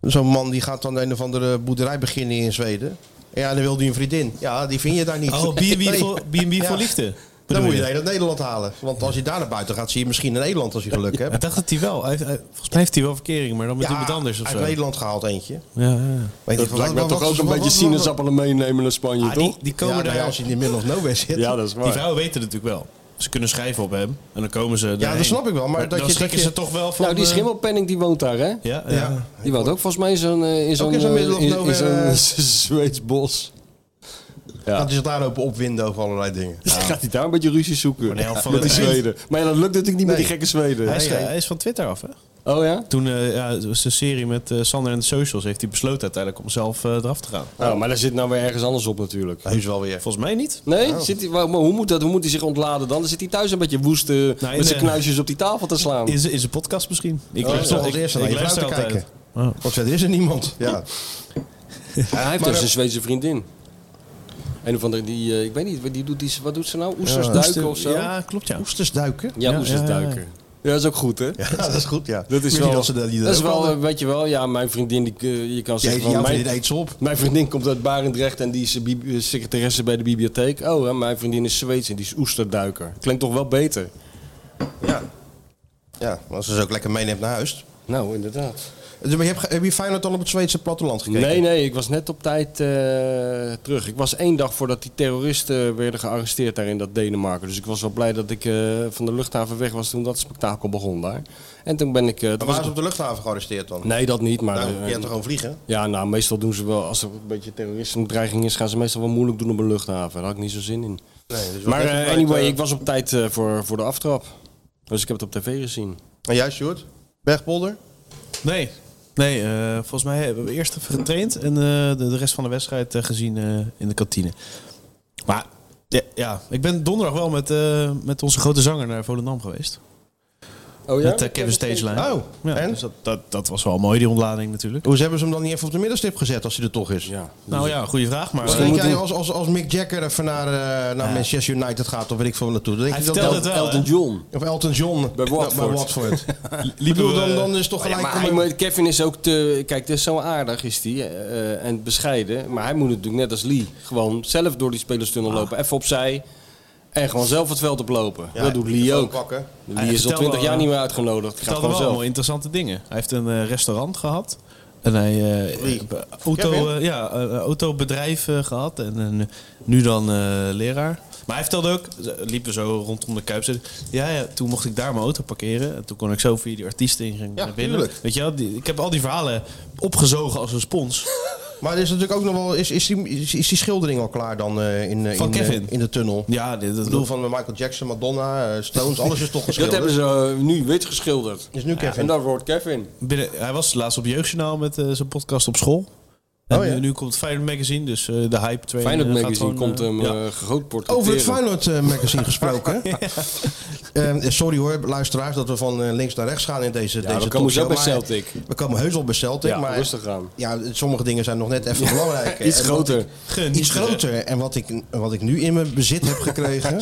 Speaker 2: Zo'n man die gaat dan een of andere boerderij beginnen in Zweden. Ja, en dan wil hij een vriendin. Ja, die vind je daar niet.
Speaker 4: Oh, B&B
Speaker 2: Nee.
Speaker 4: voor, B&B
Speaker 2: Ja.
Speaker 4: voor lichten.
Speaker 2: Dan moet je
Speaker 4: dat.
Speaker 2: naar Nederland halen. Want als je daar naar buiten gaat, zie je misschien in Nederland als je geluk hebt.
Speaker 4: Ik dacht dat hij wel. Hij, hij- volgens mij heeft hij wel verkering, maar dan met
Speaker 2: Ja,
Speaker 4: iemand anders of
Speaker 2: uit
Speaker 4: zo.
Speaker 2: Nederland gehaald eentje.
Speaker 4: Ja, ja.
Speaker 2: Weet
Speaker 3: Dat
Speaker 2: je,
Speaker 3: lijkt me
Speaker 2: wat-
Speaker 3: toch
Speaker 2: wat-
Speaker 3: ook een
Speaker 2: wat-
Speaker 3: beetje
Speaker 2: wat-
Speaker 3: sinaasappelen meenemen naar Spanje,
Speaker 4: Ah, die,
Speaker 3: toch?
Speaker 4: die
Speaker 2: Ja,
Speaker 4: komen
Speaker 2: nou
Speaker 4: daar.
Speaker 2: ja, als je in de middle of nowhere zit.
Speaker 3: Ja, dat is
Speaker 4: Die
Speaker 3: waar.
Speaker 4: vrouwen weten het natuurlijk wel. Ze kunnen schrijven op hem en dan komen ze.
Speaker 2: Ja, dat snap ik wel. Maar dat
Speaker 4: dan
Speaker 2: je-
Speaker 4: schrikken
Speaker 2: dat je-
Speaker 4: ze toch wel van.
Speaker 3: Nou, die
Speaker 4: eh,
Speaker 3: schimmelpenning die woont daar, hè?
Speaker 4: Ja, ja.
Speaker 2: Ja.
Speaker 3: Die woont ook volgens mij in zo'n... eh, In zo'n
Speaker 2: in zo'n
Speaker 3: eh,
Speaker 2: middle of
Speaker 3: in- in
Speaker 2: nowhere,
Speaker 3: zo'n
Speaker 2: eh,
Speaker 3: Zweeds bos. Ja.
Speaker 2: Gaat hij zich daar open opwinden over allerlei dingen.
Speaker 3: Gaat hij daar een beetje ruzie zoeken?
Speaker 4: de helft van
Speaker 3: met die
Speaker 4: het eind.
Speaker 3: Zweden. Maar ja, dat lukt natuurlijk niet met die
Speaker 2: Nee.
Speaker 3: gekke Zweden.
Speaker 4: Hij, is,
Speaker 2: Nee, nee.
Speaker 4: hij is van Twitter af, hè?
Speaker 3: Oh ja?
Speaker 4: Toen eh ja, zijn serie met eh, Sander en de Socials heeft hij besloten uiteindelijk om zelf eh, eraf te gaan.
Speaker 3: Oh, maar daar zit nou weer ergens anders op natuurlijk.
Speaker 2: Heus wel weer.
Speaker 4: Volgens mij niet.
Speaker 3: Nee? Zit hij, maar hoe, moet dat, hoe moet hij zich ontladen dan? Dan zit hij thuis een beetje woest eh,
Speaker 4: in
Speaker 3: met zijn
Speaker 4: de-
Speaker 3: knuisjes op die tafel te slaan.
Speaker 4: Is, is een podcast misschien? Ik
Speaker 2: Ik zal als
Speaker 4: ik-
Speaker 2: eerste
Speaker 4: ik
Speaker 2: naar je vrouw
Speaker 4: luister
Speaker 2: te
Speaker 4: altijd.
Speaker 2: kijken. Oh. Want verder is er niemand. Ja.
Speaker 3: Ja, hij heeft dus een Zweedse vriendin. Een of andere, die, eh, ik weet niet, die doet die, wat doet ze nou? Oesters duiken of zo? Ja,
Speaker 4: Ja, klopt ja.
Speaker 2: Oesters duiken.
Speaker 4: ja,
Speaker 3: oesters
Speaker 4: ja, ja.
Speaker 3: duiken. Ja, dat is ook goed, hè?
Speaker 2: Ja, dat is goed, ja.
Speaker 3: Dat is
Speaker 2: Misschien
Speaker 3: wel,
Speaker 2: Dat,
Speaker 3: dat
Speaker 2: ze dat, die
Speaker 3: is
Speaker 2: ook
Speaker 3: wel,
Speaker 2: hadden.
Speaker 3: eh, weet je wel, ja, mijn vriendin, die, eh, je kan
Speaker 2: Jeetje,
Speaker 3: zeggen van,
Speaker 2: jouw
Speaker 3: mijn,
Speaker 2: vriendin eet ze op.
Speaker 3: mijn vriendin komt uit Barendrecht en die is eh, bib- eh, secretaresse bij de bibliotheek. Oh, hè, mijn vriendin is Zweeds en die is oesterduiker. Klinkt toch wel beter?
Speaker 2: Ja. Ja, maar als ze ze ook lekker meeneemt naar huis.
Speaker 3: Nou, inderdaad.
Speaker 2: Dus, maar je hebt, ge- heb je Feyenoord al op het Zweedse platteland gekeken?
Speaker 3: Nee, nee, ik was net op tijd eh, terug. Ik was één dag voordat die terroristen werden gearresteerd daar in dat Denemarken. Dus ik was wel blij dat ik eh, van de luchthaven weg was toen dat spektakel begon daar. En toen ben ik... eh, toen
Speaker 2: Maar waar
Speaker 3: was
Speaker 2: is
Speaker 3: ik-
Speaker 2: op de luchthaven gearresteerd dan?
Speaker 3: Nee, dat niet, maar...
Speaker 2: Nou,
Speaker 3: eh,
Speaker 2: je hebt toch gewoon vliegen?
Speaker 3: ja, nou, meestal doen ze wel, als er een beetje terroristendreiging is, gaan ze meestal wel moeilijk doen op een luchthaven. Daar had ik niet zo zin in.
Speaker 2: Nee, dus
Speaker 3: Maar
Speaker 2: wel
Speaker 3: eh,
Speaker 2: echt een
Speaker 3: anyway,
Speaker 2: tijd, eh,
Speaker 3: ik was op tijd eh, voor, voor de aftrap. Dus ik heb het op tv gezien.
Speaker 2: En jij, Sjoerd? Bergpolder?
Speaker 4: Nee. Nee, eh, volgens mij hebben we eerst even getraind en eh, de, de rest van de wedstrijd eh, gezien eh, in de kantine. Maar ja, ja, ik ben donderdag wel met, eh, met onze grote zanger naar Volendam geweest.
Speaker 3: Oh
Speaker 4: Met eh, Kevin Stageline.
Speaker 2: Oh,
Speaker 4: ja,
Speaker 2: en?
Speaker 4: Dus dat, dat, dat was wel mooi, die ontlading natuurlijk.
Speaker 2: Hoe hebben ze hem dan niet even op de middenstip gezet als hij er toch is?
Speaker 3: Ja.
Speaker 4: Nou ja, goede vraag, maar...
Speaker 2: Wat denk jij als, als, als Mick Jagger even naar, eh, naar Manchester United gaat of weet ik veel naartoe? Dan Denk
Speaker 4: Hij
Speaker 2: je dat
Speaker 4: vertelde
Speaker 2: El-
Speaker 4: het wel,
Speaker 3: Elton
Speaker 4: hè?
Speaker 3: John.
Speaker 2: Of Elton John
Speaker 3: Bij Watford.
Speaker 2: Bij Watford. Ik
Speaker 4: Liepen
Speaker 2: bedoel,
Speaker 4: we,
Speaker 2: dan,
Speaker 4: eh,
Speaker 2: dan is het toch
Speaker 3: Ja,
Speaker 2: gelijk...
Speaker 3: maar
Speaker 2: om
Speaker 3: hij
Speaker 2: een-
Speaker 3: moet- Kevin is ook te. Kijk, dat is zo aardig is die eh, en bescheiden. Maar hij moet natuurlijk net als Lee gewoon zelf door die spelerstunnel lopen. Even opzij. En gewoon zelf het veld oplopen.
Speaker 2: Ja,
Speaker 3: dat doet Lee
Speaker 2: gewoon
Speaker 3: ook.
Speaker 2: pakken.
Speaker 3: Lee
Speaker 4: Hij
Speaker 3: is al
Speaker 4: vertelde
Speaker 3: 20 jaar
Speaker 4: al-
Speaker 3: niet meer uitgenodigd. Hij gaat
Speaker 4: vertelde
Speaker 3: gewoon
Speaker 4: wel
Speaker 3: zelf.
Speaker 4: allemaal interessante dingen. Hij heeft een eh, restaurant gehad. En hij eh,
Speaker 2: Wie?
Speaker 4: eh, auto,
Speaker 2: Kevin?
Speaker 4: eh, ja, eh, autobedrijf eh, gehad. En eh, nu dan eh, leraar. Maar hij vertelde ook, eh, liepen we zo rondom de Kuip. zei- Ja, ja, toen mocht ik daar mijn auto parkeren. En toen kon ik zo via die artiesten in
Speaker 2: Ja,
Speaker 4: naar binnen.
Speaker 2: tuurlijk.
Speaker 4: Weet je wel, die- ik heb al die verhalen opgezogen als een spons.
Speaker 2: Maar er is natuurlijk ook nog wel... Is, is, die, is, is die schildering al klaar dan eh, in, eh,
Speaker 4: Van
Speaker 2: in, eh,
Speaker 4: Kevin?
Speaker 2: in de tunnel?
Speaker 4: ja, dit, dat
Speaker 2: Ik bedoel, van Michael Jackson, Madonna, eh, Stones, alles is toch
Speaker 3: Dat
Speaker 2: geschilderd.
Speaker 3: hebben ze eh, nu wit geschilderd.
Speaker 2: Is nu Kevin.
Speaker 3: En dat wordt Kevin.
Speaker 4: binnen, hij was laatst op Jeugdjournaal met eh, zijn podcast op school. En eh,
Speaker 2: Oh ja.
Speaker 4: nu, nu komt Feyenoord Magazine, dus eh, de hype train.
Speaker 3: Feyenoord
Speaker 4: eh, gaat
Speaker 3: Magazine
Speaker 4: gewoon,
Speaker 3: komt
Speaker 4: eh,
Speaker 3: hem
Speaker 4: ja.
Speaker 3: eh groot portretteren.
Speaker 2: Over het Feyenoord eh, magazine gesproken. Eh, sorry hoor, luisteraars, dat we van eh, links naar rechts gaan in deze
Speaker 3: Ja,
Speaker 2: deze
Speaker 3: we komen zo
Speaker 2: talkshow,
Speaker 3: bij
Speaker 2: maar
Speaker 3: Celtic.
Speaker 2: We komen heus al bij Celtic,
Speaker 3: Ja,
Speaker 2: maar
Speaker 3: rustig aan.
Speaker 2: Ja, sommige dingen zijn nog net even belangrijk. eh,
Speaker 3: Iets
Speaker 2: En wat ik-
Speaker 3: groter.
Speaker 2: Iets groter. En wat ik, wat ik nu in mijn bezit heb gekregen.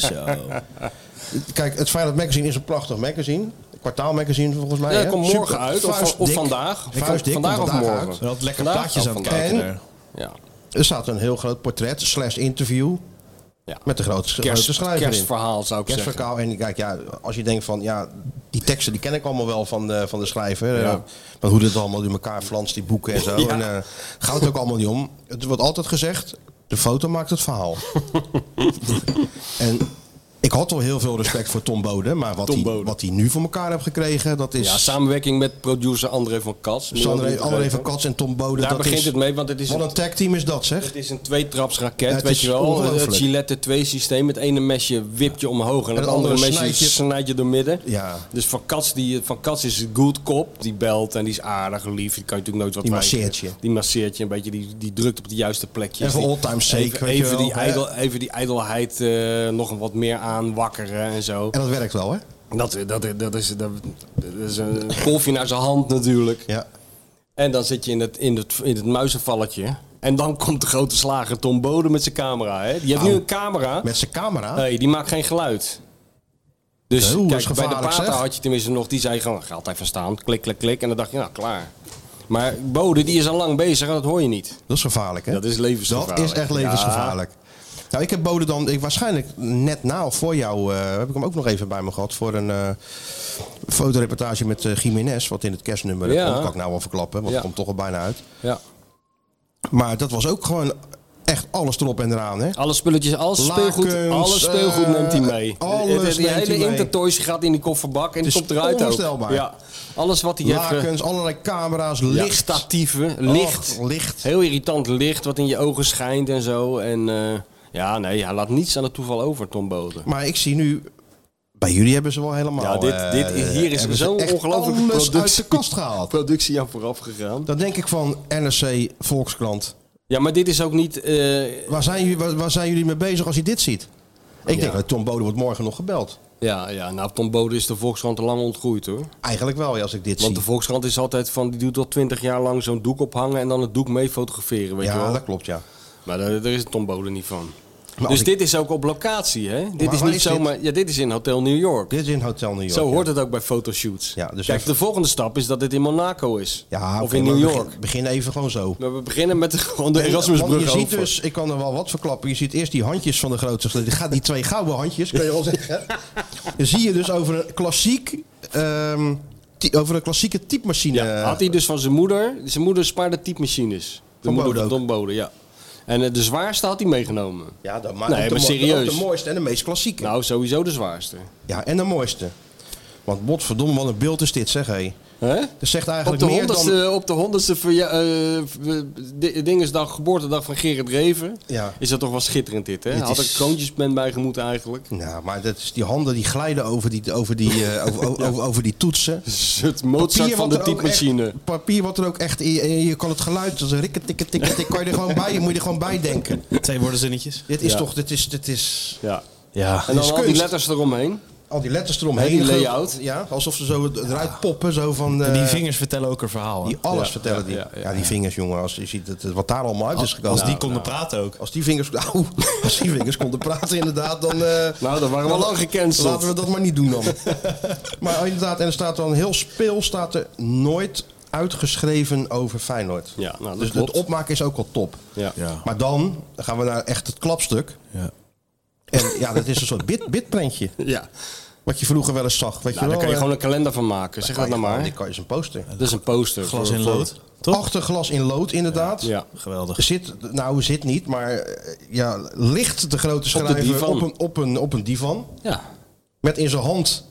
Speaker 2: Kijk, het Feyenoord magazine is een prachtig magazine. Kwartaalmagazine volgens mij.
Speaker 3: Ja, dat
Speaker 2: hè?
Speaker 3: komt morgen
Speaker 2: Super.
Speaker 3: uit. Of, of
Speaker 2: Vuistdik.
Speaker 3: vandaag.
Speaker 2: Vuistdik,
Speaker 3: vandaag
Speaker 2: komt
Speaker 3: of
Speaker 2: vandaag
Speaker 3: morgen.
Speaker 2: uit.
Speaker 4: Hij had lekker
Speaker 3: Vandaag
Speaker 4: plaatjes
Speaker 3: of
Speaker 4: aan het
Speaker 3: vandaag?
Speaker 4: kijken
Speaker 2: En?
Speaker 4: daar.
Speaker 3: Ja.
Speaker 2: Er staat een heel groot portret slash interview
Speaker 3: Ja.
Speaker 2: met de grootste grote
Speaker 3: Kerst,
Speaker 2: schrijver in.
Speaker 3: kerstverhaal zou ik zeggen.
Speaker 2: Kerstverkaal. En kijk, ja, als je denkt van ja, die teksten die ken ik allemaal wel van de, van de schrijver. eh, maar hoe dit allemaal in elkaar flanst, die boeken en zo. En, eh, gaat het ook allemaal niet om. Het wordt altijd gezegd, de foto maakt het verhaal. en ik had al heel veel respect voor Tom Bode. Maar wat
Speaker 3: Tom
Speaker 2: hij-
Speaker 3: Bode.
Speaker 2: wat hij nu voor elkaar heeft gekregen, dat is...
Speaker 3: Ja, samenwerking met producer André van Kats. Moet je ook
Speaker 2: Sander,
Speaker 3: niet
Speaker 2: André van
Speaker 3: vergeten.
Speaker 2: Kats en Tom Bode.
Speaker 3: Daar
Speaker 2: dat
Speaker 3: begint
Speaker 2: is,
Speaker 3: het mee, want het is
Speaker 2: Wat
Speaker 3: een
Speaker 2: een tagteam is dat zeg.
Speaker 3: Het is een tweetrapsraket,
Speaker 2: Ja, het
Speaker 3: weet
Speaker 2: is
Speaker 3: je wel.
Speaker 2: ongelooflijk.
Speaker 3: Het Gillette 2 systeem. Het ene mesje wipt je omhoog en het, andere, mesje
Speaker 2: snijdt je-
Speaker 3: snijdt je door midden.
Speaker 2: Ja.
Speaker 3: Dus Van Kats, die, van Kats is een good cop. Die belt en die is aardig, lief. Die kan je natuurlijk nooit wat
Speaker 2: Die
Speaker 3: wijken.
Speaker 2: masseert je.
Speaker 3: Die masseert je een beetje. Die, die drukt op de juiste plekjes.
Speaker 2: Even
Speaker 3: Die-
Speaker 2: all-time sake,
Speaker 3: Even,
Speaker 2: weet je
Speaker 3: even
Speaker 2: wel,
Speaker 3: die
Speaker 2: hè?
Speaker 3: ijdel, even die ijdelheid eh, nog een wat meer aanwakkeren en zo.
Speaker 2: En dat werkt wel hè?
Speaker 3: Dat, dat, dat, is, dat, dat is een kolfje naar zijn hand natuurlijk.
Speaker 2: Ja.
Speaker 3: En dan zit je in het, in het, in het muizenvalletje. En dan komt de grote slager Tom Bode met zijn camera. Hè? Die heeft nu een camera.
Speaker 2: Nou, Met zijn camera.
Speaker 3: Hey, die maakt geen geluid. Dus
Speaker 2: Oeh, dat is
Speaker 3: kijk, bij de
Speaker 2: gevaarlijk,
Speaker 3: Pata
Speaker 2: zeg.
Speaker 3: had je tenminste nog, die zei gewoon, ga altijd van staan. Klik, klik, klik. En dan dacht je, nou, klaar. Maar Bode, die is al lang bezig en dat hoor je niet.
Speaker 2: Dat is gevaarlijk, hè?
Speaker 3: Dat is levensgevaarlijk.
Speaker 2: Dat is echt levensgevaarlijk. Nou, ik heb Bode dan ik, waarschijnlijk net na of voor jou... eh, heb ik hem ook nog even bij me gehad voor een eh, fotoreportage met eh Jiménez. Wat in het kerstnummer
Speaker 3: Ja.
Speaker 2: dat kan ik nou wel verklappen, want
Speaker 3: Ja.
Speaker 2: het komt toch al bijna uit.
Speaker 3: Ja.
Speaker 2: Maar dat was ook gewoon echt alles erop en eraan, hè?
Speaker 3: Alle spulletjes, alles
Speaker 2: Lakens,
Speaker 3: speelgoed, alles speelgoed
Speaker 2: eh,
Speaker 3: neemt hij mee.
Speaker 2: alles
Speaker 3: Het- het- die
Speaker 2: neemt hij
Speaker 3: hele
Speaker 2: mee.
Speaker 3: Intertoys gaat in die kofferbak en die
Speaker 2: is
Speaker 3: komt eruit ook.
Speaker 2: onvoorstelbaar.
Speaker 3: Ja. Alles wat hij heeft... ge-
Speaker 2: Lakens, allerlei camera's,
Speaker 3: Ja,
Speaker 2: licht. Oh,
Speaker 3: statieven, licht.
Speaker 2: Och, licht.
Speaker 3: Heel irritant licht wat in je ogen schijnt en zo. En eh, ja, nee, hij laat niets aan het toeval over, Tom Boden.
Speaker 2: Maar ik zie nu... Bij jullie hebben ze wel helemaal...
Speaker 3: Ja, dit-
Speaker 2: eh,
Speaker 3: dit is- hier is
Speaker 2: hebben ze
Speaker 3: zo'n
Speaker 2: echt
Speaker 3: ongelofelijke
Speaker 2: alles uit
Speaker 3: productie.
Speaker 2: de kast gehaald.
Speaker 3: Productie aan vooraf gegaan.
Speaker 2: Dan denk ik van NRC, Volkskrant.
Speaker 3: Ja, maar dit is ook niet... eh,
Speaker 2: Waar zijn, jullie- waar, waar zijn jullie mee bezig als je dit ziet? Ik denk, dat Tom Bode wordt morgen nog gebeld.
Speaker 3: ja, ja, nou, Tom Boden is de Volkskrant te lang ontgroeid, hoor.
Speaker 2: Eigenlijk wel, ja, als ik dit
Speaker 3: Want de
Speaker 2: zie.
Speaker 3: Volkskrant is altijd van, die doet al twintig jaar lang zo'n doek ophangen en dan het doek mee fotograferen, weet je wel.
Speaker 2: Ja, dat klopt, ja.
Speaker 3: Maar daar, daar is Tom Boden niet van.
Speaker 2: als
Speaker 3: dus
Speaker 2: ik-
Speaker 3: dit is ook op locatie, hè? Dit
Speaker 2: waar
Speaker 3: is niet
Speaker 2: is dit?
Speaker 3: zomaar... Ja, dit is in Hotel New York.
Speaker 2: Dit is in Hotel New York.
Speaker 3: Zo hoort
Speaker 2: ja.
Speaker 3: het ook bij fotoshoots.
Speaker 2: Ja, dus
Speaker 3: Kijk,
Speaker 2: even-
Speaker 3: de volgende stap is dat dit in Monaco is.
Speaker 2: Ja,
Speaker 3: of in
Speaker 2: maar
Speaker 3: New
Speaker 2: begin-
Speaker 3: York.
Speaker 2: Begin, even gewoon zo.
Speaker 3: Maar we beginnen met de, gewoon de
Speaker 2: Want
Speaker 3: Erasmusbrug
Speaker 2: je ziet
Speaker 3: over.
Speaker 2: dus, ik kan er wel wat verklappen. Je ziet eerst die handjes van de grootste. Die, gaat- die twee gouden handjes, kun je wel zeggen. Dan zie je dus over een klassiek. ehm, ty- over een klassieke typemachine.
Speaker 3: ja, had hij dus van zijn moeder. Zijn moeder spaarde typemachines. De
Speaker 2: Van
Speaker 3: moeder
Speaker 2: Bode
Speaker 3: van
Speaker 2: ook.
Speaker 3: Tom Bode, ja. En eh, de zwaarste had hij meegenomen.
Speaker 2: Ja, dat maakt
Speaker 3: Nee,
Speaker 2: ook de,
Speaker 3: maar
Speaker 2: mo-
Speaker 3: serieus.
Speaker 2: ook de mooiste en de meest klassieke.
Speaker 3: Nou, sowieso de zwaarste.
Speaker 2: Ja, en de mooiste. Want botverdomme, wat een beeld is dit, zeg hé.
Speaker 3: Hè?
Speaker 2: Dat zegt
Speaker 3: Op
Speaker 2: eigenlijk
Speaker 3: de
Speaker 2: meer
Speaker 3: honderdste,
Speaker 2: dan...
Speaker 3: op de honderdste verja- eh, v- di- dingesdag, geboortedag van Gerrit Reven.
Speaker 2: Ja.
Speaker 3: Is dat toch wel schitterend dit, hè?
Speaker 2: Dit
Speaker 3: had
Speaker 2: is-
Speaker 3: er kroontjespen bij gemoeten eigenlijk.
Speaker 2: Nou, maar dat is, die handen die glijden over die, over die, eh, over, over, over, over die toetsen.
Speaker 3: Dus Het Mozart van
Speaker 2: wat
Speaker 3: de
Speaker 2: er ook
Speaker 3: typemachine.
Speaker 2: echt- Papier wat er ook echt... in- in- Je kan het geluid, dat is rikken, tikken, tikken, tikken. Kan je er gewoon bij, je moet je er gewoon bij denken.
Speaker 3: eh,
Speaker 4: Twee woordenzinnetjes.
Speaker 2: Dit is
Speaker 3: Ja.
Speaker 2: toch, dit is, dit is...
Speaker 3: Ja.
Speaker 4: Ja.
Speaker 3: En dan
Speaker 2: is
Speaker 3: al die
Speaker 2: kunst.
Speaker 3: letters eromheen.
Speaker 2: Al die letters eromheen.
Speaker 3: Hele
Speaker 2: ge-
Speaker 3: layout.
Speaker 2: Ja, alsof ze zo eruit poppen, zo van... eh,
Speaker 4: die vingers vertellen ook een verhaal. hè?
Speaker 2: Die alles
Speaker 3: Ja,
Speaker 2: vertellen
Speaker 3: ja,
Speaker 2: die. Ja,
Speaker 3: ja, ja.
Speaker 2: die vingers, jongen. Als je ziet dat, wat daar allemaal uit is gekomen.
Speaker 4: Als die konden praten ook.
Speaker 2: Als die vingers, nou, als die vingers konden praten, inderdaad, dan. eh,
Speaker 3: Nou, dat waren we
Speaker 2: dan-
Speaker 3: lang gecanceld.
Speaker 2: Laten we dat maar niet doen dan. maar inderdaad, en er staat dan heel speel, staat er nooit uitgeschreven over Feyenoord.
Speaker 3: Ja, nou, dat
Speaker 2: dus
Speaker 3: klopt.
Speaker 2: het opmaken is ook al top.
Speaker 3: Ja.
Speaker 2: Maar dan gaan we naar echt het klapstuk. En ja, dat is een soort bit, bitprentje.
Speaker 3: Ja.
Speaker 2: Wat je vroeger wel eens zag. Weet
Speaker 3: Nou,
Speaker 2: je
Speaker 3: daar
Speaker 2: wel,
Speaker 3: kan je
Speaker 2: eh,
Speaker 3: gewoon een kalender van maken. Zeg
Speaker 2: kan
Speaker 3: dat
Speaker 2: je
Speaker 3: nou
Speaker 2: gewoon-
Speaker 3: maar.
Speaker 2: Dit kan je een poster.
Speaker 3: Dat is een poster.
Speaker 4: Glas
Speaker 3: voor-
Speaker 4: in
Speaker 3: voor-
Speaker 4: lood. Toch?
Speaker 2: Achterglas in lood, inderdaad.
Speaker 3: Ja.
Speaker 4: Geweldig.
Speaker 2: Zit, nou zit niet, maar eh, ja, ligt de grote
Speaker 3: de
Speaker 2: schrijver
Speaker 3: divan.
Speaker 2: op een, op, een, op een divan.
Speaker 3: Ja.
Speaker 2: Met in zijn hand.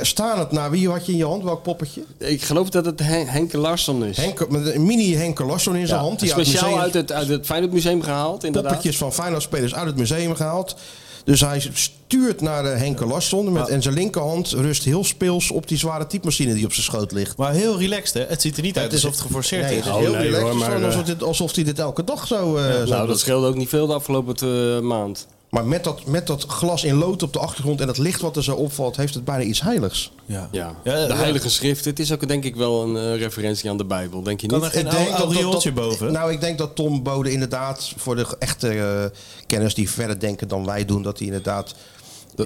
Speaker 2: Staan het naar wie had je in je hand? Welk poppetje?
Speaker 3: Ik geloof dat het Hen Henke Larsson is.
Speaker 2: Henk, met een mini Henke Larsson in zijn hand. Die uit
Speaker 3: Speciaal
Speaker 2: museum-
Speaker 3: uit het, uit het Feyenoord Museum gehaald, inderdaad.
Speaker 2: poppetjes van Feyenoord-spelers uit het museum gehaald. Dus hij stuurt naar eh, Henke Larsson. Met, En zijn linkerhand rust heel speels op die zware typemachine die op zijn schoot ligt.
Speaker 4: Maar heel relaxed, hè? Het ziet er niet uit alsof het geforceerd
Speaker 2: Nee,
Speaker 4: is.
Speaker 2: het is
Speaker 3: Oh,
Speaker 2: heel
Speaker 3: nee,
Speaker 2: relaxed.
Speaker 3: hoor,
Speaker 2: Het is
Speaker 3: maar,
Speaker 2: gewoon
Speaker 3: eh,
Speaker 2: alsof, dit, alsof hij dit elke dag zou, eh, zou
Speaker 3: Nou, dat scheelde ook niet veel de afgelopen eh, maand.
Speaker 2: Maar met dat, met dat glas in lood op de achtergrond en dat licht wat er zo opvalt, heeft het bijna iets heiligs.
Speaker 3: Ja.
Speaker 4: Ja,
Speaker 3: de
Speaker 4: ja.
Speaker 3: Heilige Schrift. Het is ook denk ik wel een eh, referentie aan de Bijbel, denk je
Speaker 4: Kan
Speaker 3: niet?
Speaker 4: er geen oude aureooltje boven.
Speaker 2: Nou, ik denk dat Tom Bode inderdaad voor de echte eh, kenners die verder denken dan wij doen, dat hij inderdaad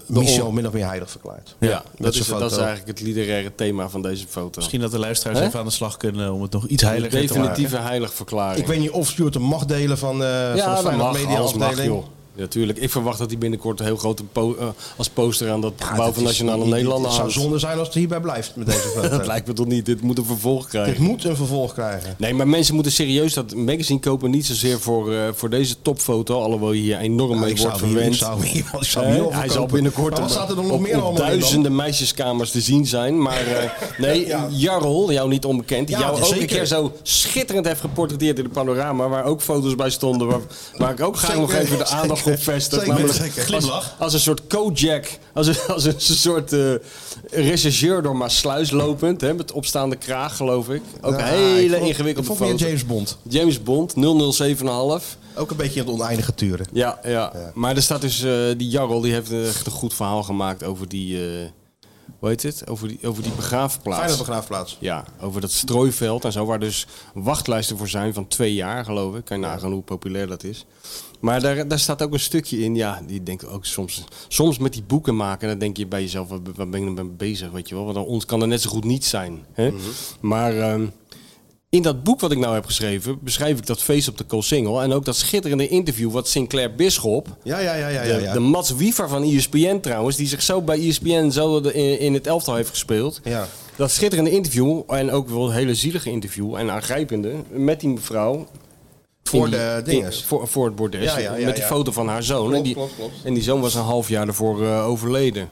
Speaker 2: Michel min of meer heilig verklaart.
Speaker 3: Ja,
Speaker 2: met
Speaker 3: dat,
Speaker 2: zijn
Speaker 3: is, dat is
Speaker 2: foto.
Speaker 3: eigenlijk het literaire thema van deze foto.
Speaker 4: Misschien dat de luisteraars
Speaker 3: Hè?
Speaker 4: even aan de slag kunnen om het nog iets heiliger te maken.
Speaker 3: Definitieve heiligverklaring.
Speaker 2: Ik weet niet of Stuart hem mag delen van, eh van de
Speaker 3: ja, dat
Speaker 2: Feyenoord
Speaker 3: mag,
Speaker 2: Media
Speaker 3: alles mag,
Speaker 2: afdeling.
Speaker 3: joh. Natuurlijk. ik verwacht dat hij binnenkort een heel grote po- eh, als poster aan dat
Speaker 2: Ja,
Speaker 3: gebouw
Speaker 2: dat
Speaker 3: van
Speaker 2: Ah, is
Speaker 3: Nationale
Speaker 2: niet-
Speaker 3: Nederlanden
Speaker 2: Het zou
Speaker 3: hangt.
Speaker 2: zonde zijn als het hierbij blijft met deze foto.
Speaker 3: Dat lijkt me toch niet. Dit moet een vervolg krijgen.
Speaker 2: Het moet een vervolg krijgen.
Speaker 3: Nee, maar mensen moeten serieus dat magazine kopen. Niet zozeer voor, eh, voor deze topfoto. Alhoewel je hier enorm mee
Speaker 2: ik,
Speaker 3: wordt
Speaker 2: zou hier, ik
Speaker 3: verwend.
Speaker 2: zou hier, ik zou
Speaker 3: Hè?
Speaker 2: hier wel
Speaker 3: hij zal
Speaker 2: verkopen.
Speaker 3: binnenkort
Speaker 2: Maar wat
Speaker 3: op-
Speaker 2: staat er dan nog
Speaker 3: op,
Speaker 2: meer
Speaker 3: op
Speaker 2: allemaal in dan?
Speaker 3: duizenden meisjeskamers te zien zijn. Maar eh, nee, Jarl, jou niet onbekend, die
Speaker 2: Ja,
Speaker 3: jou ook
Speaker 2: zeker.
Speaker 3: een keer zo schitterend heeft geportretteerd in de panorama. Waar ook foto's bij stonden. Waar, waar ik ook graag
Speaker 2: Zeker,
Speaker 3: nog even de aandacht
Speaker 2: zeker,
Speaker 3: op vestig.
Speaker 2: zeker,
Speaker 3: namelijk
Speaker 2: zeker.
Speaker 3: Als, als een soort Kojak. Als een, als een soort eh rechercheur door Maasluis lopend. Hè, met opstaande kraag, geloof ik. Ook
Speaker 2: Ja,
Speaker 3: een
Speaker 2: ik
Speaker 3: hele
Speaker 2: vond-
Speaker 3: ingewikkelde
Speaker 2: ik vond meer
Speaker 3: foto.
Speaker 2: James Bond.
Speaker 3: James Bond, 007,5.
Speaker 2: Ook een beetje in het oneindige turen.
Speaker 3: Ja, ja. Maar er staat dus, eh, die Jarl die heeft echt een goed verhaal gemaakt over die, eh, hoe heet het? Over die, over die begraafplaats.
Speaker 2: Fijne begraafplaats.
Speaker 3: Ja, over dat strooiveld en zo, waar dus wachtlijsten voor zijn van twee jaar, geloof ik. Kan je nagaan hoe populair dat is. Maar daar, daar staat ook een stukje in, ja, die denk ik ook soms, soms met die boeken maken. Dan denk je bij jezelf, waar waar ben ik nou mee bezig, weet je wel. Want aan ons kan er net zo goed niet zijn. Hè? Maar ehm, In dat boek wat ik nou heb geschreven, beschrijf ik dat feest op de Koolsingel. En ook dat schitterende interview wat Sinclair Bisschop,
Speaker 2: Ja, ja, ja, ja.
Speaker 3: de,
Speaker 2: ja, ja.
Speaker 3: de Mats Wiever van E ESPN trouwens, die zich zo bij E ESPN zo de- in, in het elftal heeft gespeeld.
Speaker 2: Ja.
Speaker 3: Dat schitterende interview, en ook wel een hele zielige interview en aangrijpende, met die mevrouw.
Speaker 2: Voor
Speaker 3: in die-
Speaker 2: de
Speaker 3: in-
Speaker 2: dinges.
Speaker 3: voor, voor het bordes.
Speaker 2: Ja, ja, ja,
Speaker 3: met die
Speaker 2: ja.
Speaker 3: foto van haar zoon.
Speaker 2: Klopt,
Speaker 3: en, die,
Speaker 2: klopt, klopt.
Speaker 3: en die zoon was een half jaar ervoor eh, overleden.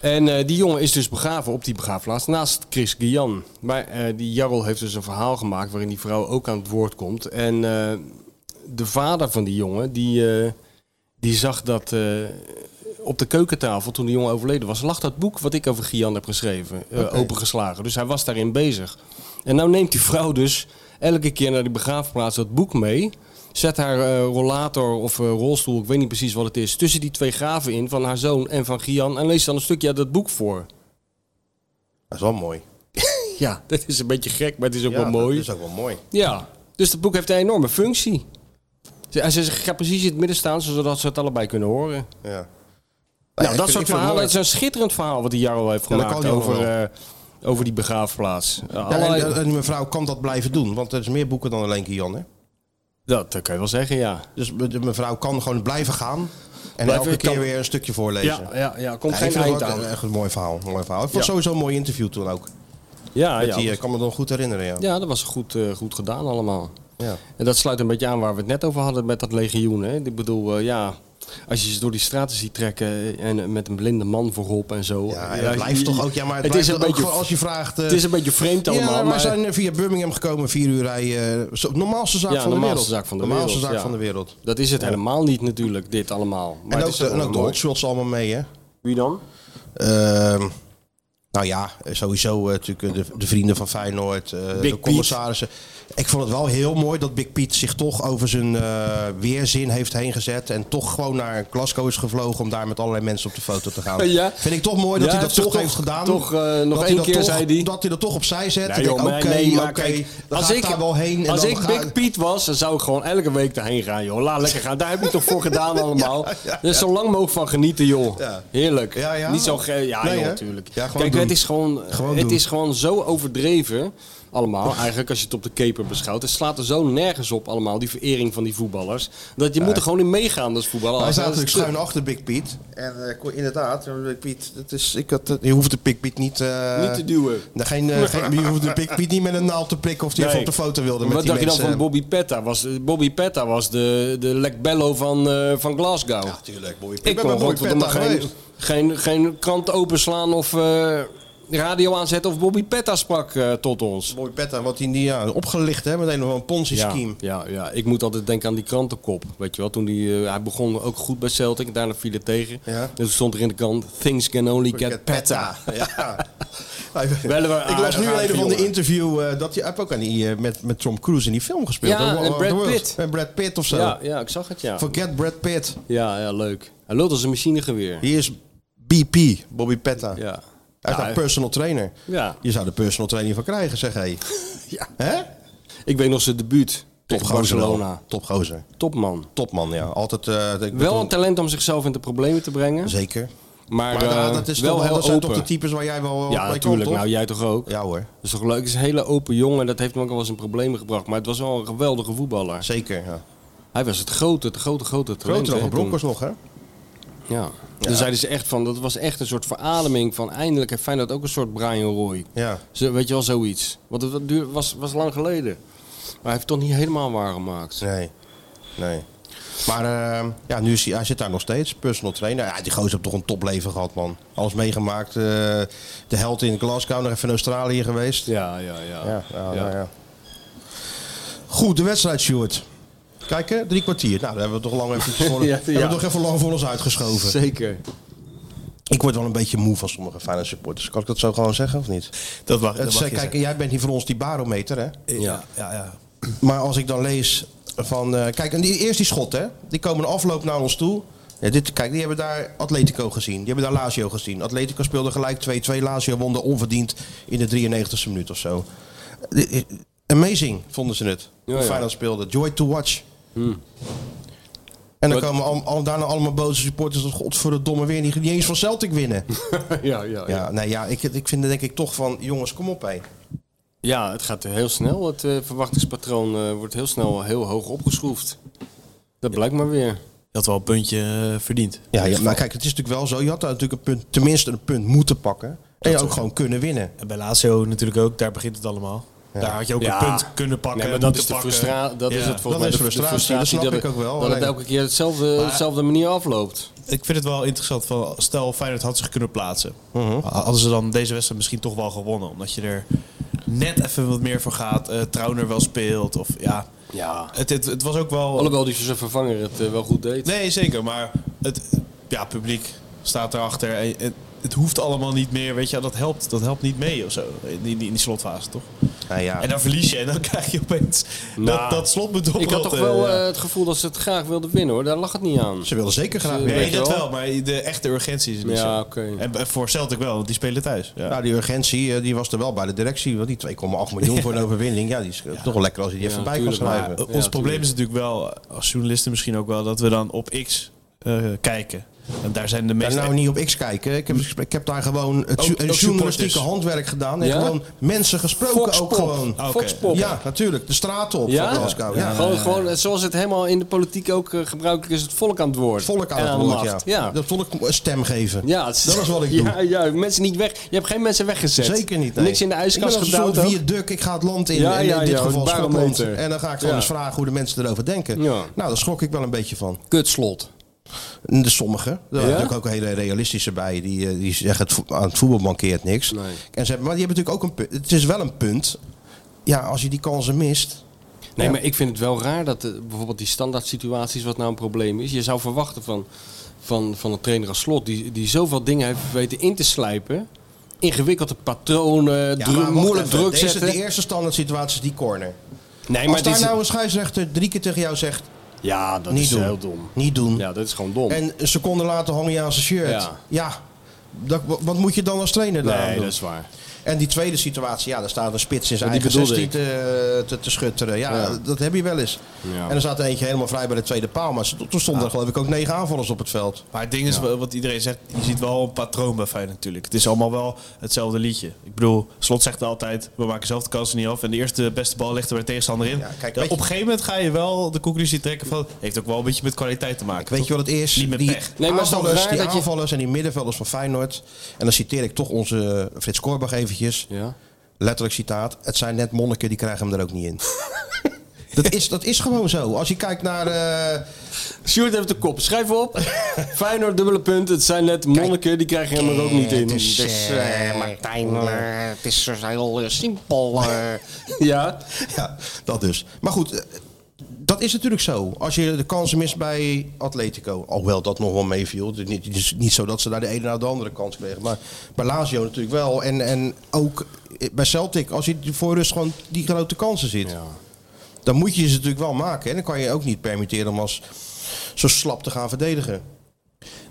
Speaker 3: En eh, die jongen is dus begraven op die begraafplaats naast Chris Guyan. Maar eh, die Jarl heeft dus een verhaal gemaakt waarin die vrouw ook aan het woord komt. En eh, de vader van die jongen, die, eh, die zag dat eh, op de keukentafel toen de jongen overleden was, lag dat boek wat ik over Guyan heb geschreven, eh, opengeslagen. Dus hij was daarin bezig. En nou neemt die vrouw dus elke keer naar die begraafplaats dat boek mee. Zet haar eh, rollator of eh, rolstoel, ik weet niet precies wat het is, tussen die twee graven in van haar zoon en van Gian. En leest dan een stukje uit dat boek voor.
Speaker 2: Dat is wel mooi.
Speaker 3: Ja, dat is een beetje gek, maar het is ook
Speaker 2: Ja,
Speaker 3: wel mooi.
Speaker 2: Dat is ook wel mooi.
Speaker 3: Ja, dus dat boek heeft een enorme functie. Ze- En ze ze gaat precies in het midden staan, zodat ze het allebei kunnen horen.
Speaker 2: Ja.
Speaker 3: Nou,
Speaker 2: Eh, ik
Speaker 3: dat
Speaker 2: vind-
Speaker 3: soort
Speaker 2: ik vind het
Speaker 3: verhalen.
Speaker 2: mooi.
Speaker 3: Het is een schitterend verhaal wat die Jarl heeft
Speaker 2: Ja, dat
Speaker 3: gemaakt
Speaker 2: kan die
Speaker 3: over,
Speaker 2: jongen
Speaker 3: eh, over die begraafplaats. Eh,
Speaker 2: Ja, en, eh,
Speaker 3: Allerlei-
Speaker 2: en die mevrouw kan dat blijven doen, want er is meer boeken dan alleen Kian. Hè?
Speaker 3: dat eh, kan je wel zeggen, ja.
Speaker 2: Dus me- de mevrouw kan gewoon blijven gaan en
Speaker 3: Blijven-
Speaker 2: elke keer
Speaker 3: kan-
Speaker 2: weer een stukje voorlezen.
Speaker 3: Ja, ja, ja. Komt
Speaker 2: Ja, ik
Speaker 3: geen
Speaker 2: vind het
Speaker 3: eind
Speaker 2: ook eh,
Speaker 3: aan.
Speaker 2: echt een mooi verhaal. Mooi verhaal. Ik vond
Speaker 3: Ja.
Speaker 2: sowieso een mooi interview toen ook.
Speaker 3: Ja,
Speaker 2: Met
Speaker 3: ja.
Speaker 2: die, eh, ik kan me nog goed herinneren, ja.
Speaker 3: ja, dat was goed, eh, goed gedaan allemaal.
Speaker 2: Ja.
Speaker 3: En dat sluit een beetje aan waar we het net over hadden met dat legioen. Hè? Ik bedoel, eh, ja, als je ze door die straten ziet trekken en eh, met een blinde man voorop en zo.
Speaker 2: Ja, en
Speaker 3: Ja,
Speaker 2: het blijft
Speaker 3: je-
Speaker 2: toch ook... Ja, maar het,
Speaker 3: het is een
Speaker 2: blijft ook
Speaker 3: beetje,
Speaker 2: gewoon als je vraagt... eh,
Speaker 3: het is een beetje vreemd allemaal.
Speaker 2: ja,
Speaker 3: maar
Speaker 2: we zijn eh, via Birmingham gekomen, vier uur rijden. eh, zo- normaalste zaak
Speaker 3: Ja,
Speaker 2: van de
Speaker 3: normaalste
Speaker 2: wereld.
Speaker 3: zaak van de
Speaker 2: normaalste
Speaker 3: wereld,
Speaker 2: zaak
Speaker 3: ja.
Speaker 2: van de wereld.
Speaker 3: dat is het helemaal niet natuurlijk, dit allemaal. Maar
Speaker 2: en
Speaker 3: het
Speaker 2: ook,
Speaker 3: is
Speaker 2: de,
Speaker 3: toch
Speaker 2: en
Speaker 3: wel
Speaker 2: ook de
Speaker 3: mooi.
Speaker 2: hotshots allemaal mee, hè?
Speaker 3: Wie dan?
Speaker 2: Ehm, nou ja, sowieso eh, natuurlijk eh, de, de vrienden van Feyenoord, eh,
Speaker 3: Big
Speaker 2: de
Speaker 3: Piet.
Speaker 2: commissarissen. Ik vond het wel heel mooi dat Big Piet zich toch over zijn eh, weerzin heeft heen gezet. En toch gewoon naar Glasgow is gevlogen om daar met allerlei mensen op de foto te gaan.
Speaker 3: Ja.
Speaker 2: Vind ik toch mooi dat
Speaker 3: Ja,
Speaker 2: hij dat
Speaker 3: hij
Speaker 2: toch,
Speaker 3: heeft
Speaker 2: heeft
Speaker 3: toch-
Speaker 2: gedaan.
Speaker 3: toch, eh, nog
Speaker 2: Dat hij
Speaker 3: één
Speaker 2: dat
Speaker 3: keer
Speaker 2: toch-
Speaker 3: zei hij.
Speaker 2: Dat hij dat toch opzij zet.
Speaker 3: Nee,
Speaker 2: Ik denk,
Speaker 3: joh,
Speaker 2: Oké,
Speaker 3: maar nee, maar
Speaker 2: oké,
Speaker 3: kijk,
Speaker 2: dan
Speaker 3: als
Speaker 2: ga ik
Speaker 3: ik-
Speaker 2: daar wel heen. en
Speaker 3: Als
Speaker 2: dan
Speaker 3: ik
Speaker 2: ga-
Speaker 3: Big Piet was, dan zou ik gewoon elke week daarheen gaan, joh. Laat lekker gaan. Daar heb je toch voor gedaan allemaal. Dus zo lang mogelijk van genieten, joh.
Speaker 2: Ja.
Speaker 3: Heerlijk.
Speaker 2: Ja, ja.
Speaker 3: Niet zo ge- Ja,
Speaker 2: Nee,
Speaker 3: joh,
Speaker 2: hè?
Speaker 3: natuurlijk.
Speaker 2: Ja, gewoon
Speaker 3: Kijk,
Speaker 2: doen.
Speaker 3: het is gewoon,
Speaker 2: Gewoon
Speaker 3: het
Speaker 2: doen.
Speaker 3: is gewoon zo overdreven. Allemaal, eigenlijk, als je het op de keper beschouwt. Het slaat er zo nergens op allemaal, die verering van die voetballers. Dat je moet er gewoon in meegaan als voetballer.
Speaker 2: Hij
Speaker 3: Als-
Speaker 2: staat
Speaker 3: als-
Speaker 2: natuurlijk schuin achter Big Piet. En eh, ko- inderdaad, eh, Big Piet, dat is, ik had, je hoeft de Big Piet niet... eh,
Speaker 3: Niet te duwen.
Speaker 2: Nou, Geen, eh, geen, je hoeft de Big Piet niet met een naald te prikken of die
Speaker 3: Nee.
Speaker 2: even op de foto wilde
Speaker 3: Maar
Speaker 2: met
Speaker 3: Wat
Speaker 2: die
Speaker 3: dacht je dan
Speaker 2: mensen.
Speaker 3: van Bobby Petta? Was, Bobby Petta was de, de Lec Bello van, eh, van Glasgow.
Speaker 2: Ja, tuurlijk. Bobby Piet.
Speaker 3: Ik
Speaker 2: ben
Speaker 3: kon
Speaker 2: bij Bobby
Speaker 3: godverdomme
Speaker 2: Petta
Speaker 3: geen,
Speaker 2: geweest.
Speaker 3: geen, geen krant openslaan of eh, radio aanzetten of Bobby Petta sprak eh, tot ons.
Speaker 2: Bobby Petta, wat hij ja, opgelicht hè, met een of een
Speaker 3: Ja,
Speaker 2: Ponzi-scheme.
Speaker 3: ja, ja, ik moet altijd denken aan die krantenkop. Weet je wel, toen die, eh, hij begon ook goed bij Celtic en daarna viel het tegen.
Speaker 2: Ja.
Speaker 3: En toen stond er in de krant, things can only get,
Speaker 2: Get
Speaker 3: Petta.
Speaker 2: Ja.
Speaker 3: Wel een
Speaker 2: ik las nu
Speaker 3: aardige
Speaker 2: een van de
Speaker 3: jongen.
Speaker 2: interview eh, dat hij hij heeft ook aan die, eh, met, met Tom Cruise in die film gespeeld.
Speaker 3: Ja,
Speaker 2: hè, War
Speaker 3: en
Speaker 2: of
Speaker 3: Brad
Speaker 2: the Worlds.
Speaker 3: Pitt.
Speaker 2: En Brad Pitt of zo.
Speaker 3: Ja, ja, ik zag het, ja.
Speaker 2: Forget Brad Pitt.
Speaker 3: Ja, ja, leuk. Hij lult als een machinegeweer.
Speaker 2: Hier is BP, Bobby Petta.
Speaker 3: Ja.
Speaker 2: Hij is
Speaker 3: Ja,
Speaker 2: nou personal trainer.
Speaker 3: Ja.
Speaker 2: Je zou de personal training van krijgen, zeg hé.
Speaker 3: Ja.
Speaker 2: Hè?
Speaker 3: Ik weet nog zijn debuut tegen
Speaker 2: Topgozer wel.
Speaker 3: Barcelona.
Speaker 2: Topgozer.
Speaker 3: Topman.
Speaker 2: Topman, ja. Altijd... eh, ik
Speaker 3: Wel
Speaker 2: bedoel-
Speaker 3: een talent om zichzelf in de problemen te brengen.
Speaker 2: Zeker.
Speaker 3: Maar,
Speaker 2: Maar ja,
Speaker 3: eh,
Speaker 2: dat, is
Speaker 3: wel
Speaker 2: toch,
Speaker 3: heel
Speaker 2: dat zijn
Speaker 3: open.
Speaker 2: toch de types waar jij wel
Speaker 3: ja,
Speaker 2: bij komt,
Speaker 3: natuurlijk.
Speaker 2: toch?
Speaker 3: Nou, jij toch ook?
Speaker 2: Ja hoor,
Speaker 3: Dat is toch leuk? Het is een hele open jongen. Dat heeft hem ook al eens een probleem gebracht. Maar het was wel een geweldige voetballer.
Speaker 2: zeker. Ja.
Speaker 3: Hij was het grote, het grote, grote talent.
Speaker 2: Groter dan
Speaker 3: hè,
Speaker 2: van Broncos nog, hè?
Speaker 3: toen. Ja. Dan zeiden ze echt van, dat was echt een soort verademing van eindelijk heeft Feyenoord ook een soort Brian Roy.
Speaker 2: Ja.
Speaker 3: Zo, weet je wel, zoiets. Want het duur- was, was lang geleden. Maar hij heeft het toch niet helemaal waargemaakt.
Speaker 2: Nee. Nee. Maar eh, ja, nu is hij, hij zit daar nog steeds, personal trainer. Ja, die gozer heeft toch een topleven gehad, man. Alles meegemaakt. eh, de held in Glasgow, nog even in Australië geweest.
Speaker 3: Ja, ja, ja.
Speaker 2: Ja, ja,
Speaker 3: Ja.
Speaker 2: ja. ja. Goed, de wedstrijd, Stuart. Kijk, hè, drie kwartier. Nou, daar hebben we toch lang even, voor,
Speaker 3: Ja,
Speaker 2: hebben we
Speaker 3: ja.
Speaker 2: toch even lang voor ons uitgeschoven.
Speaker 3: Zeker.
Speaker 2: Ik word wel een beetje moe van sommige Feyenoord supporters. Kan ik dat zo gewoon zeggen of niet?
Speaker 4: Dat mag,
Speaker 2: Het
Speaker 4: dat
Speaker 2: is,
Speaker 4: mag
Speaker 2: eh,
Speaker 4: je
Speaker 2: kijk,
Speaker 4: zeggen.
Speaker 2: jij bent niet voor ons die barometer, hè?
Speaker 4: Ja, ja, ja.
Speaker 2: Maar als ik dan lees van... eh, kijk, en die, eerst die schot, hè? Die komen de afloop naar ons toe. Ja, dit, kijk, die hebben daar Atletico gezien. Die hebben daar Lazio gezien. Atletico speelde gelijk 2-2. Lazio won daar onverdiend in de 93e minuut of zo. Eh, eh, Amazing, vonden ze het.
Speaker 3: Ja,
Speaker 2: Hoe
Speaker 3: ja.
Speaker 2: Feyenoord speelde. Joy to watch. En dan
Speaker 3: Wat-
Speaker 2: komen al, al, daarna allemaal boze supporters... dat godverdomme weer niet, niet eens van Celtic winnen.
Speaker 3: ja, ja, ja.
Speaker 2: ja, nee, ja, ik, ik vind denk ik toch van... Jongens, kom op, hé.
Speaker 3: Ja, Ja, het gaat heel snel. Het eh, verwachtingspatroon eh, wordt heel snel heel hoog opgeschroefd. Dat blijkt maar weer.
Speaker 4: had wel een puntje eh, verdiend.
Speaker 2: Ja, ja, maar kijk, het is natuurlijk wel zo. Je had daar natuurlijk een punt, tenminste een punt moeten pakken. En je ook gewoon kunnen winnen.
Speaker 4: En bij Lazio natuurlijk ook, daar begint het allemaal. Daar had je ook
Speaker 3: Ja.
Speaker 4: een punt kunnen pakken.
Speaker 3: Nee, maar dat is
Speaker 4: moeten
Speaker 3: de
Speaker 4: pakken.
Speaker 3: frustratie. Dat is
Speaker 4: Ja.
Speaker 3: het volgens
Speaker 2: dat
Speaker 3: mij.
Speaker 2: is
Speaker 3: de- de
Speaker 2: frustratie, dat snap
Speaker 3: dat
Speaker 2: ik ook wel.
Speaker 3: Dat het
Speaker 2: Alleen-
Speaker 3: elke keer hetzelfde, dezelfde manier afloopt.
Speaker 4: Ik vind het wel interessant. Van, stel, Feyenoord had zich kunnen plaatsen.
Speaker 3: Mhm.
Speaker 4: Hadden ze dan deze wedstrijd misschien toch wel gewonnen? Omdat je er net even wat meer voor gaat. eh Trauner wel speelt. Of, ja.
Speaker 3: Ja.
Speaker 4: het, het, het was ook wel...
Speaker 3: Alhoewel die zijn vervanger het eh, wel goed deed.
Speaker 4: Nee, zeker. Maar het ja, publiek staat erachter. En, en het hoeft allemaal niet meer. Weet je, dat helpt, dat helpt niet mee of zo. In die, in die slotfase, toch?
Speaker 2: Nou ja,
Speaker 4: En dan verlies je en dan krijg je opeens dat,
Speaker 3: Nou,
Speaker 4: dat slot moet
Speaker 3: Ik had toch
Speaker 4: oprotten.
Speaker 3: wel
Speaker 4: Ja.
Speaker 3: eh, het gevoel dat ze het graag wilden winnen hoor. Daar lag het niet aan.
Speaker 2: ze willen zeker graag
Speaker 3: Ze-
Speaker 2: winnen.
Speaker 4: Nee,
Speaker 3: weet je
Speaker 4: dat
Speaker 3: wel.
Speaker 4: wel. Maar de echte urgentie is er niet
Speaker 3: Ja,
Speaker 4: zo.
Speaker 3: oké.
Speaker 4: En b- voor Celtic wel, want die spelen thuis. Ja.
Speaker 2: Nou, die urgentie eh, die was er wel bij de directie. Want die 2,8 miljoen voor een overwinning. Ja, die is eh, toch wel lekker als je die even bij kan
Speaker 3: tuurlijk, maar- eh,
Speaker 2: schrijven.
Speaker 4: ons
Speaker 3: tuurlijk.
Speaker 4: probleem is natuurlijk wel, als journalisten misschien ook wel, dat we dan op X eh, kijken. En daar zijn de
Speaker 2: En
Speaker 4: meeste...
Speaker 2: nou niet op X kijken.
Speaker 3: Hm.
Speaker 2: Ik heb, ik heb daar gewoon het
Speaker 4: Ook-
Speaker 2: ju-
Speaker 4: ook
Speaker 2: het journalistieke
Speaker 4: supporters.
Speaker 2: handwerk gedaan. En
Speaker 3: Ja?
Speaker 2: gewoon mensen gesproken ook
Speaker 3: Foxpop.
Speaker 2: gewoon.
Speaker 4: Ah, oké.
Speaker 3: Foxpop.
Speaker 2: Ja, natuurlijk. De straat op
Speaker 3: Ja?
Speaker 2: van Glasgow. Ja.
Speaker 3: Gewoon, gewoon eh, zoals het helemaal in de politiek ook eh, gebruikelijk is, het volk aan het woord.
Speaker 2: Het volk aan
Speaker 3: En
Speaker 2: het
Speaker 3: de
Speaker 2: woord, ja.
Speaker 3: macht. ja.
Speaker 2: Dat volk een stem geven.
Speaker 3: Ja, het is-
Speaker 2: Dat is wat ik doe.
Speaker 3: Ja, ja, mensen niet weg. Je hebt geen mensen weggezet.
Speaker 2: Zeker niet. nee.
Speaker 3: Niks in de ijskast
Speaker 2: Ik ben als een
Speaker 3: gedaan.
Speaker 2: soort viaduct. Ik ga het land in.
Speaker 3: Ja,
Speaker 2: en in
Speaker 3: ja,
Speaker 2: dit
Speaker 3: ja,
Speaker 2: geval
Speaker 3: een
Speaker 2: Schotland.
Speaker 3: barometer.
Speaker 2: En dan ga ik gewoon
Speaker 3: Ja.
Speaker 2: eens vragen hoe de mensen erover denken.
Speaker 3: Ja.
Speaker 2: Nou, daar schrok ik wel een beetje van.
Speaker 3: Kutslot.
Speaker 2: De sommige. Er waren
Speaker 3: Ja?
Speaker 2: natuurlijk ook hele realistische bij. Die, eh, die zeggen het vo- aan het voetbal mankeert niks.
Speaker 3: Nee.
Speaker 2: En ze hebben, maar die hebben natuurlijk ook een punt. Het is wel een punt. Ja, als je die kansen mist.
Speaker 3: Nee,
Speaker 2: Ja.
Speaker 3: maar ik vind het wel raar dat eh, bijvoorbeeld die standaard situaties wat nou een probleem is. Je zou verwachten van, van, van een trainer als Slot die, die zoveel dingen heeft weten in te slijpen. Ingewikkelde patronen,
Speaker 2: Ja,
Speaker 3: dru-
Speaker 2: maar wacht
Speaker 3: moeilijk
Speaker 2: even.
Speaker 3: druk
Speaker 2: Deze-
Speaker 3: zetten.
Speaker 2: De eerste standaard situatie is die corner.
Speaker 3: nee,
Speaker 2: Als
Speaker 3: maar dit
Speaker 2: daar
Speaker 3: is,
Speaker 2: nou een scheidsrechter drie keer tegen jou zegt.
Speaker 3: ja, dat
Speaker 2: niet
Speaker 3: is
Speaker 2: doen.
Speaker 3: heel dom.
Speaker 2: Niet doen.
Speaker 3: Ja, dat is gewoon dom.
Speaker 2: En een seconde later hang je aan zijn shirt.
Speaker 3: Ja.
Speaker 2: Ja. Dat, wat moet je dan als trainer daar aan
Speaker 3: nee,
Speaker 2: Nou, doen?
Speaker 3: dat is waar.
Speaker 2: En die tweede situatie, ja, daar staat een spits in zijn
Speaker 3: die
Speaker 2: eigen
Speaker 3: bedoelde
Speaker 2: 16 te, te, te schutteren. Ja,
Speaker 3: Ja.
Speaker 2: dat heb je wel eens.
Speaker 3: Ja. Ah.
Speaker 2: En er staat eentje helemaal vrij bij de tweede paal. Maar toen toen stonden er geloof ik ook negen aanvallers op het veld.
Speaker 4: Maar het ding is, wel- wat iedereen zegt, je ziet wel een patroon bij Feyenoord natuurlijk. Het is allemaal wel hetzelfde liedje. Ik bedoel, Slot zegt altijd, we maken zelf de kansen niet af. En de eerste beste bal ligt er bij de tegenstander in.
Speaker 2: Ja, kijk,
Speaker 4: Ja,
Speaker 2: weet
Speaker 4: op
Speaker 2: je-
Speaker 4: een gegeven moment ga je wel de conclusie trekken van... heeft ook wel een beetje met kwaliteit te maken.
Speaker 2: Weet
Speaker 4: toch?
Speaker 2: je wat het is?
Speaker 4: Niet met
Speaker 2: die
Speaker 4: pech.
Speaker 3: Nee, maar het is toch
Speaker 2: aanvallers,
Speaker 3: raar
Speaker 2: die
Speaker 3: dat je-
Speaker 2: aanvallers en die middenvelders van Feyenoord. En dan citeer ik toch onze Frits Korbach eventjes.
Speaker 3: Ja.
Speaker 2: Letterlijk citaat. Het zijn net monniken, die krijgen hem er ook niet in. dat, is, dat is gewoon zo. Als je kijkt naar... eh,
Speaker 3: Sjoerd heeft de kop. Schrijf op. Feyenoord dubbele punt. Het zijn net monniken. Die krijgen hem er ook niet in. Dus,
Speaker 5: Het is eh, Martijn, eh, het is dus heel eh, simpel. eh.
Speaker 3: Ja.
Speaker 2: Ja, dat dus. Maar goed, eh, dat is natuurlijk zo. Als je de kansen mist bij Atletico. Alhoewel dat nog wel meeviel. Het is niet, het is niet zo dat ze daar de ene na de andere kans kregen. Maar bij Lazio natuurlijk wel. En, en ook eh, bij Celtic. Als je voor rust gewoon die grote kansen ziet. Dan moet je ze natuurlijk wel maken. En dan kan je ook niet permitteren om als zo slap te gaan verdedigen.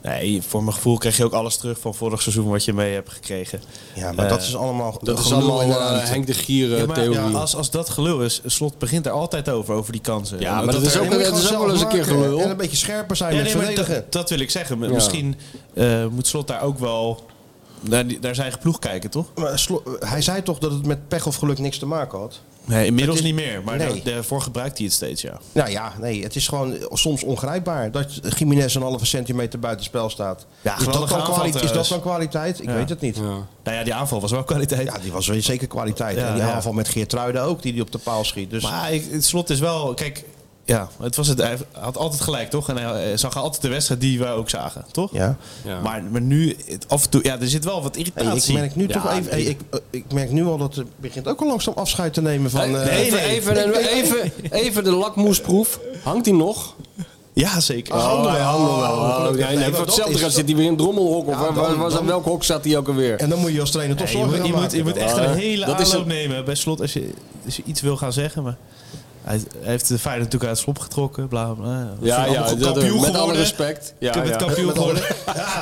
Speaker 4: Nee, voor mijn gevoel krijg je ook alles terug van vorig seizoen wat je mee hebt gekregen.
Speaker 2: Ja, maar
Speaker 4: Eh,
Speaker 2: dat is allemaal
Speaker 3: Dat is
Speaker 2: gelul
Speaker 3: allemaal
Speaker 2: inderdaad.
Speaker 3: eh, Henk de Gier eh,
Speaker 4: Ja, maar,
Speaker 3: theorie.
Speaker 4: ja, als, als dat gelul is, Slot begint er altijd over, over die kansen.
Speaker 3: Ja, maar
Speaker 4: En dat
Speaker 3: dat
Speaker 4: er-
Speaker 3: is ook-
Speaker 2: Je moet
Speaker 3: het
Speaker 2: gewoon
Speaker 3: is ook
Speaker 2: zelf
Speaker 3: wel eens een keer
Speaker 2: maken
Speaker 3: gelul.
Speaker 2: En een beetje scherper zijn
Speaker 4: Ja,
Speaker 2: met
Speaker 4: nee, maar
Speaker 2: verdedigen.
Speaker 4: dat, dat wil ik zeggen. Misschien eh, moet Slot daar ook wel naar, die- naar zijn eigen ploeg kijken, toch?
Speaker 2: Maar Slo- hij zei toch dat het met pech of geluk niks te maken had?
Speaker 4: Nee, inmiddels
Speaker 2: Het is-
Speaker 4: niet meer. Maar
Speaker 2: Nee.
Speaker 4: da- daarvoor gebruikt hij het steeds, ja.
Speaker 2: Nou ja, nee, het is gewoon soms ongrijpbaar dat Jiménez een halve centimeter buitenspel staat.
Speaker 4: Ja,
Speaker 2: is, dat
Speaker 4: geweldige
Speaker 2: dan
Speaker 4: aanval
Speaker 2: kwali- is dat
Speaker 4: trouwens.
Speaker 2: dan kwaliteit? Ik
Speaker 4: Ja.
Speaker 2: weet het niet. Ja.
Speaker 4: Nou ja, die aanval was wel kwaliteit.
Speaker 2: die was wel zeker kwaliteit.
Speaker 4: Ja,
Speaker 2: en die
Speaker 4: ja.
Speaker 2: aanval met Geertruiden ook, die die op de paal schiet. Dus
Speaker 4: maar ik, het slot is wel... Kijk, ja, het was het, hij had altijd gelijk, toch? En hij eh, zag altijd de wedstrijd die wij ook zagen, toch?
Speaker 2: ja.
Speaker 3: Ja.
Speaker 4: Maar, maar nu, het, af en toe... Ja, er zit wel wat
Speaker 2: Hey, ik
Speaker 4: irritatie.
Speaker 2: merk nu
Speaker 3: Ja,
Speaker 2: toch even, hey,
Speaker 3: nee.
Speaker 2: ik, eh, ik merk nu al dat het begint ook al langzaam afscheid te nemen van. eh,
Speaker 3: even, Even, even, even, de lakmoesproef. Hangt die nog?
Speaker 4: Ja, zeker.
Speaker 3: Oh, hij hangt nog wel. Oh,
Speaker 2: gelukkig.
Speaker 3: nee,
Speaker 2: Nee,
Speaker 3: nee,
Speaker 2: maar
Speaker 3: voor
Speaker 2: Oh, dat
Speaker 3: hetzelfde
Speaker 2: is-
Speaker 3: geld zit hij weer in het rommelhok. Of
Speaker 2: Ja,
Speaker 3: waar,
Speaker 2: dan-
Speaker 3: waar- waar-
Speaker 2: dan-
Speaker 3: welk hok zat hij ook alweer?
Speaker 2: En dan moet je als trainer toch
Speaker 4: je
Speaker 2: zorgen.
Speaker 4: moet, je,
Speaker 2: gaan
Speaker 4: moet, je moet
Speaker 2: maken.
Speaker 4: echt een
Speaker 3: Ja,
Speaker 4: hele
Speaker 3: dat is
Speaker 4: aanloop
Speaker 3: een-
Speaker 4: nemen bij slot als je, als je iets wil gaan zeggen. Maar hij, hij heeft de Feyenoord natuurlijk uit het slop getrokken. Bla, bla, bla.
Speaker 3: ja, ja,
Speaker 4: Allemaal
Speaker 3: dat-
Speaker 4: kampioen
Speaker 3: met alle
Speaker 4: geworden.
Speaker 3: respect. Ja,
Speaker 4: Ik heb
Speaker 3: ja.
Speaker 4: het kampioen
Speaker 2: Met
Speaker 4: geworden.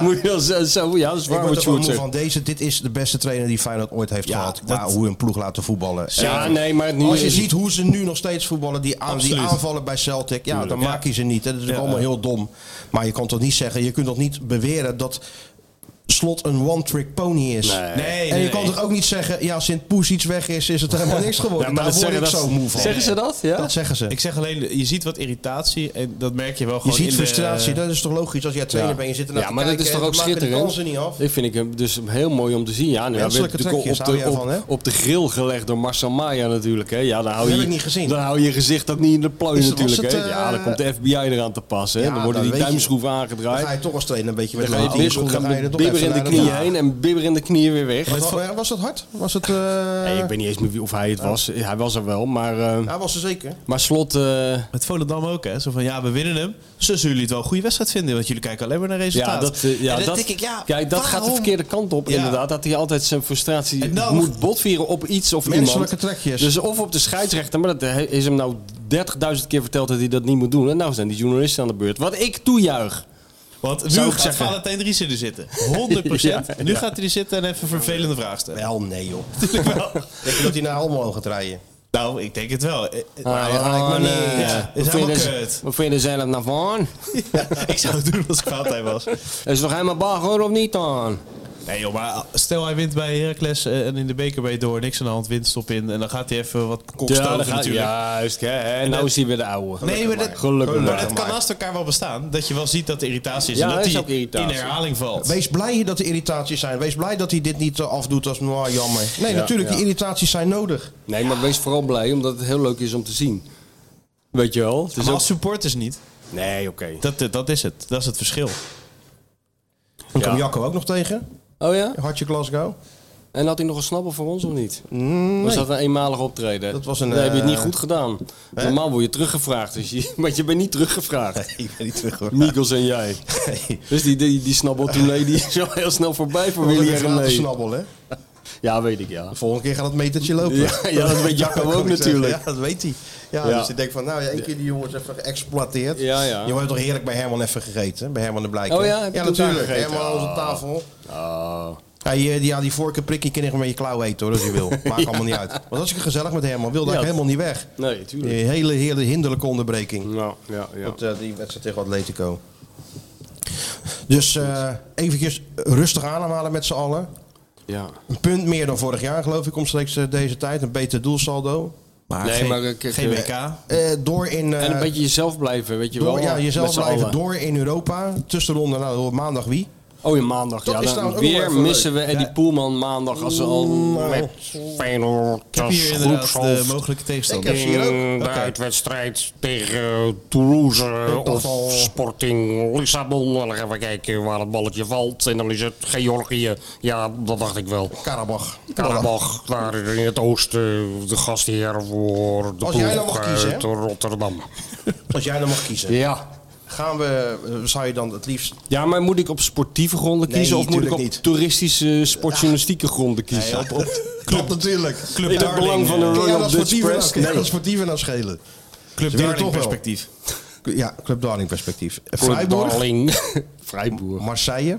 Speaker 3: Moet je wel zo, zo- ja, dat is
Speaker 2: Ik
Speaker 3: waar
Speaker 2: word
Speaker 3: wat
Speaker 2: er wel moe
Speaker 3: Sjoerd
Speaker 2: van deze. Dit is de beste trainer die Feyenoord ooit heeft
Speaker 4: Ja,
Speaker 2: gehad. Qua
Speaker 4: dat-
Speaker 2: hoe een ploeg laten voetballen.
Speaker 3: zegt. Ja, nee, maar het nu
Speaker 2: Als je
Speaker 3: is-
Speaker 2: ziet hoe ze nu nog steeds voetballen, die, aan, die
Speaker 4: Absoluut.
Speaker 2: aanvallen bij Celtic, ja, dan
Speaker 4: Ja.
Speaker 2: maak je ze niet. hè. Dat is ook allemaal heel dom. Maar je kan toch niet zeggen, je kunt toch niet beweren dat Slot een one-trick pony is.
Speaker 3: Nee.
Speaker 4: Nee,
Speaker 2: en je
Speaker 4: nee,
Speaker 2: kan
Speaker 4: nee.
Speaker 2: toch ook niet zeggen, ja, sinds Poes iets weg is, is het helemaal niks geworden. Daar word ik zo moe van.
Speaker 3: Zeggen ze dat? Ja?
Speaker 2: Dat zeggen ze.
Speaker 4: Ik zeg alleen, je ziet wat irritatie en dat merk je wel
Speaker 2: Je
Speaker 4: gewoon in
Speaker 2: ziet
Speaker 4: de-
Speaker 2: frustratie, dat is toch logisch als jij trainer bent en je zit ernaar
Speaker 3: ja,
Speaker 2: te
Speaker 3: maar dat
Speaker 2: kijken
Speaker 3: is
Speaker 2: en
Speaker 3: toch ook
Speaker 2: maken die
Speaker 3: schitterend.
Speaker 2: kansen niet af.
Speaker 3: Ik vind ik hem dus heel mooi om te zien. Ja, nu hebben we
Speaker 2: Menselijke
Speaker 3: natuurlijk op
Speaker 2: trekjes,
Speaker 3: de,
Speaker 2: hou
Speaker 3: op,
Speaker 2: jij van, hè?
Speaker 3: op de grill gelegd door Marcel Maya natuurlijk. Hè. Ja, dan hou
Speaker 2: Dat
Speaker 3: je,
Speaker 2: heb ik niet gezien.
Speaker 3: Dan hou je gezicht ook niet in de plooi
Speaker 2: Is- was
Speaker 3: natuurlijk.
Speaker 2: het,
Speaker 3: hè.
Speaker 2: eh,
Speaker 3: ja, dan komt de FBI eraan te pas. Hè.
Speaker 2: Ja,
Speaker 3: dan worden
Speaker 2: dan
Speaker 3: die
Speaker 2: weet je.
Speaker 3: duimschroeven
Speaker 2: Dan ga
Speaker 3: aangedraaid.
Speaker 2: je toch als trainer een beetje met
Speaker 3: Dan ga je,
Speaker 2: een
Speaker 3: bibber-
Speaker 2: handschoen,
Speaker 3: gaan
Speaker 2: dan ga je
Speaker 3: de
Speaker 2: er toch
Speaker 3: bibber
Speaker 2: even
Speaker 3: in de
Speaker 2: naar
Speaker 3: knieën
Speaker 2: Ja.
Speaker 3: heen en bibber in de knieën weer weg.
Speaker 2: Wat- wat- Was dat hard? Was het... eh,
Speaker 3: Nee, ik weet niet eens meer wie, of hij het was. Hij was er wel, maar, eh,
Speaker 2: Ja, was ze zeker.
Speaker 3: maar slot... eh,
Speaker 4: Met Volendam ook, hè? Zo van ja, we winnen hem. Zo zullen jullie het wel een goede wedstrijd vinden, want jullie kijken alleen maar naar resultaat.
Speaker 3: Ja, dat, eh, ja,
Speaker 4: En dan
Speaker 3: dat,
Speaker 4: denk ik, ja,
Speaker 3: kijk, dat gaat de
Speaker 4: waarom?
Speaker 3: verkeerde kant op,
Speaker 4: Ja.
Speaker 3: inderdaad. Dat hij altijd zijn frustratie
Speaker 4: En nou-
Speaker 3: moet botvieren op iets of
Speaker 2: Menselijke
Speaker 3: iemand.
Speaker 2: trekjes.
Speaker 3: Dus of op de scheidsrechter, maar dat he- is hem nou 30.000 keer verteld dat hij dat niet moet doen. En nou zijn die journalisten aan de beurt. Wat ik toejuich.
Speaker 4: Want nu
Speaker 3: Zou ik
Speaker 4: gaat
Speaker 3: zeggen.
Speaker 4: Valentijn Driessen er zitten. 100
Speaker 3: Ja,
Speaker 4: Nu gaat hij er zitten en even een vervelende vraag stellen.
Speaker 2: Wel, nee joh.
Speaker 3: Ah,
Speaker 2: Denk je dat hij naar Almelo gaat rijden?
Speaker 4: Nou, ik denk het wel. Eh, eh,
Speaker 3: Ah,
Speaker 4: ja,
Speaker 3: man,
Speaker 4: ik ben,
Speaker 3: eh,
Speaker 4: eh, ja,
Speaker 3: wat
Speaker 4: is
Speaker 3: vind je
Speaker 4: helemaal
Speaker 3: er-
Speaker 4: kut.
Speaker 3: Wat vind je er zelf nou van?
Speaker 4: ik zou het doen als ik Valentijn was.
Speaker 3: Is toch helemaal bagger of niet dan?
Speaker 4: Nee joh, maar eh, stel hij wint bij Heracles eh, en in de beker ben je door. Niks aan de hand, winst op in. En dan gaat hij even wat kokstoken natuurlijk.
Speaker 3: Juist, hè. En nou is hij weer de oude.
Speaker 4: Nee, maar dat,
Speaker 3: Gelukkig
Speaker 4: maar
Speaker 3: maar.
Speaker 4: dat kan naast elkaar wel bestaan. Dat je wel ziet dat de irritatie is.
Speaker 3: Ja,
Speaker 4: en dat
Speaker 3: dat is
Speaker 4: die
Speaker 3: ook irritatie.
Speaker 4: in herhaling valt.
Speaker 2: Wees blij dat er irritaties zijn. Wees blij dat hij dit niet eh, afdoet als nou jammer. Nee, natuurlijk, die irritaties zijn nodig.
Speaker 3: Nee, maar wees vooral blij, omdat het heel leuk is om te zien. Weet je wel? Het is
Speaker 4: maar
Speaker 3: ook-
Speaker 4: als supporters niet.
Speaker 3: Nee, oké.
Speaker 4: Dat, eh, dat is het. Dat is het verschil.
Speaker 2: Dan
Speaker 3: Ja.
Speaker 2: kwam Jacco ook nog tegen.
Speaker 3: Oh ja?
Speaker 2: Hartje Glasgow.
Speaker 3: En had hij nog een snabbel voor ons of niet? Was dat een eenmalig optreden?
Speaker 2: Dat was een,
Speaker 3: Dan heb je het
Speaker 2: eh,
Speaker 3: niet goed gedaan. Normaal word je teruggevraagd, dus je, maar je bent niet teruggevraagd.
Speaker 2: Ik ben niet terug hoor.
Speaker 3: Mikkels en jij. Dus die, die, die snabbeltournee die is al heel snel voorbij voor Willy en René.
Speaker 2: snabbel, hè?
Speaker 3: Ja, weet ik ja.
Speaker 2: De volgende keer gaat dat metertje lopen.
Speaker 3: Ja, ja, dat weet Jacco
Speaker 2: kan
Speaker 3: ook
Speaker 2: ik zeggen.
Speaker 3: natuurlijk.
Speaker 2: Ja, dat weet hij. Ja,
Speaker 3: Ja.
Speaker 2: dus ik denk van, nou ja, één keer die jongens even geëxploiteerd.
Speaker 3: Ja, ja.
Speaker 2: Je wordt toch heerlijk bij Herman even gegeten, hè? bij Herman de Blijk.
Speaker 3: Oh
Speaker 2: hè?
Speaker 3: ja, heb je
Speaker 2: ja
Speaker 3: toen daar
Speaker 2: natuurlijk.
Speaker 3: gegeten?
Speaker 2: Herman aan onze
Speaker 3: Oh.
Speaker 2: tafel.
Speaker 3: Oh.
Speaker 2: Ja, die, die, ja, die vorige prikkie kan je gewoon met je klauw eten hoor, als je wil. Maakt allemaal niet uit. Want als ik gezellig met Herman wilde,
Speaker 3: Ja.
Speaker 2: ik helemaal niet weg.
Speaker 3: Nee, tuurlijk.
Speaker 2: Die hele, hele hinderlijke onderbreking.
Speaker 3: Nou, ja, ja.
Speaker 2: Op de- die wedstrijd tegen Atletico. Dus eh eventjes rustig ademhalen met z'n allen.
Speaker 3: ja.
Speaker 2: Een punt meer dan vorig jaar, geloof ik, omstreeks eh, deze tijd. Een beter doelsaldo.
Speaker 4: Maar
Speaker 3: Nee,
Speaker 4: geen,
Speaker 3: maar, eh, kijk,
Speaker 4: geen
Speaker 3: eh,
Speaker 4: WK.
Speaker 2: Eh, door in. eh,
Speaker 3: En een beetje jezelf blijven, weet je
Speaker 2: door,
Speaker 3: wel.
Speaker 2: ja,
Speaker 3: met
Speaker 2: jezelf
Speaker 3: z'n
Speaker 2: blijven
Speaker 3: allen.
Speaker 2: door in Europa. Tussenronde, nou, door maandag wie?
Speaker 3: Oh, ja, maandag.
Speaker 2: Dat
Speaker 3: ja,
Speaker 2: is
Speaker 3: dan
Speaker 2: trouwens ook nog
Speaker 3: weer
Speaker 2: even
Speaker 3: missen
Speaker 2: leuk. Mm,
Speaker 3: we Eddie Poelman maandag als ze al
Speaker 5: Met Feyenoord
Speaker 4: Ik heb
Speaker 5: als
Speaker 4: hier inderdaad eh, de
Speaker 5: groepshoofd
Speaker 4: mogelijke
Speaker 2: Ik
Speaker 4: tegenstander.
Speaker 2: heb ze hier ook.
Speaker 5: in de uitwedstrijd tegen Toulouse
Speaker 2: dacht al-
Speaker 5: of Sporting Lissabon. En dan gaan we kijken waar het balletje valt. En dan is het Georgië. Ja, dat dacht ik wel.
Speaker 2: Karabach.
Speaker 5: Karabach, daar in het oosten, de gastheer voor de
Speaker 2: Als jij dan
Speaker 5: ploeg
Speaker 2: mag kiezen,
Speaker 5: uit
Speaker 2: hè?
Speaker 5: Rotterdam.
Speaker 2: Als jij dan mag kiezen.
Speaker 3: Ja.
Speaker 2: Gaan we, eh, zou je dan het liefst
Speaker 3: Ja, maar moet ik op sportieve gronden
Speaker 2: Nee,
Speaker 3: kiezen of moet ik op
Speaker 2: tuurlijk niet.
Speaker 3: toeristische eh, sportjournalistieke gronden kiezen? op, op-
Speaker 2: Klopt natuurlijk. Club
Speaker 3: in het
Speaker 2: Darling,
Speaker 3: belang van de
Speaker 2: eh. Kun jij
Speaker 3: Royal
Speaker 2: dat
Speaker 3: Dutch
Speaker 2: sportieve
Speaker 3: Press?
Speaker 2: nou- kun jij
Speaker 3: Nee.
Speaker 2: dat sportieve nou schelen?
Speaker 4: Club
Speaker 2: Ze willen
Speaker 4: Darling
Speaker 2: toch wel.
Speaker 4: perspectief.
Speaker 2: Ja, Club Darling perspectief. Freiburg,
Speaker 5: Darling. Vrijboer.
Speaker 2: Marseille,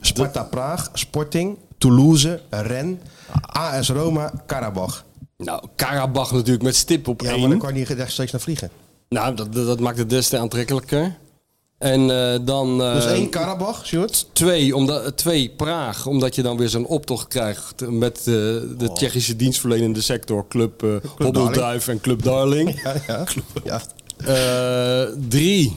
Speaker 2: Sparta Praag, Sporting, Toulouse, Rennes, AS Roma, Karabach.
Speaker 3: Nou, Karabach natuurlijk met stip op
Speaker 2: Ja, maar
Speaker 3: één.
Speaker 2: dan kan je niet rechtstreeks naar vliegen.
Speaker 3: Nou, dat, dat dat maakt het des te aantrekkelijker. En eh, dan eh,
Speaker 2: Dus één Karabach, Sjoerd.
Speaker 3: twee, omdat, eh, twee Praag, omdat je dan weer zo'n optocht krijgt met eh,
Speaker 2: Oh.
Speaker 3: de Tsjechische dienstverlenende sector, Club, eh Hobbelduif en Club Darling.
Speaker 2: Ja, ja. ja.
Speaker 3: Eh, drie,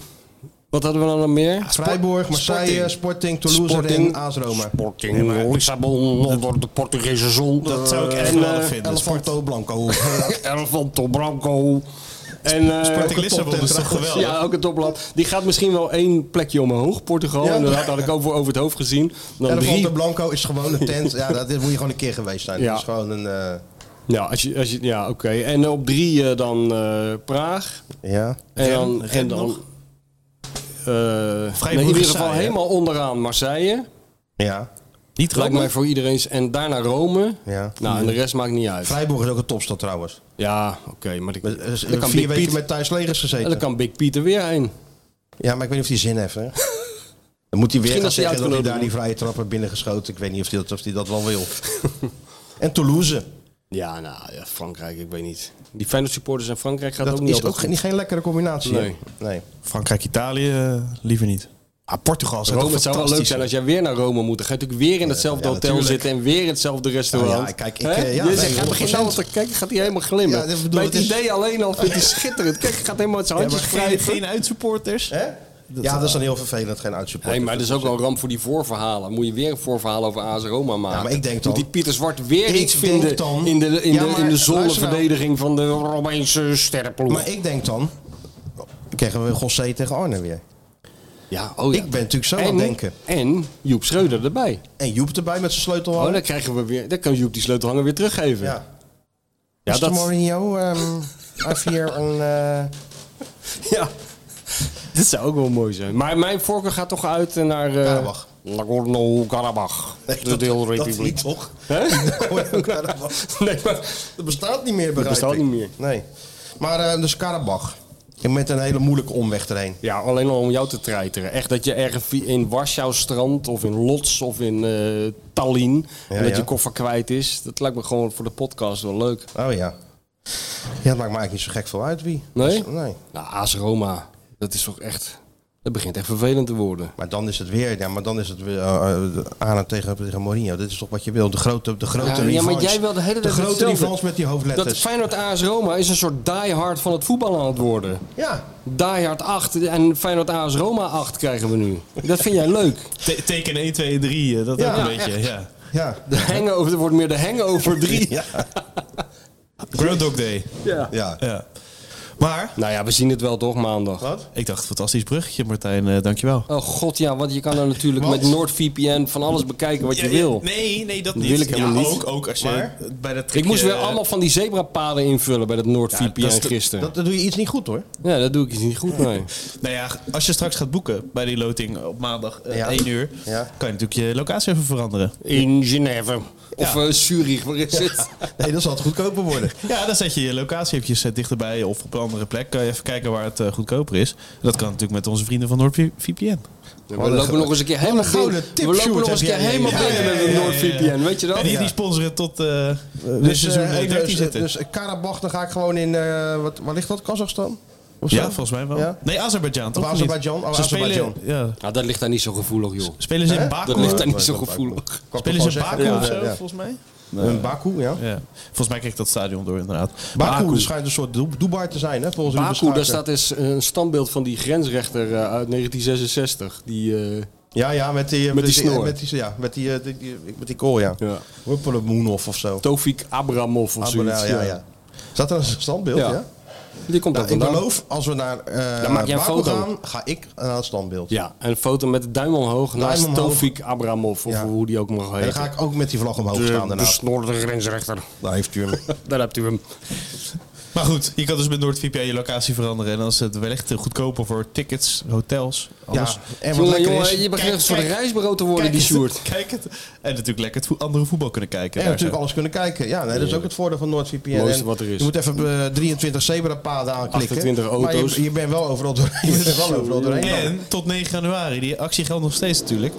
Speaker 3: wat hadden we dan nog meer?
Speaker 2: Freiburg, Marseille, Sporting, Toulouse,
Speaker 3: Sporting.
Speaker 2: Rennes, AS Roma.
Speaker 5: Sporting Lissabon, onder de Portugese zon.
Speaker 4: Dat zou ik
Speaker 5: Eh,
Speaker 4: echt
Speaker 3: en,
Speaker 4: geweldig
Speaker 3: eh,
Speaker 4: vinden.
Speaker 2: Elefanto Blanco.
Speaker 5: Elfanto Branco.
Speaker 3: En, eh,
Speaker 4: Sporting
Speaker 2: ook
Speaker 4: Lissabon
Speaker 2: een
Speaker 4: is toch
Speaker 2: toptent
Speaker 4: geweldig?
Speaker 3: Ja, ook een topland. Die gaat misschien wel één plekje omhoog. Portugal,
Speaker 2: Ja.
Speaker 3: inderdaad, had ik over, over het hoofd gezien. Dan drie.
Speaker 2: Elefanto Blanco is gewoon een tent. Ja, dat dit moet je gewoon een keer geweest zijn.
Speaker 3: Ja.
Speaker 2: Dat is gewoon een... eh,
Speaker 3: Ja, als je, als je, ja oké. En op drie eh, dan eh, Praag.
Speaker 2: ja.
Speaker 3: En dan,
Speaker 4: Ren
Speaker 3: en dan
Speaker 4: nog?
Speaker 3: eh, nee, in ieder geval
Speaker 4: saai, hè?
Speaker 3: helemaal onderaan Marseille.
Speaker 2: Ja.
Speaker 4: Niet
Speaker 3: Lijkt mij
Speaker 4: grappig.
Speaker 3: voor iedereen. En daarna Rome.
Speaker 2: Ja.
Speaker 3: Nou, en de rest maakt niet uit.
Speaker 2: Freiburg is ook een topstad trouwens.
Speaker 3: Ja, oké. maar die-
Speaker 2: Met, eh,
Speaker 3: dan kan
Speaker 2: vier
Speaker 3: Big
Speaker 2: weken
Speaker 3: Piet-
Speaker 2: met Thijs Legers
Speaker 3: en
Speaker 2: gezeten.
Speaker 3: dan kan Big Piet er weer heen.
Speaker 2: Ja, maar ik weet niet of hij zin heeft. Hè? Dan moet hij weer
Speaker 3: Misschien
Speaker 2: gaan zeggen
Speaker 3: als hij
Speaker 2: dat hij
Speaker 3: uitgenodigd
Speaker 2: daar
Speaker 3: wordt.
Speaker 2: die vrije trap heeft binnengeschoten. Ik weet niet of hij dat, of hij dat wel wil. en Toulouse.
Speaker 3: Ja, nou, ja, Frankrijk, ik weet niet. Die Feyenoord supporters in Frankrijk gaat
Speaker 2: Dat
Speaker 3: ook niet
Speaker 2: is
Speaker 3: altijd
Speaker 2: ook geen, geen lekkere combinatie. hè?
Speaker 3: Nee.
Speaker 2: nee.
Speaker 4: Frankrijk, Italië, eh, liever niet. Ah, Portugal is
Speaker 3: Rome, het zou wel leuk zijn als jij weer naar Rome moet. Dan ga je natuurlijk weer in hetzelfde
Speaker 2: ja,
Speaker 3: hotel
Speaker 2: natuurlijk. Nou
Speaker 3: zitten en weer in hetzelfde restaurant.
Speaker 2: Ja, ja, kijk, ik,
Speaker 3: Hè?
Speaker 2: eh, ja,
Speaker 3: je
Speaker 2: nee,
Speaker 3: zegt, hij begint
Speaker 2: 100%.
Speaker 3: nou te kijken, gaat hij helemaal glimmen.
Speaker 2: Ja, dat bedoel
Speaker 3: Bij
Speaker 2: ik, dus.
Speaker 3: het
Speaker 2: het is-
Speaker 3: idee alleen al vindt hij schitterend. Kijk, hij gaat helemaal met zijn handjes
Speaker 4: geen,
Speaker 3: wrijven.
Speaker 4: geen uitsupporters.
Speaker 2: Hè? ja, dat is dan heel vervelend, geen uitsupporter.
Speaker 3: Nee, maar dat is ook wel een ramp voor die voorverhalen. Moet je weer een voorverhaal over AS Roma maken.
Speaker 2: Ja, maar ik denk dan-
Speaker 3: Moet die Pieter Zwart weer
Speaker 2: Ik
Speaker 3: iets
Speaker 2: denk
Speaker 3: vinden
Speaker 2: dan-
Speaker 3: in de, in
Speaker 2: Ja,
Speaker 3: de,
Speaker 2: maar
Speaker 3: in de
Speaker 2: luister nou.
Speaker 3: zonneverdediging van de
Speaker 5: Romeinse sterrenploeg.
Speaker 2: Maar ik denk dan, krijgen we Gossé tegen Arnhem weer.
Speaker 3: Ja, oh ja.
Speaker 2: Ik ben natuurlijk zo aan het denken.
Speaker 3: En Joep Schreuder erbij.
Speaker 2: En Joep erbij met zijn sleutel
Speaker 3: Oh,
Speaker 2: aan.
Speaker 3: dan krijgen we weer. Dan kan Joep die sleutelhanger weer teruggeven.
Speaker 2: ja.
Speaker 3: Ja,
Speaker 2: Mr.
Speaker 3: dat-
Speaker 2: Mourinho, ehm eh, I've here een...
Speaker 3: Ja. Dit zou ook wel mooi zijn. Maar mijn voorkeur gaat toch uit naar... eh,
Speaker 2: Karabach.
Speaker 5: Nagorno-Karabach. de
Speaker 2: Dat
Speaker 5: deelrepubliek.
Speaker 2: niet, toch?
Speaker 3: Hè?
Speaker 2: Karabach.
Speaker 3: nee, maar...
Speaker 2: Dat bestaat niet meer, begrijp
Speaker 3: bestaat
Speaker 2: ik.
Speaker 3: niet meer.
Speaker 2: Nee. Maar eh, dus Karabach. En Met een hele moeilijke omweg erheen.
Speaker 3: Ja, alleen al om jou te treiteren. Echt dat je ergens vi- in Warschau strandt of in Lodz of in eh, Tallinn. en dat
Speaker 2: ja.
Speaker 3: je koffer kwijt is. Dat lijkt me gewoon voor de podcast wel leuk.
Speaker 2: Oh ja. Ja, het maakt me eigenlijk niet zo gek veel uit wie.
Speaker 3: Nee?
Speaker 2: Dus, nee.
Speaker 3: Nou, AS Roma, dat is toch echt... Dat begint echt vervelend te worden.
Speaker 2: Maar dan is het weer, ja, maar dan is het weer eh, eh, Arnhem tegen, tegen Mourinho. Dit is toch wat je wil, de grote, de grote
Speaker 3: Ja, ja, maar
Speaker 2: revanche.
Speaker 3: jij wil de hele
Speaker 2: De
Speaker 3: tijd
Speaker 2: grote
Speaker 3: hetzelfde.
Speaker 2: rivals met die
Speaker 3: Dat
Speaker 2: hoofdletters.
Speaker 3: Feyenoord AS Roma is een soort diehard van het voetbal aan het worden.
Speaker 2: Ja,
Speaker 3: Die Hard 8 en Feyenoord AS Roma 8 krijgen we nu. Dat vind jij leuk.
Speaker 4: Te- Teken 1, 2 en 3, eh, dat
Speaker 2: Ja,
Speaker 4: ook een
Speaker 2: echt.
Speaker 4: beetje. Ja.
Speaker 2: ja,
Speaker 3: De hangover, er wordt meer de hangover 3.
Speaker 2: ja.
Speaker 4: Groundhog Day.
Speaker 2: ja.
Speaker 4: Ja. Maar,
Speaker 3: Nou ja, we zien het wel toch maandag.
Speaker 4: ik dacht, fantastisch bruggetje Martijn, eh, dankjewel.
Speaker 3: Oh god, ja, want je kan er natuurlijk met NordVPN van alles bekijken wat je wil.
Speaker 4: Nee, nee, dat
Speaker 3: Dat
Speaker 4: niet.
Speaker 3: wil ik helemaal
Speaker 4: ja,
Speaker 3: niet.
Speaker 4: Ook, ook als je bij dat
Speaker 3: Ik moest
Speaker 4: trucje-
Speaker 3: weer allemaal van die zebrapaden invullen bij dat NordVPN
Speaker 4: eh, dat is de-
Speaker 3: gisteren.
Speaker 2: Dat, dat doe je iets niet goed hoor.
Speaker 3: Ja, dat doe ik dus niet goed mee.
Speaker 4: Nou ja, als je straks gaat boeken bij die loting op maandag eh,
Speaker 2: Ja.
Speaker 4: 1 uur,
Speaker 2: Ja.
Speaker 4: kan je natuurlijk je locatie even veranderen.
Speaker 5: In Genève.
Speaker 3: Of eh, Zurich, waar is het?
Speaker 2: Nee, dat zal het goedkoper worden.
Speaker 4: Ja, dan zet je je locatie eventjes eh, dichterbij of op een andere plek. Kan je even kijken waar het eh, goedkoper is. Dat kan natuurlijk met onze vrienden van NordVPN.
Speaker 3: We lopen nog eens een keer helemaal
Speaker 2: gouden
Speaker 3: binnen.
Speaker 2: tip,
Speaker 3: We lopen
Speaker 2: Sjoerd,
Speaker 3: nog eens een keer
Speaker 2: heb jij.
Speaker 3: helemaal
Speaker 2: Ja,
Speaker 3: binnen met dat NordVPN, weet je dat?
Speaker 4: En die,
Speaker 3: Ja.
Speaker 4: die sponsoren tot eh
Speaker 2: Dus,
Speaker 4: seizoen
Speaker 2: eh,
Speaker 4: 13
Speaker 2: dus,
Speaker 4: zitten.
Speaker 2: dus Karabach, dan ga ik gewoon in, eh, wat, waar ligt dat, Kazachstan? Of eh, zo?
Speaker 4: ja, volgens mij wel.
Speaker 2: Ja.
Speaker 4: Nee, Azerbeidzjan. toch?
Speaker 2: Of Azerbeidzjan,
Speaker 4: Niet?
Speaker 2: oh,
Speaker 4: Ze
Speaker 2: Azerbeidzjan.
Speaker 4: Spelen, ja.
Speaker 3: Nou, dat ligt daar niet zo gevoelig, joh.
Speaker 4: spelen ze in
Speaker 3: Dat
Speaker 4: Baku?
Speaker 3: ligt daar
Speaker 4: Spelen
Speaker 3: niet zo gevoelig.
Speaker 2: Kan ik
Speaker 4: ze
Speaker 2: toch
Speaker 4: in
Speaker 2: wel
Speaker 4: Baku
Speaker 2: zeggen?
Speaker 4: of
Speaker 2: Ja,
Speaker 4: zo,
Speaker 2: ja.
Speaker 4: volgens mij?
Speaker 2: Een Baku, ja.
Speaker 4: Ja. Volgens mij kreeg ik dat stadion door, inderdaad.
Speaker 2: Baku, schijnt een soort Du- Dubai te zijn, hè? Volgens Uwe
Speaker 3: Baku,
Speaker 2: Schaker.
Speaker 3: daar staat is een standbeeld van die grensrechter eh, uit 1966. Die, eh,
Speaker 2: Ja, ja, met die... eh,
Speaker 3: Met die snor.
Speaker 2: Met die, ja, met die, eh, die, die- met die kool, ja.
Speaker 3: Ja.
Speaker 2: Huppelemoenhof of zo.
Speaker 3: Tofik Abramov of
Speaker 2: Abra-
Speaker 3: zoiets.
Speaker 2: ja, ja. Staat er een standbeeld,
Speaker 3: Ja.
Speaker 2: ja? Nou,
Speaker 3: Die komt daar
Speaker 2: Ik
Speaker 3: vandaan.
Speaker 2: beloof, als we naar eh
Speaker 3: Dan maak jij een
Speaker 2: Baku
Speaker 3: foto.
Speaker 2: gaan, ga ik naar het standbeeld.
Speaker 3: Ja, en een foto met de duim omhoog naast
Speaker 2: omhoog.
Speaker 3: Tofik Abramov. Of
Speaker 2: Ja.
Speaker 3: hoe die ook mag
Speaker 2: En dan
Speaker 3: heten.
Speaker 2: ga ik ook met die vlag omhoog staan
Speaker 5: De
Speaker 2: daarna.
Speaker 5: besnorde grensrechter.
Speaker 2: Daar heeft u hem.
Speaker 3: Daar hebt u hem.
Speaker 4: Maar goed, je kan dus met NordVPN je locatie veranderen. En dan is het wellicht goedkoper voor tickets, hotels, alles.
Speaker 2: Ja, en wat
Speaker 3: Jongen,
Speaker 2: lekker
Speaker 3: jongen,
Speaker 2: is...
Speaker 3: je begint een soort
Speaker 4: kijk.
Speaker 3: reisbureau te worden, die
Speaker 4: het-
Speaker 3: Sjoerd.
Speaker 4: Kijk het. En natuurlijk lekker het vo- andere voetbal kunnen kijken.
Speaker 2: En
Speaker 4: daar
Speaker 2: natuurlijk
Speaker 4: zo.
Speaker 2: alles kunnen kijken. Ja, nee, dat is ook het voordeel van NordVPN.
Speaker 3: Mooiste
Speaker 2: En
Speaker 3: wat er is.
Speaker 2: Je moet even eh, 23 zebrapaden aanklikken.
Speaker 3: 28
Speaker 2: Maar je-
Speaker 3: auto's.
Speaker 2: je, bent wel overal doorheen. Je bent wel overal doorheen.
Speaker 4: En tot 9 januari, die actie geldt nog steeds natuurlijk.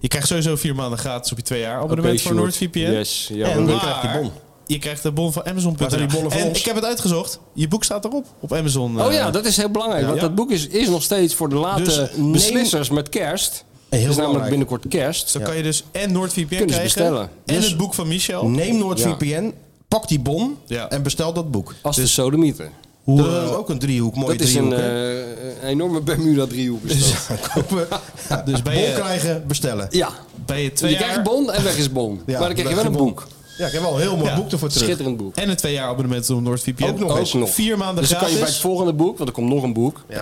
Speaker 4: Je krijgt sowieso vier maanden gratis op je twee jaar abonnement
Speaker 3: Oké,
Speaker 4: voor
Speaker 3: Sjoerd.
Speaker 4: NordVPN.
Speaker 3: Yes, ja,
Speaker 4: en
Speaker 3: maar-
Speaker 4: maar,
Speaker 2: krijgt die bon.
Speaker 4: Je krijgt de bon van Amazon.nl.
Speaker 2: zijn die bonnen van
Speaker 4: En
Speaker 2: ons?
Speaker 4: ik heb het uitgezocht. Je boek staat erop op Amazon.
Speaker 3: Oh
Speaker 4: eh,
Speaker 3: ja, dat is heel belangrijk. Want
Speaker 4: Ja.
Speaker 3: dat boek is, is nog steeds voor de late
Speaker 4: Dus neem-
Speaker 3: beslissers met kerst. Het is namelijk
Speaker 2: belangrijk.
Speaker 3: binnenkort kerst.
Speaker 4: Zo kan je dus en NordVPN
Speaker 3: Kunnen ze
Speaker 4: krijgen.
Speaker 3: bestellen.
Speaker 4: En
Speaker 3: Dus-
Speaker 4: het boek van Michel.
Speaker 2: Neem NordVPN, pak die bon
Speaker 4: Ja.
Speaker 2: en bestel dat boek.
Speaker 3: Als de sodemieter.
Speaker 4: Hoe,
Speaker 2: dat is
Speaker 4: eh,
Speaker 2: ook een driehoek, mooi
Speaker 3: Dat is een
Speaker 2: Dus- driehoek. hè?
Speaker 3: eh, enorme Bermuda-driehoek. is dat.
Speaker 2: Kopen, ja,
Speaker 4: Dus
Speaker 2: dus
Speaker 4: ben
Speaker 2: bon
Speaker 4: je-
Speaker 2: krijgen, bestellen.
Speaker 3: Ja,
Speaker 4: bij je
Speaker 3: je
Speaker 4: twee
Speaker 3: krijgt
Speaker 4: jaar...
Speaker 3: bon en weg is bon.
Speaker 2: Ja,
Speaker 3: maar dan krijg je
Speaker 2: weg
Speaker 3: wel een
Speaker 2: is bon.
Speaker 3: boek.
Speaker 2: Ja, ik heb wel een heel mooi
Speaker 4: Ja.
Speaker 2: boek ervoor terug.
Speaker 3: Schitterend boek.
Speaker 4: En een twee jaar abonnement op NordVPN.
Speaker 2: Ook nog
Speaker 3: Ook nog.
Speaker 4: Vier maanden
Speaker 3: dus dan kan je bij
Speaker 4: gratis.
Speaker 3: het volgende boek, want er komt nog een boek.
Speaker 4: Ja.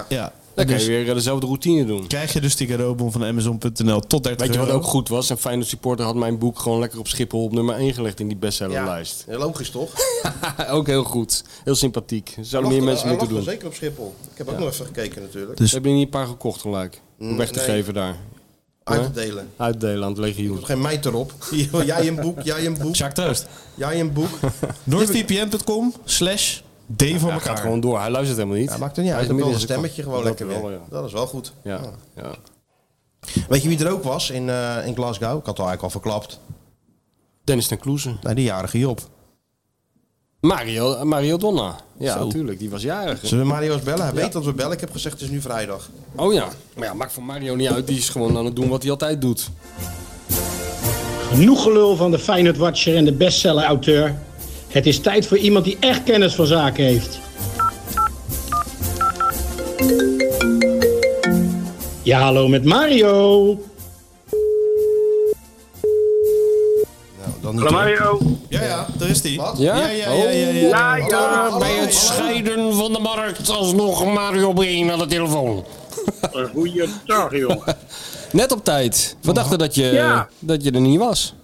Speaker 3: Dan kan je
Speaker 4: Dus
Speaker 3: weer eh, dezelfde routine doen.
Speaker 4: krijg je dus die cadeaubon van Amazon.nl tot 30
Speaker 3: Weet je wat
Speaker 4: euro.
Speaker 3: ook goed was? Een Feyenoord supporter had mijn boek gewoon lekker op Schiphol op nummer 1 gelegd in die bestsellerlijst.
Speaker 2: Heel logisch toch?
Speaker 3: ook heel goed. Heel sympathiek. Zouden
Speaker 2: Hij
Speaker 3: meer
Speaker 2: lag-
Speaker 3: mensen
Speaker 2: hij lag
Speaker 3: moeten doen.
Speaker 2: wel Zeker op Schiphol. Ik heb ook nog even gekeken natuurlijk.
Speaker 4: Dus-
Speaker 3: Ze hebben er niet een paar gekocht gelijk. Om weg te
Speaker 2: Mm, nee.
Speaker 3: geven daar.
Speaker 2: Uit te delen.
Speaker 3: Uitdelen aan het legioen.
Speaker 2: Nog geen meid erop. Jij een boek, jij een boek,
Speaker 4: Jacques Troost.
Speaker 2: jij een boek.
Speaker 4: NordVPN.com slash D voor
Speaker 3: Hij gaat
Speaker 4: elkaar.
Speaker 3: gewoon door. Hij luistert helemaal niet.
Speaker 2: Ja, maakt er niet
Speaker 3: Hij
Speaker 2: uit.
Speaker 3: is
Speaker 2: Ik wil een
Speaker 3: midden in
Speaker 2: stemmetje
Speaker 3: zijn
Speaker 2: gewoon
Speaker 3: kop.
Speaker 2: lekker
Speaker 3: Dat
Speaker 2: weer. Oh.
Speaker 3: wel, ja.
Speaker 2: Dat is wel goed.
Speaker 3: Ja, ja.
Speaker 2: Weet je wie er ook was in, eh, in Glasgow? Ik had het al eigenlijk al verklapt.
Speaker 3: Dennis ten Kloeze.
Speaker 2: Nou, die jarige Job.
Speaker 3: Mario, Mario Donna. Ja, natuurlijk. Die was jarig. hè?
Speaker 2: Zullen we Mario eens bellen? Hij weet dat we bellen. Ik heb gezegd, het is nu vrijdag.
Speaker 3: Oh ja. Maar ja, maakt voor Mario niet uit. Die is gewoon aan het doen wat hij altijd doet.
Speaker 6: Genoeg gelul van de Feyenoord Watcher en de bestseller-auteur. Het is tijd voor iemand die echt kennis van zaken heeft. Ja, hallo met Mario.
Speaker 2: Nou, dan niet.
Speaker 7: Mario.
Speaker 4: Ja, ja, daar is die.
Speaker 2: Wat?
Speaker 3: Ja?
Speaker 4: Ja, ja, ja, ja. ja.
Speaker 7: Ja, ja.
Speaker 5: Bij het scheiden van de markt alsnog Mario Breen aan de telefoon.
Speaker 7: Goeiedag, joh.
Speaker 3: Net op tijd.
Speaker 5: Oh.
Speaker 3: We dachten dat je,
Speaker 7: Ja.
Speaker 3: dat je er niet was.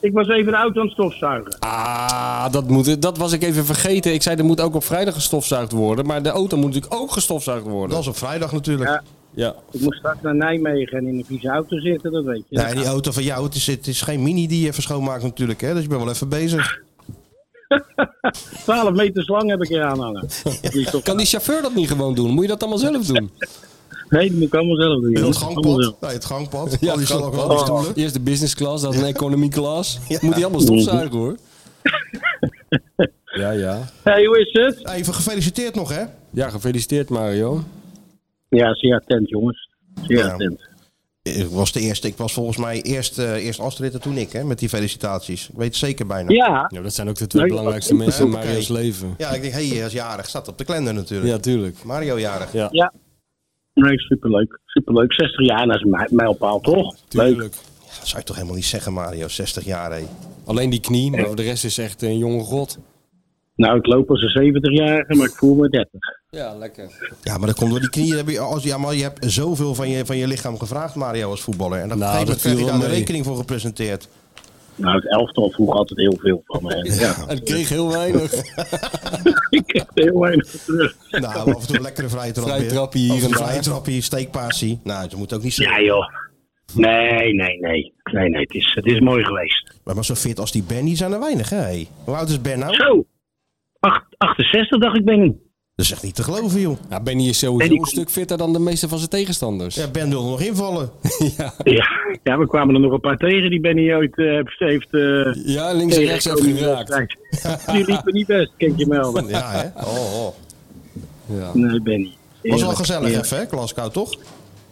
Speaker 7: Ik was even de auto aan het stofzuigen.
Speaker 3: Ah, dat, moet, dat was ik even vergeten. Ik zei, er moet ook op vrijdag gestofzuigd worden. Maar de auto moet natuurlijk ook gestofzuigd worden.
Speaker 2: Dat is op vrijdag natuurlijk.
Speaker 7: Ja.
Speaker 3: Ja.
Speaker 7: Ik moest straks naar Nijmegen en in een vieze auto zitten, dat weet je.
Speaker 2: Nee, die auto van jou, het is, het is geen mini die je even schoonmaakt natuurlijk. Hè? Dus je bent wel even bezig.
Speaker 7: 12 meters lang heb ik er aan hangen. Die stof-
Speaker 3: Kan die chauffeur dat niet gewoon doen? Moet je dat allemaal zelf doen?
Speaker 7: Nee, dat moet ik allemaal zelf doen. joh.
Speaker 2: Het
Speaker 7: Allemaal zelf.
Speaker 2: gangpad. Nee, het gangpad.
Speaker 3: Ja,
Speaker 2: al die,
Speaker 3: het
Speaker 2: stoelen,
Speaker 3: gangpad.
Speaker 2: al die stoelen.
Speaker 3: Eerst de business class, dan een economy class. Moet die allemaal stofzuigen hoor. Ja, ja.
Speaker 7: Hey, hoe is het?
Speaker 2: Even gefeliciteerd nog, hè?
Speaker 3: Ja, gefeliciteerd Mario.
Speaker 7: Ja, zeer attent, jongens. Zeer attent.
Speaker 2: Ik was de eerste. Ik was volgens mij eerst, eh, eerst Astrid en toen ik, hè? Met die felicitaties. Ik weet het zeker bijna.
Speaker 7: Ja,
Speaker 3: Nou, dat zijn ook de twee
Speaker 7: Nee,
Speaker 3: belangrijkste mensen in
Speaker 2: Oké.
Speaker 3: Mario's leven.
Speaker 2: Ja, ik denk, hé, hey, hij is jarig. Staat op de kalender natuurlijk.
Speaker 3: Ja, tuurlijk.
Speaker 2: Mario jarig.
Speaker 3: Ja.
Speaker 7: nee, superleuk. Superleuk. 60 jaar, dat is een mijlpaal, toch? Leuk.
Speaker 3: Tuurlijk.
Speaker 2: Dat zou je toch helemaal niet zeggen, Mario. 60 jaar, hé.
Speaker 3: Alleen die knie, maar voor de rest is echt een jonge god.
Speaker 7: Nou, ik loop als een 70-jarige, maar ik voel me 30.
Speaker 3: Ja, lekker.
Speaker 2: Ja, maar dat komt door die knieën. Heb je, als, ja, maar je hebt zoveel van je, van je lichaam gevraagd, Mario, als voetballer. En op een
Speaker 3: Nou,
Speaker 2: gegeven moment
Speaker 3: dat
Speaker 2: krijg je
Speaker 3: viel
Speaker 2: daar de
Speaker 3: wel mee.
Speaker 2: rekening voor gepresenteerd.
Speaker 7: Nou, het elftal vroeg altijd heel veel van me. hè. Ja,
Speaker 3: Het kreeg heel weinig.
Speaker 7: ik kreeg er heel weinig terug.
Speaker 2: Nou, af en toe een lekkere vrije trap.
Speaker 3: Vrije
Speaker 2: weer.
Speaker 3: trappie hier
Speaker 2: Af en toe
Speaker 3: en daar.
Speaker 2: Vrije trappie, steekpassie. Nou, ze moet ook niet zo.
Speaker 7: Ja, joh. Nee, nee, nee. Nee, nee, het is, het is mooi geweest.
Speaker 2: Maar, maar zo fit als die Ben, die zijn er weinig, hè? hé. Hoe oud is Ben nou? Dat
Speaker 7: Zo. Acht- 68 dacht ik, Benny.
Speaker 2: is echt niet te geloven, joh.
Speaker 3: Ja, Benny is sowieso een stuk fitter dan de meeste van zijn tegenstanders.
Speaker 2: Ja, Ben wil nog invallen.
Speaker 7: Ja, ja, we kwamen er nog een paar tegen die Benny ooit eh, heeft- heeft... eh,
Speaker 3: Ja, links en rechts heeft geraakt.
Speaker 7: Die liepen niet best, kan ik je melden.
Speaker 2: Ja, hè? Oh, oh.
Speaker 7: Nee, Benny.
Speaker 2: Nou. Was wel
Speaker 7: Eerlijk,
Speaker 2: gezellig
Speaker 7: eerlijk.
Speaker 2: even, hè? Glasgow, toch?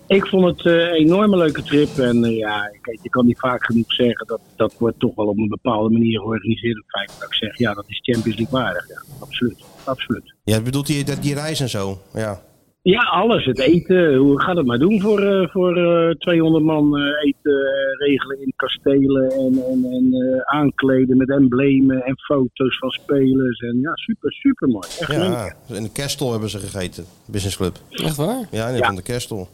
Speaker 7: Ik vond het eh, een enorme leuke trip. En eh, ja, kijk, je kan niet vaak genoeg zeggen dat dat wordt toch wel op een bepaalde manier georganiseerd. Op feit dat ik zeg, ja, dat is Champions League waardig. Ja, absoluut. Absoluut.
Speaker 2: Ja, bedoelt die, dat- die reis en zo? Ja.
Speaker 7: Ja, alles. Het eten. Hoe gaat het maar doen voor, eh, voor eh, 200 man eh, eten eh, regelen in kastelen en, en, en eh, aankleden met emblemen en foto's van spelers. En ja, super, super mooi. Echt leuk.
Speaker 2: ja. In de Kerstel hebben ze gegeten. Business Club.
Speaker 3: Echt waar?
Speaker 2: Ja, in van de Kerstel.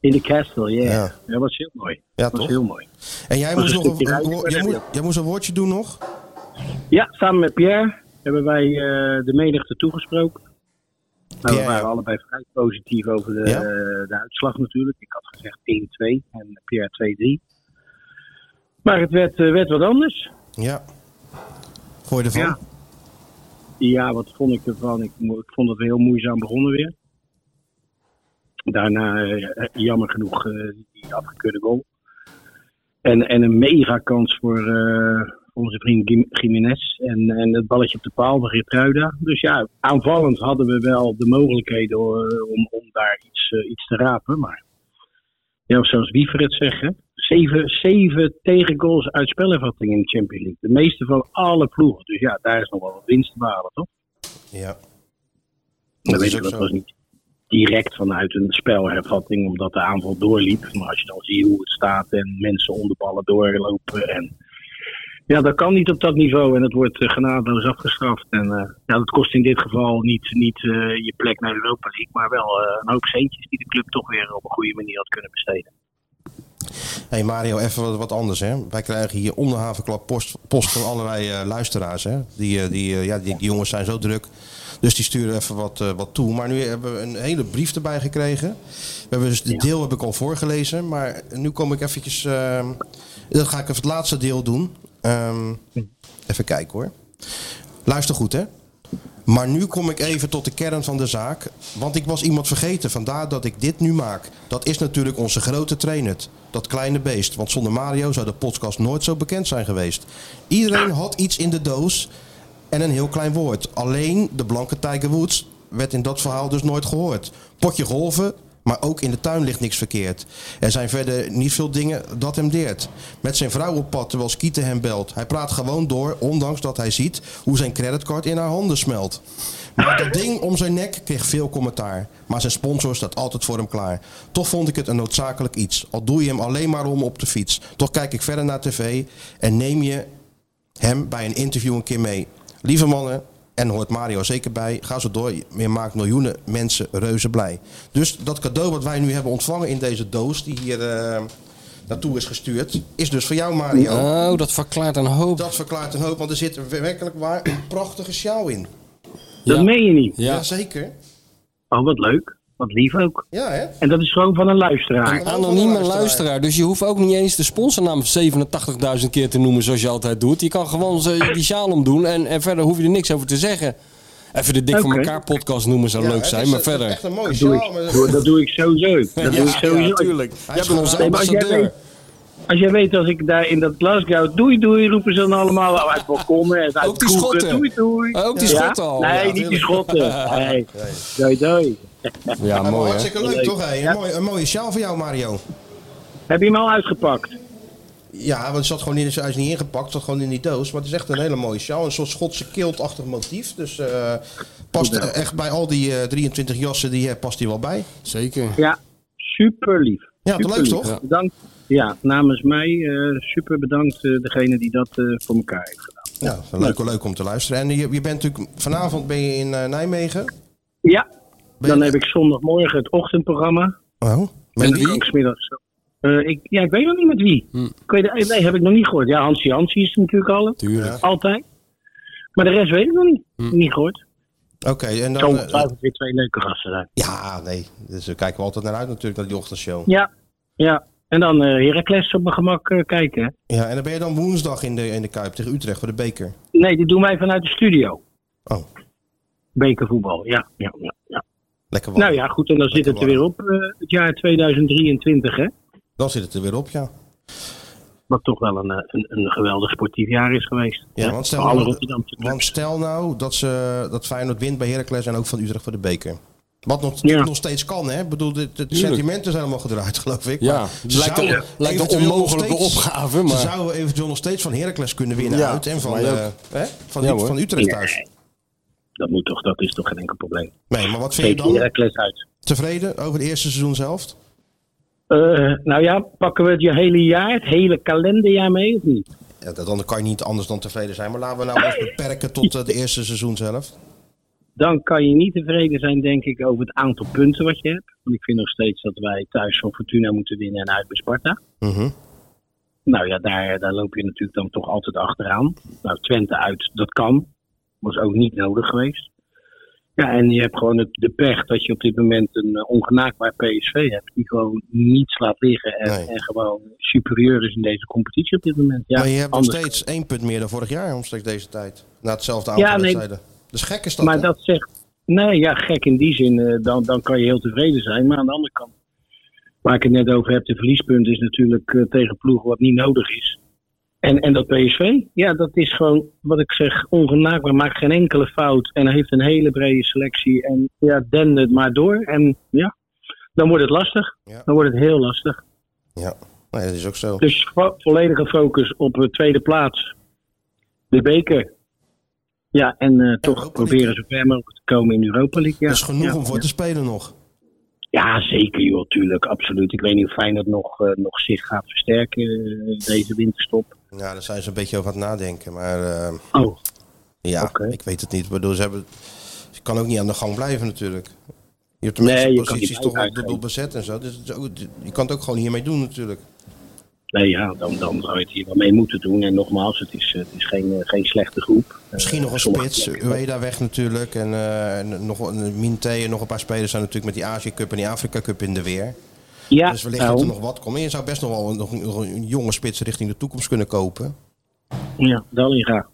Speaker 7: In de castle, yeah.
Speaker 2: Ja.
Speaker 7: ja. Dat was heel mooi.
Speaker 2: Ja,
Speaker 7: dat was
Speaker 2: toch?
Speaker 7: heel mooi.
Speaker 2: En jij
Speaker 7: Was
Speaker 2: moest
Speaker 7: een
Speaker 2: nog een,
Speaker 7: stukje
Speaker 2: een-
Speaker 7: reis.
Speaker 2: jij moest, jij moest een woordje doen nog?
Speaker 7: Ja, samen met Pierre hebben wij eh, de menigte toegesproken. Nou, we
Speaker 2: Pierre,
Speaker 7: waren
Speaker 2: ja.
Speaker 7: allebei vrij positief over de,
Speaker 2: Ja?
Speaker 7: eh, de uitslag natuurlijk. Ik had gezegd 1-2 en Pierre 2-3. Maar het werd, eh, werd wat anders.
Speaker 2: Ja. Gooi ervan.
Speaker 7: Ja. Ja, wat vond ik ervan? Ik, mo- ik vond dat we heel moeizaam begonnen weer. Daarna, eh, jammer genoeg, eh, die afgekeurde goal. En, en een mega kans voor eh, onze vriend Gim- Jiménez. En, en het balletje op de paal van Geertruida. Dus ja, aanvallend hadden we wel de mogelijkheden eh, om, om daar iets, eh, iets te rapen. Maar ja, zoals Wiever het zegt, hè, zeven, zeven tegengoals uit spelervatting in de Champions League. De meeste van alle ploegen. Dus ja, daar is nog wel wat winst te behalen, toch?
Speaker 2: Ja.
Speaker 7: Dan
Speaker 2: Dat
Speaker 7: weet
Speaker 2: is
Speaker 7: je,
Speaker 2: ook
Speaker 7: dat
Speaker 2: zo.
Speaker 7: was niet direct vanuit een spelhervatting, omdat de aanval doorliep. Maar als je dan ziet hoe het staat en mensen onder ballen doorlopen. En... Ja, dat kan niet op dat niveau en het wordt eh, genadeloos afgestraft. En eh, ja, dat kost in dit geval niet, niet eh, je plek naar Europa League, maar wel eh, een hoop centjes die de club toch weer op een goede manier had kunnen besteden.
Speaker 2: hey Mario, even wat, wat anders hè. Wij krijgen hier om de havenklap post, post van allerlei eh, luisteraars hè. Die, eh, die, eh, ja, die, die jongens zijn zo druk. Dus die sturen even wat, eh, wat toe. Maar nu hebben we een hele brief erbij gekregen. We hebben dus, dit deel heb ik al voorgelezen. Maar nu kom ik eventjes... eh, dan ga ik even het laatste deel doen. Ehm, even kijken hoor. Luister goed hè. Maar nu kom ik even tot de kern van de zaak. Want ik was iemand vergeten, vandaar dat ik dit nu maak. Dat is natuurlijk onze grote trainer, dat kleine beest. Want zonder Mario zou de podcast nooit zo bekend zijn geweest. Iedereen had iets in de doos. en een heel klein woord. Alleen de blanke Tiger Woods werd in dat verhaal dus nooit gehoord. Potje golven, maar ook in de tuin ligt niks verkeerd. Er zijn verder niet veel dingen dat hem deert. Met zijn vrouw op pad terwijl Skieten hem belt. Hij praat gewoon door, ondanks dat hij ziet hoe zijn creditcard in haar handen smelt. Maar dat ding om zijn nek kreeg veel commentaar. Maar zijn sponsor staat altijd voor hem klaar. Toch vond ik het een noodzakelijk iets. Al doe je hem alleen maar om op de fiets. Toch kijk ik verder naar tv en neem je hem bij een interview een keer mee. Lieve mannen, en hoort Mario zeker bij, ga zo door. Je maakt miljoenen mensen reuze blij. Dus dat cadeau wat wij nu hebben ontvangen in deze doos, die hier eh, naartoe is gestuurd, is dus voor jou, Mario.
Speaker 3: Oh, dat verklaart een hoop.
Speaker 2: Dat verklaart een hoop, want er zit werkelijk waar een prachtige sjaal in.
Speaker 3: Ja.
Speaker 7: Dat meen je niet.
Speaker 2: Jazeker.
Speaker 7: Oh, wat leuk. Wat lief ook.
Speaker 2: Ja, hè?
Speaker 7: En dat is gewoon van een luisteraar.
Speaker 3: Een anonieme luisteraar. Dus je hoeft ook niet eens de sponsornaam 87.000 keer te noemen zoals je altijd doet. Je kan gewoon ze- die sjaal omdoen en, en verder hoef je er niks over te zeggen. Even de Dik voor
Speaker 7: Oké.
Speaker 3: elkaar podcast noemen zou
Speaker 2: Ja,
Speaker 3: leuk
Speaker 2: het
Speaker 3: zijn,
Speaker 2: is-
Speaker 3: maar
Speaker 2: het is
Speaker 3: verder.
Speaker 2: Echt een mooie
Speaker 7: Dat doe,
Speaker 2: sjaal. maar-
Speaker 7: ik, Doe- dat doe ik sowieso. Dat
Speaker 3: Ja,
Speaker 7: doe ik sowieso.
Speaker 3: ja, tuurlijk.
Speaker 2: Hij
Speaker 3: Jij
Speaker 2: is
Speaker 3: bent onze
Speaker 2: gewoon-
Speaker 7: Nee, maar als jij
Speaker 3: ambassadeur.
Speaker 7: weet, als jij weet, als ik daar in dat Glasgow doei doei roepen ze dan allemaal Oh, uit balkonnen en uit
Speaker 3: Ook die
Speaker 7: kroegen,
Speaker 3: schotten.
Speaker 7: Doei doei.
Speaker 3: Ook die
Speaker 7: Ja?
Speaker 3: schotten al.
Speaker 7: Nee,
Speaker 3: Ja,
Speaker 7: niet die schotten. Nee. Doei doei.
Speaker 3: Ja,
Speaker 2: Ja, maar
Speaker 3: mooi hè.
Speaker 2: hartstikke leuk,
Speaker 7: Leuk.
Speaker 2: toch? hè? Een,
Speaker 7: Ja.
Speaker 2: mooie, een mooie sjaal voor jou, Mario.
Speaker 7: Heb je hem al uitgepakt?
Speaker 2: Ja, want het zat gewoon in, hij is niet ingepakt, het zat gewoon in die doos. Maar het is echt een hele mooie sjaal. Een soort Schotse kiltachtig motief. Dus eh, past eh, echt bij al die eh, 23 jassen, die, eh, past die wel bij.
Speaker 3: Zeker.
Speaker 7: Ja, super lief.
Speaker 2: Ja, toch leuk, toch?
Speaker 3: Ja.
Speaker 7: Bedankt. Ja, namens mij eh, super bedankt eh, degene die dat eh, voor elkaar heeft gedaan.
Speaker 2: Ja, Nou, leuk, leuk om te luisteren. En je, je bent natuurlijk, vanavond ben je in eh, Nijmegen.
Speaker 7: Ja,
Speaker 2: Ben
Speaker 7: dan
Speaker 2: je-
Speaker 7: heb ik zondagmorgen het ochtendprogramma.
Speaker 2: Oh.
Speaker 7: En
Speaker 3: wie?
Speaker 7: dan kan ik 's middags- Eh, ik, ja, ik weet nog niet met wie.
Speaker 2: Hm.
Speaker 7: Ik weet, eh, nee, heb ik nog niet gehoord. Ja, Hansi Hansi is er natuurlijk al.
Speaker 3: Tuurlijk.
Speaker 7: Altijd. Maar de rest weet ik nog niet. Niet gehoord.
Speaker 2: Oké, en
Speaker 7: Zo
Speaker 2: dan... Hm. eh,
Speaker 7: ongetwijfeld weer twee leuke gasten zijn.
Speaker 2: ja, nee. Dus daar kijken we altijd naar uit natuurlijk, naar die ochtendshow.
Speaker 7: Ja, ja. En dan eh Heracles op mijn gemak eh, kijken. hè.
Speaker 2: Ja, en dan ben je dan woensdag in de, in de Kuip tegen Utrecht voor de beker.
Speaker 7: Nee, die doen wij vanuit de studio.
Speaker 2: Oh,
Speaker 7: Bekervoetbal, ja. ja, ja, ja.
Speaker 2: lekker warm.
Speaker 7: Nou ja, goed. En dan zit het er weer op, eh, het jaar 2023, hè.
Speaker 2: Dan zit het er weer op, ja.
Speaker 7: Wat toch wel een, eh, een, een geweldig sportief jaar is geweest.
Speaker 2: Ja,
Speaker 7: hè,
Speaker 2: want
Speaker 7: voor
Speaker 2: stel,
Speaker 7: alle
Speaker 2: nou,
Speaker 7: Rotterdamse
Speaker 2: want
Speaker 7: clubs.
Speaker 2: stel nou dat, ze, dat Feyenoord wint bij Heracles en ook van Utrecht voor de beker. Wat nog,
Speaker 7: Ja.
Speaker 2: nog steeds kan, hè? Ik bedoel, de, de
Speaker 3: Tuurlijk.
Speaker 2: sentimenten zijn allemaal gedraaid, geloof ik.
Speaker 3: Ja,
Speaker 2: maar
Speaker 3: het
Speaker 2: ze
Speaker 3: lijkt
Speaker 2: zouden
Speaker 3: een- lijkt een
Speaker 2: eventueel nog
Speaker 3: onmogelijke
Speaker 2: steeds-
Speaker 3: opgave,
Speaker 2: Ze
Speaker 3: maar-
Speaker 2: zouden eventueel nog steeds van Heracles kunnen winnen
Speaker 3: Ja,
Speaker 2: uit en van,
Speaker 3: maar je
Speaker 2: eh,
Speaker 3: ook.
Speaker 2: hè? van,
Speaker 3: Ja,
Speaker 2: U-
Speaker 3: hoor.
Speaker 2: van Utrecht thuis.
Speaker 7: Dat, moet toch, dat is toch geen enkel probleem.
Speaker 2: Nee, maar wat vind je
Speaker 7: Geef
Speaker 2: dan?
Speaker 7: Heracles uit.
Speaker 2: Tevreden over het eerste seizoen zelf?
Speaker 7: Eh, nou ja, pakken we het je hele jaar, het hele kalenderjaar mee of niet?
Speaker 2: Ja, dat- dan kan je niet anders dan tevreden zijn. Maar laten we nou eens beperken tot het eerste seizoen zelf.
Speaker 7: Dan kan je niet tevreden zijn, denk ik, over het aantal punten wat je hebt. Want ik vind nog steeds dat wij thuis van Fortuna moeten winnen en uit bij Sparta.
Speaker 2: Mhm.
Speaker 7: Nou ja, daar, daar loop je natuurlijk dan toch altijd achteraan. Nou, Twente uit, dat kan. Was ook niet nodig geweest. Ja, en je hebt gewoon het, de pech dat je op dit moment een eh, ongenaakbaar PSV hebt. Die gewoon niets laat liggen en,
Speaker 2: Nee.
Speaker 7: en gewoon superieur is in deze competitie op dit moment. Ja,
Speaker 2: maar je hebt nog
Speaker 7: anders-
Speaker 2: steeds één punt meer dan vorig jaar, omstreeks deze tijd. Na hetzelfde
Speaker 7: Ja,
Speaker 2: aantal
Speaker 7: nee.
Speaker 2: wedstrijden. Dus gek is dat,
Speaker 7: maar
Speaker 2: hè?
Speaker 7: dat zegt. Nee, ja, gek in die zin. eh, dan, dan kan je heel tevreden zijn. Maar aan de andere kant. Waar ik het net over heb, de verliespunt is natuurlijk eh, tegen ploegen wat niet nodig is. En, en dat PSV, ja, dat is gewoon, wat ik zeg, ongenaakbaar. Maakt geen enkele fout. En heeft een hele brede selectie. En ja, den het maar door. En ja, dan wordt het lastig.
Speaker 2: Ja.
Speaker 7: Dan wordt het heel lastig.
Speaker 2: Ja, nee, dat is ook zo.
Speaker 7: Dus vo- volledige focus op de tweede plaats. De beker. Ja, en eh, toch
Speaker 2: League.
Speaker 7: proberen zo ver mogelijk te komen in Europa League. Ja.
Speaker 2: dat is genoeg
Speaker 7: ja.
Speaker 2: om voor te spelen nog.
Speaker 7: Ja, zeker joh, tuurlijk, absoluut. Ik weet niet of Feyenoord nog, eh, nog zich gaat versterken eh, deze winterstop.
Speaker 2: Ja, daar zijn ze een beetje over aan het nadenken. Maar eh,
Speaker 7: Oh,
Speaker 2: ja,
Speaker 7: Oké.
Speaker 2: ik weet het niet. Ik bedoel, ze, hebben, ze kan ook niet aan de gang blijven natuurlijk. Je hebt de
Speaker 7: Nee,
Speaker 2: meeste
Speaker 7: je kan
Speaker 2: posities
Speaker 7: niet
Speaker 2: toch wel
Speaker 7: uitgaan.
Speaker 2: dubbel bezet en zo. Dus het is ook- je kan het ook gewoon hiermee doen natuurlijk.
Speaker 7: nee ja, dan, dan zou je het hier wel mee moeten doen. En nogmaals, het is, eh, het is geen, eh, geen slechte groep.
Speaker 2: Misschien
Speaker 7: Eh,
Speaker 2: nog een
Speaker 7: sommige
Speaker 2: spits.
Speaker 7: plekken-
Speaker 2: Ueda weg natuurlijk. En, eh, en nog een Minte en nog een paar spelers zijn natuurlijk met die Azië Cup en die Afrika Cup in de weer.
Speaker 7: Ja, Nou.
Speaker 2: dus wellicht dat
Speaker 7: daarom.
Speaker 2: er nog wat komt. En je zou best nog wel een, nog een- nog een jonge spits richting de toekomst kunnen kopen.
Speaker 7: ja, Dallinga.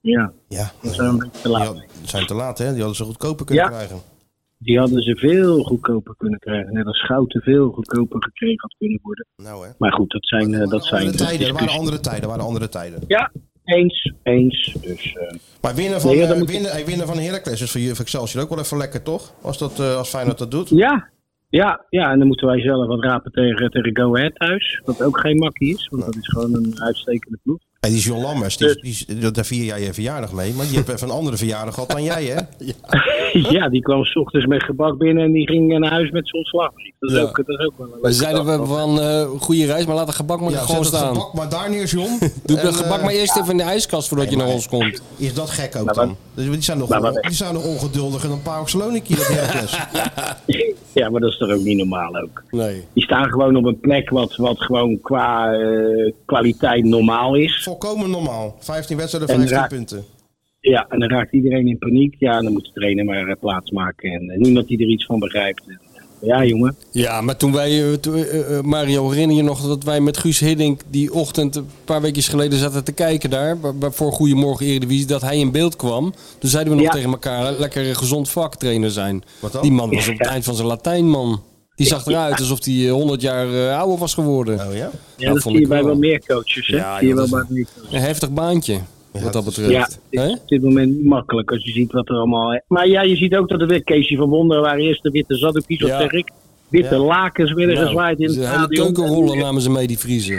Speaker 7: Ja,
Speaker 2: Ja,
Speaker 7: dat is wel een beetje te laat.
Speaker 2: die had- zijn te laat hè. Die hadden ze goedkoper kunnen
Speaker 7: Ja.
Speaker 2: krijgen.
Speaker 7: Die hadden ze veel goedkoper kunnen krijgen. Net als Schouten veel goedkoper gekregen had kunnen worden.
Speaker 2: Nou hè.
Speaker 7: Maar goed, dat zijn... eh,
Speaker 2: Maar
Speaker 7: dat
Speaker 2: er waren
Speaker 7: zijn
Speaker 2: andere tijden, er waren
Speaker 7: discussies.
Speaker 2: andere tijden, er waren andere tijden.
Speaker 7: Ja, Eens, eens. Dus, eh,
Speaker 2: Maar winnen van,
Speaker 7: nee, ja,
Speaker 2: eh,
Speaker 7: dan moet-
Speaker 2: winnen, eh, winnen van Heracles is voor Juf Excelsior ook wel even lekker, toch? Als, dat, eh, als Feyenoord dat doet.
Speaker 7: Ja, ja, ja, en dan moeten wij zelf wat rapen tegen, tegen Go Ahead thuis. Wat ook geen makkie is, want dat is gewoon een uitstekende ploeg.
Speaker 2: En die is John Lammers, die, die, die- daar vier jij je verjaardag mee. Maar je hebt even een andere verjaardag gehad dan jij, hè?
Speaker 7: ja, die kwam s ochtends met gebak binnen en die ging naar huis met zo'n slagbrief. Dat, is
Speaker 3: Ja.
Speaker 7: ook- dat is ook wel een
Speaker 3: We
Speaker 7: leuke
Speaker 3: zeiden
Speaker 7: dag.
Speaker 3: we van eh, goede reis, maar laat de gebak maar
Speaker 2: Ja,
Speaker 3: gewoon
Speaker 2: zet het
Speaker 3: staan.
Speaker 2: gebak maar daar neer, John.
Speaker 3: Doe
Speaker 2: En,
Speaker 3: de gebak
Speaker 2: eh,
Speaker 3: maar eerst even in de ijskast voordat je naar ons komt.
Speaker 2: Is dat gek ook
Speaker 7: Nou, Maar wat-
Speaker 2: dan? Dus die zijn nog,
Speaker 7: Maar wat-
Speaker 2: die zijn nog ongeduldiger dan Paok Saloniki, dat Heracles.
Speaker 7: Ja, maar dat is toch ook niet normaal ook.
Speaker 3: Nee.
Speaker 7: Die staan gewoon op een plek wat, wat gewoon qua eh, kwaliteit normaal is.
Speaker 2: Volkomen normaal. 15 wedstrijden,
Speaker 7: En
Speaker 2: 15
Speaker 7: raak-
Speaker 2: punten.
Speaker 7: Ja, en dan raakt iedereen in paniek. Ja, dan moet de trainer maar eh, plaats maken. En eh, niemand die er iets van begrijpt. En, eh, Ja, jongen.
Speaker 3: Ja, maar toen wij, eh, toen- eh, eh, Mario, herinner je nog dat wij met Guus Hiddink die ochtend een paar weekjes geleden zaten te kijken daar, bij- bij- voor Goedemorgen Eredivisie, dat hij in beeld kwam. Toen zeiden we nog
Speaker 7: Ja.
Speaker 3: tegen elkaar, eh, lekker een gezond vaktrainer zijn.
Speaker 2: Wat dan?
Speaker 3: Die man was op het eind van zijn Latijn, man. Die zag eruit alsof hij eh, 100 jaar eh, ouder was geworden.
Speaker 2: Oh ja?
Speaker 7: Ja,
Speaker 3: Dat
Speaker 7: dat
Speaker 3: Nou, vond
Speaker 7: zie je
Speaker 3: ik
Speaker 7: bij
Speaker 3: wel.
Speaker 7: wel meer coaches. Hè?
Speaker 3: Ja,
Speaker 7: zie je
Speaker 3: joh,
Speaker 7: wel
Speaker 3: dat
Speaker 7: bij meer coaches.
Speaker 3: Een heftig baantje, wat dat
Speaker 7: Ja,
Speaker 3: betreft.
Speaker 7: het
Speaker 3: Hè?
Speaker 7: is op dit moment niet makkelijk als je ziet wat er allemaal... Maar ja, je ziet ook dat er weer Keesje van Wonderen waren eerst de witte zaddoekjes,
Speaker 3: Ja.
Speaker 7: wat zeg ik. Witte
Speaker 3: Ja.
Speaker 7: lakens werden
Speaker 3: Nou,
Speaker 7: gezwaaid in het
Speaker 3: de hele
Speaker 7: stadion.
Speaker 3: keukenrollen namen ze mee, die vriezen.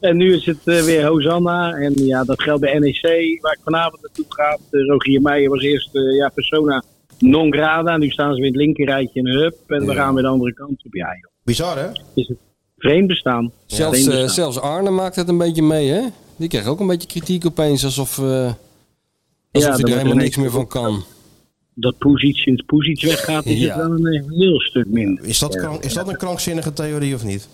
Speaker 7: En nu is het eh, weer Hosanna. En ja, dat geldt bij NEC, waar ik vanavond naartoe ga. Eh, Rogier Meijer was eerst eh, ja, persona non grata. Nu staan ze weer in het linkerrijtje en hup. En we gaan weer de andere kant op. Ja, joh.
Speaker 2: Bizar, hè?
Speaker 7: Is het vreemd bestaan.
Speaker 3: Zelfs,
Speaker 7: vreemd
Speaker 3: eh,
Speaker 7: bestaan.
Speaker 3: zelfs Arne maakt het een beetje mee, hè? Die kreeg ook een beetje kritiek opeens, alsof, eh
Speaker 7: dan
Speaker 3: alsof hij
Speaker 7: wordt
Speaker 3: er
Speaker 7: er
Speaker 3: helemaal
Speaker 7: niks
Speaker 3: niks meer van kan.
Speaker 7: Dat Poesiet sinds Poesiet weggaat, is
Speaker 3: Ja.
Speaker 7: het wel een eh, heel stuk minder.
Speaker 2: Is dat, krank- is dat een krankzinnige theorie of niet?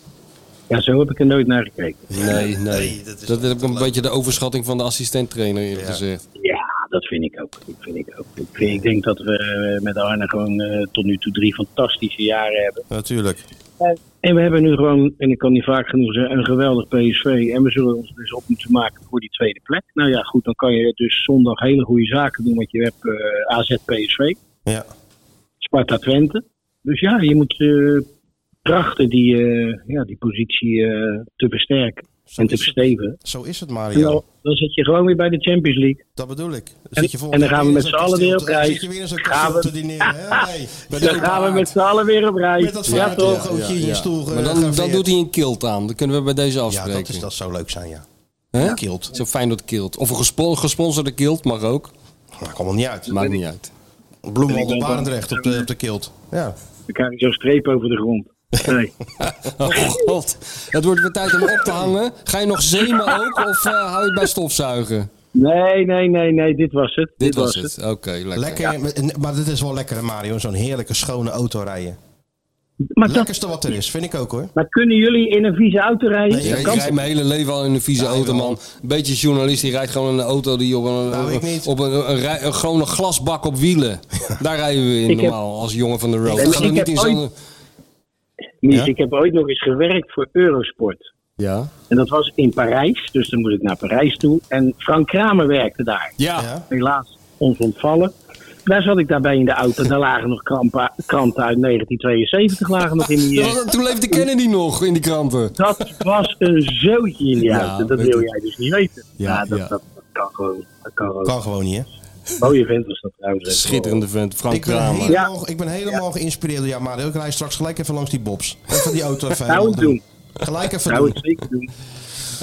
Speaker 7: Ja, zo heb ik er nooit naar gekeken.
Speaker 3: Nee, nee.
Speaker 2: Nee, dat
Speaker 3: dat
Speaker 2: is
Speaker 3: heb ik een
Speaker 2: leuk.
Speaker 3: beetje de overschatting van de assistent-trainer eerlijk
Speaker 2: Ja. Eh,
Speaker 3: gezegd.
Speaker 7: Ja, dat vind ik ook. Dat vind ik, ook. Ik, vind- ik denk dat we eh, met Arne gewoon eh, tot nu toe drie fantastische jaren hebben.
Speaker 2: Natuurlijk.
Speaker 7: Eh, En we hebben nu gewoon, en ik kan niet vaak genoeg zeggen, een geweldig PSV. En we zullen ons dus op moeten maken voor die tweede plek. Nou ja, goed, dan kan je dus zondag hele goede zaken doen. Want je hebt eh, AZ PSV,
Speaker 2: Ja.
Speaker 7: Sparta Twente. Dus ja, je moet eh, trachten die, eh, ja, die positie eh, te versterken en te verstevigen.
Speaker 2: Zo is het,
Speaker 7: En dan,
Speaker 2: Mario.
Speaker 7: dan zit je gewoon weer bij de Champions League.
Speaker 2: Dat bedoel ik. Dan
Speaker 7: En-
Speaker 2: zit je volgende
Speaker 7: en dan gaan
Speaker 2: keer
Speaker 7: we
Speaker 2: in
Speaker 7: met
Speaker 2: zo'n
Speaker 7: z'n allen
Speaker 2: kasteel
Speaker 7: weer op
Speaker 2: te- dan
Speaker 7: reis.
Speaker 2: zit je weer in zo'n
Speaker 7: Gaan
Speaker 2: kasteel
Speaker 7: we-
Speaker 2: te dineren, hè? Nee. Met
Speaker 7: Dan gaan we met z'n allen weer op reis.
Speaker 2: Met dat
Speaker 7: ja,
Speaker 2: vaartuig.
Speaker 7: toch?
Speaker 2: Ja, ja, in je stoel
Speaker 3: Maar dan, dan
Speaker 2: gegraveerd.
Speaker 3: doet hij een kilt aan. Dat kunnen we bij deze
Speaker 2: Ja,
Speaker 3: afspreken.
Speaker 2: dat, is, dat zou leuk zijn, ja.
Speaker 3: Hè?
Speaker 2: Kilt.
Speaker 3: Zo fijn dat kilt. Of een gespo- gesponsorde kilt mag ook.
Speaker 2: Maakt Nou, allemaal niet uit.
Speaker 3: Maakt niet uit.
Speaker 2: Bloemwald op Barendrecht op de, op de kilt. Ja.
Speaker 7: Dan krijg je zo'n streep over de grond. Nee.
Speaker 3: Oh god. Het wordt weer tijd om op te hangen. Ga je nog zemen ook? Of eh, hou je het bij stofzuigen?
Speaker 7: Nee, nee, nee, nee, dit was het.
Speaker 3: Dit was het. Oké, lekker.
Speaker 2: Lekker, met- maar dit is wel lekker, hè, Mario. Zo'n heerlijke, schone auto rijden.
Speaker 7: Maar, dat,
Speaker 2: Lekkerste wat er is, vind ik ook, hoor.
Speaker 7: maar kunnen jullie in een vieze auto rijden?
Speaker 2: Nee,
Speaker 3: Ja,
Speaker 2: dat
Speaker 3: ik
Speaker 2: kan
Speaker 3: rijd mijn hele leven al in een vieze auto, man. Een beetje journalist, die rijdt gewoon in een auto die op een,
Speaker 2: Nou, ik niet.
Speaker 3: op een, een, rij- een gewone glasbak op wielen. Daar rijden we in
Speaker 7: Ik heb-
Speaker 3: normaal als jongen van de road.
Speaker 7: Ik
Speaker 3: Ga dan
Speaker 7: heb
Speaker 3: niet in zo'n...
Speaker 7: Mies,
Speaker 2: Ja?
Speaker 7: ik heb ooit nog eens gewerkt voor Eurosport.
Speaker 3: Ja?
Speaker 7: En dat was in Parijs, dus dan moet ik naar Parijs toe. En Frank Kramer werkte daar.
Speaker 3: Ja.
Speaker 2: Ja.
Speaker 7: Helaas ons ontvallen. Daar zat ik daarbij in de auto. Daar lagen nog krampa- kranten uit 1972 lagen nog in die... eh,
Speaker 3: Dat was- toen leefde Kennedy nog in die kranten.
Speaker 7: Dat was een zootje in die
Speaker 3: Ja,
Speaker 7: auto. Dat
Speaker 3: weet
Speaker 7: wil
Speaker 3: ik.
Speaker 7: jij dus niet weten.
Speaker 3: Ja,
Speaker 7: dat,
Speaker 3: ja.
Speaker 7: Dat, dat kan gewoon. Dat kan gewoon.
Speaker 2: Kan gewoon niet, hè?
Speaker 7: Mooie vent was dat trouwens.
Speaker 3: Schitterende vent, Frank
Speaker 2: Ik ben
Speaker 3: Kramer.
Speaker 2: helemaal, ik ben helemaal geïnspireerd door jou, Mario. Ik rij straks gelijk even langs die bobs. Even die auto even helemaal
Speaker 7: het Nou, doen.
Speaker 2: Gelijk even
Speaker 7: Nou,
Speaker 2: doen.
Speaker 7: het zeker doen.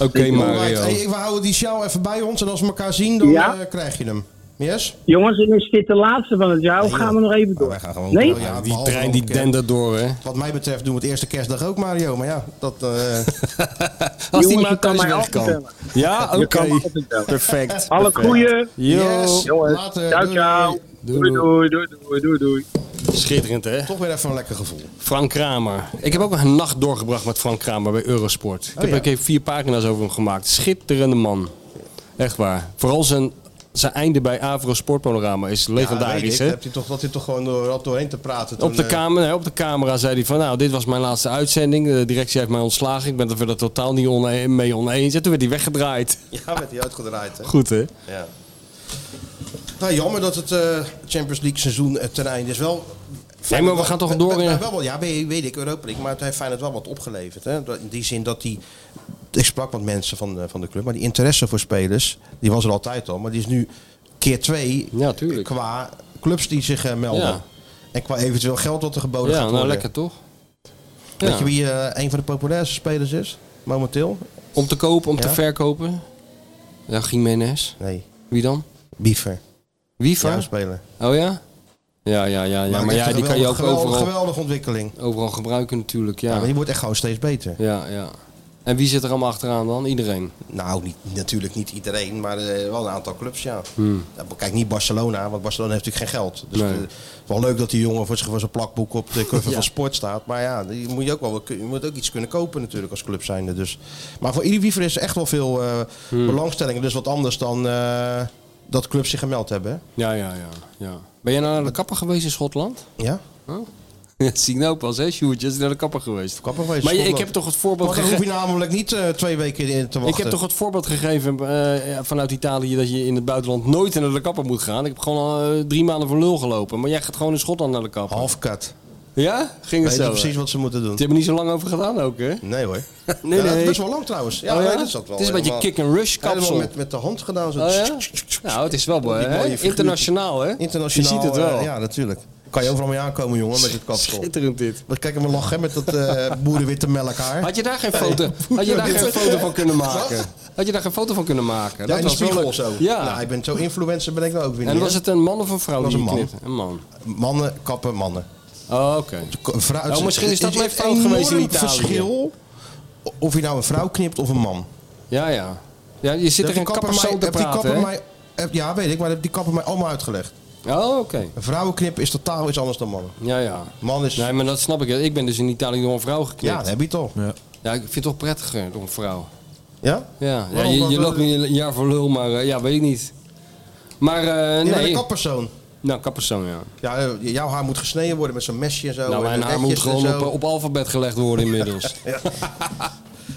Speaker 3: Oké, Mario.
Speaker 2: Alright, hey, we houden die show even bij ons. En als we elkaar zien, dan
Speaker 7: Ja.
Speaker 2: eh, krijg je hem. Yes?
Speaker 7: Jongens, en is dit de laatste van het jaar? Of gaan we nog even
Speaker 2: Maar
Speaker 7: door?
Speaker 2: wij gaan gewoon
Speaker 7: nee?
Speaker 2: door, ja,
Speaker 3: Die
Speaker 2: behalve
Speaker 3: trein die
Speaker 2: nog een keer.
Speaker 3: dendert door, hè.
Speaker 2: Wat mij betreft doen we het eerste kerstdag ook, Mario. Maar ja, dat... eh,
Speaker 3: Als die
Speaker 7: Jongens,
Speaker 3: maar
Speaker 7: je kan
Speaker 3: thuis
Speaker 7: mij
Speaker 3: weg
Speaker 7: altijd
Speaker 3: kan.
Speaker 7: bellen.
Speaker 3: Ja, oké.
Speaker 7: Je kan mij altijd bellen.
Speaker 3: Perfect.
Speaker 7: Alle goeie.
Speaker 2: yes,
Speaker 7: Jongens,
Speaker 2: later.
Speaker 7: ciao,
Speaker 2: Doei,
Speaker 7: ciao.
Speaker 2: doei.
Speaker 7: Doei, doei, doei, doei, doei, doei.
Speaker 3: Schitterend, hè?
Speaker 2: Toch weer even een lekker gevoel.
Speaker 3: Frank Kramer. Ik heb ook een nacht doorgebracht met Frank Kramer bij Eurosport. Ik heb
Speaker 2: ja.
Speaker 3: ook even vier pagina's over hem gemaakt. Schitterende man. Echt waar. Vooral zijn, zijn einde bij Avro Sportpanorama is legendarisch.
Speaker 2: Ja,
Speaker 3: hè?
Speaker 2: dat weet ik. Dat Heb je toch, dat hij toch gewoon door, had doorheen te praten. toen,
Speaker 3: Op de,
Speaker 2: eh,
Speaker 3: camera, hè, op de camera zei hij van, nou, dit was mijn laatste uitzending. De directie heeft mij ontslagen. Ik ben het er verder totaal niet one- mee oneens. En toen werd hij weggedraaid.
Speaker 2: Ja, werd hij uitgedraaid. Hè?
Speaker 3: Goed, hè?
Speaker 2: Ja. Nou, jammer dat het eh, Champions League seizoen eh, ten einde is wel.
Speaker 3: Nee, maar we gaan toch door,
Speaker 2: We- we-
Speaker 3: hè?
Speaker 2: we- wel, ja, weet, weet ik, Europa League. Maar het heeft Feyenoord wel wat opgeleverd. Hè? Dat- In die zin dat die ik sprak wat mensen van, eh, van de club. Maar die interesse voor spelers, die was er altijd al. Maar die is nu keer twee qua clubs die zich eh, melden.
Speaker 3: Ja.
Speaker 2: En qua eventueel geld wat er geboden
Speaker 3: Ja,
Speaker 2: gaat
Speaker 3: nou
Speaker 2: worden.
Speaker 3: lekker toch?
Speaker 2: Weet
Speaker 3: Ja.
Speaker 2: je wie eh, een van de populairste spelers is? Momenteel?
Speaker 3: Om te kopen, om te
Speaker 2: Ja.
Speaker 3: verkopen? Ja, Jiménez.
Speaker 2: Nee.
Speaker 3: Wie dan?
Speaker 2: Biefer.
Speaker 3: Wiever?
Speaker 2: Ja, speler.
Speaker 3: Oh ja? Ja, ja, ja. ja. Maar,
Speaker 2: het is
Speaker 3: ja,
Speaker 2: een
Speaker 3: die kan je ook
Speaker 2: geweldige-
Speaker 3: overal,
Speaker 2: geweldige ontwikkeling.
Speaker 3: overal gebruiken natuurlijk. Ja.
Speaker 2: Ja, maar die wordt echt gewoon steeds beter.
Speaker 3: ja, ja. En wie zit er allemaal achteraan dan? Iedereen?
Speaker 2: Nou, niet, natuurlijk niet iedereen, maar eh, wel een aantal clubs, ja.
Speaker 3: Hmm.
Speaker 2: Ja, Kijk, niet Barcelona, want Barcelona heeft natuurlijk geen geld. Dus
Speaker 3: Nee.
Speaker 2: eh, het is wel leuk dat die jongen voor zijn voor zijn plakboek op de cover
Speaker 3: Ja.
Speaker 2: van Sport staat. Maar ja, die moet je, ook wel, je moet ook iets kunnen kopen natuurlijk als club zijnde. Dus. Maar voor ieder wiever is er echt wel veel eh,
Speaker 3: Hmm.
Speaker 2: belangstelling. Dus wat anders dan eh, dat clubs zich gemeld hebben. hè.
Speaker 3: Ja, ja, ja, ja. Ben jij nou naar de kapper geweest in Schotland?
Speaker 2: Ja.
Speaker 3: Dat zie ik nou pas, hè, Sjoerdje? Is naar de kapper geweest.
Speaker 2: Kapper geweest,
Speaker 3: Maar je- ik
Speaker 2: Schotland.
Speaker 3: heb toch het voorbeeld
Speaker 2: Maar dan hoef je
Speaker 3: gegeven...
Speaker 2: namelijk niet eh, twee weken in te wachten.
Speaker 3: Ik heb toch het voorbeeld gegeven eh, vanuit Italië dat je in het buitenland nooit naar de kapper moet gaan. Ik heb gewoon al eh, drie maanden voor lul gelopen. Maar jij gaat gewoon in Schotland naar de kapper.
Speaker 2: Halfkat.
Speaker 3: Ja? Ging het
Speaker 2: Weet
Speaker 3: zo?
Speaker 2: je precies
Speaker 3: hè?
Speaker 2: wat ze moeten doen?
Speaker 3: Ze hebben niet zo lang over gedaan ook, hè?
Speaker 2: Nee hoor.
Speaker 3: nee,
Speaker 2: Ja, dat is
Speaker 3: nee.
Speaker 2: Best wel lang trouwens. Ja,
Speaker 3: Oh,
Speaker 2: nee, dat is dat wel
Speaker 3: Het is een beetje
Speaker 2: helemaal-
Speaker 3: kick-and-rush kapsel.
Speaker 2: Helemaal met, met de hand gedaan. Zo.
Speaker 3: Oh, ja? Nou, het is wel
Speaker 2: Die
Speaker 3: mooi, hè?
Speaker 2: mooie figuurtje.
Speaker 3: internationaal, hè?
Speaker 2: Internationaal.
Speaker 3: Je ziet het wel.
Speaker 2: eh, ja, natuurlijk. Kan je overal mee aankomen, jongen, met dit kapsel.
Speaker 3: Schitterend dit.
Speaker 2: Maar kijk hem maar lachen hè, met dat eh boerenwitte melkhaar.
Speaker 3: Had je daar geen foto, had je daar geen foto van kunnen maken? Had je daar geen foto van kunnen maken?
Speaker 2: Ja, in de
Speaker 3: wel
Speaker 2: spiegel of
Speaker 3: leuk.
Speaker 2: zo.
Speaker 3: Ja.
Speaker 2: Nou, ik ben zo influencer ben ik nou ook weer
Speaker 3: en
Speaker 2: niet,
Speaker 3: was
Speaker 2: hè?
Speaker 3: het een man of een vrouw?
Speaker 2: Dat was
Speaker 3: die
Speaker 2: een
Speaker 3: je
Speaker 2: man.
Speaker 3: knipte? Een man.
Speaker 2: Mannen kappen mannen.
Speaker 3: Oh, oké.
Speaker 2: Ko- Vrouw,
Speaker 3: Oh, misschien is dat
Speaker 2: een
Speaker 3: mijn fout geweest in
Speaker 2: enorm
Speaker 3: Italië.
Speaker 2: verschil of je nou een vrouw knipt of een man.
Speaker 3: Ja, ja. Ja, je zit er
Speaker 2: Die
Speaker 3: in kapper
Speaker 2: mij-
Speaker 3: zo te
Speaker 2: heb die
Speaker 3: praten,
Speaker 2: kapper
Speaker 3: hè?
Speaker 2: mij- heb- Ja, weet ik, maar heb die kapper mij allemaal uitgelegd.
Speaker 3: Oh, oké.
Speaker 2: Een vrouwenknip is totaal iets anders dan mannen.
Speaker 3: Ja, ja.
Speaker 2: Man is...
Speaker 3: Nee, maar dat snap ik. Ik ben dus in Italië door een vrouw geknipt.
Speaker 2: Ja, dat heb je het al. Ja?
Speaker 3: Ja, ik vind het toch prettiger door een vrouw.
Speaker 2: ja?
Speaker 3: Ja, ja
Speaker 2: Waarom?
Speaker 3: je,
Speaker 2: Wat,
Speaker 3: je
Speaker 2: eh,
Speaker 3: loopt nu een jaar voor lul, maar eh, ja, weet ik niet. Maar eh,
Speaker 2: Je bent
Speaker 3: nee.
Speaker 2: een kappersoon.
Speaker 3: nou, kappersoon, ja.
Speaker 2: Ja, eh, jouw haar moet gesneden worden met zo'n mesje en zo.
Speaker 3: nou,
Speaker 2: en
Speaker 3: mijn haar moet
Speaker 2: netjes en
Speaker 3: gewoon
Speaker 2: zo.
Speaker 3: op, op alfabet gelegd worden inmiddels.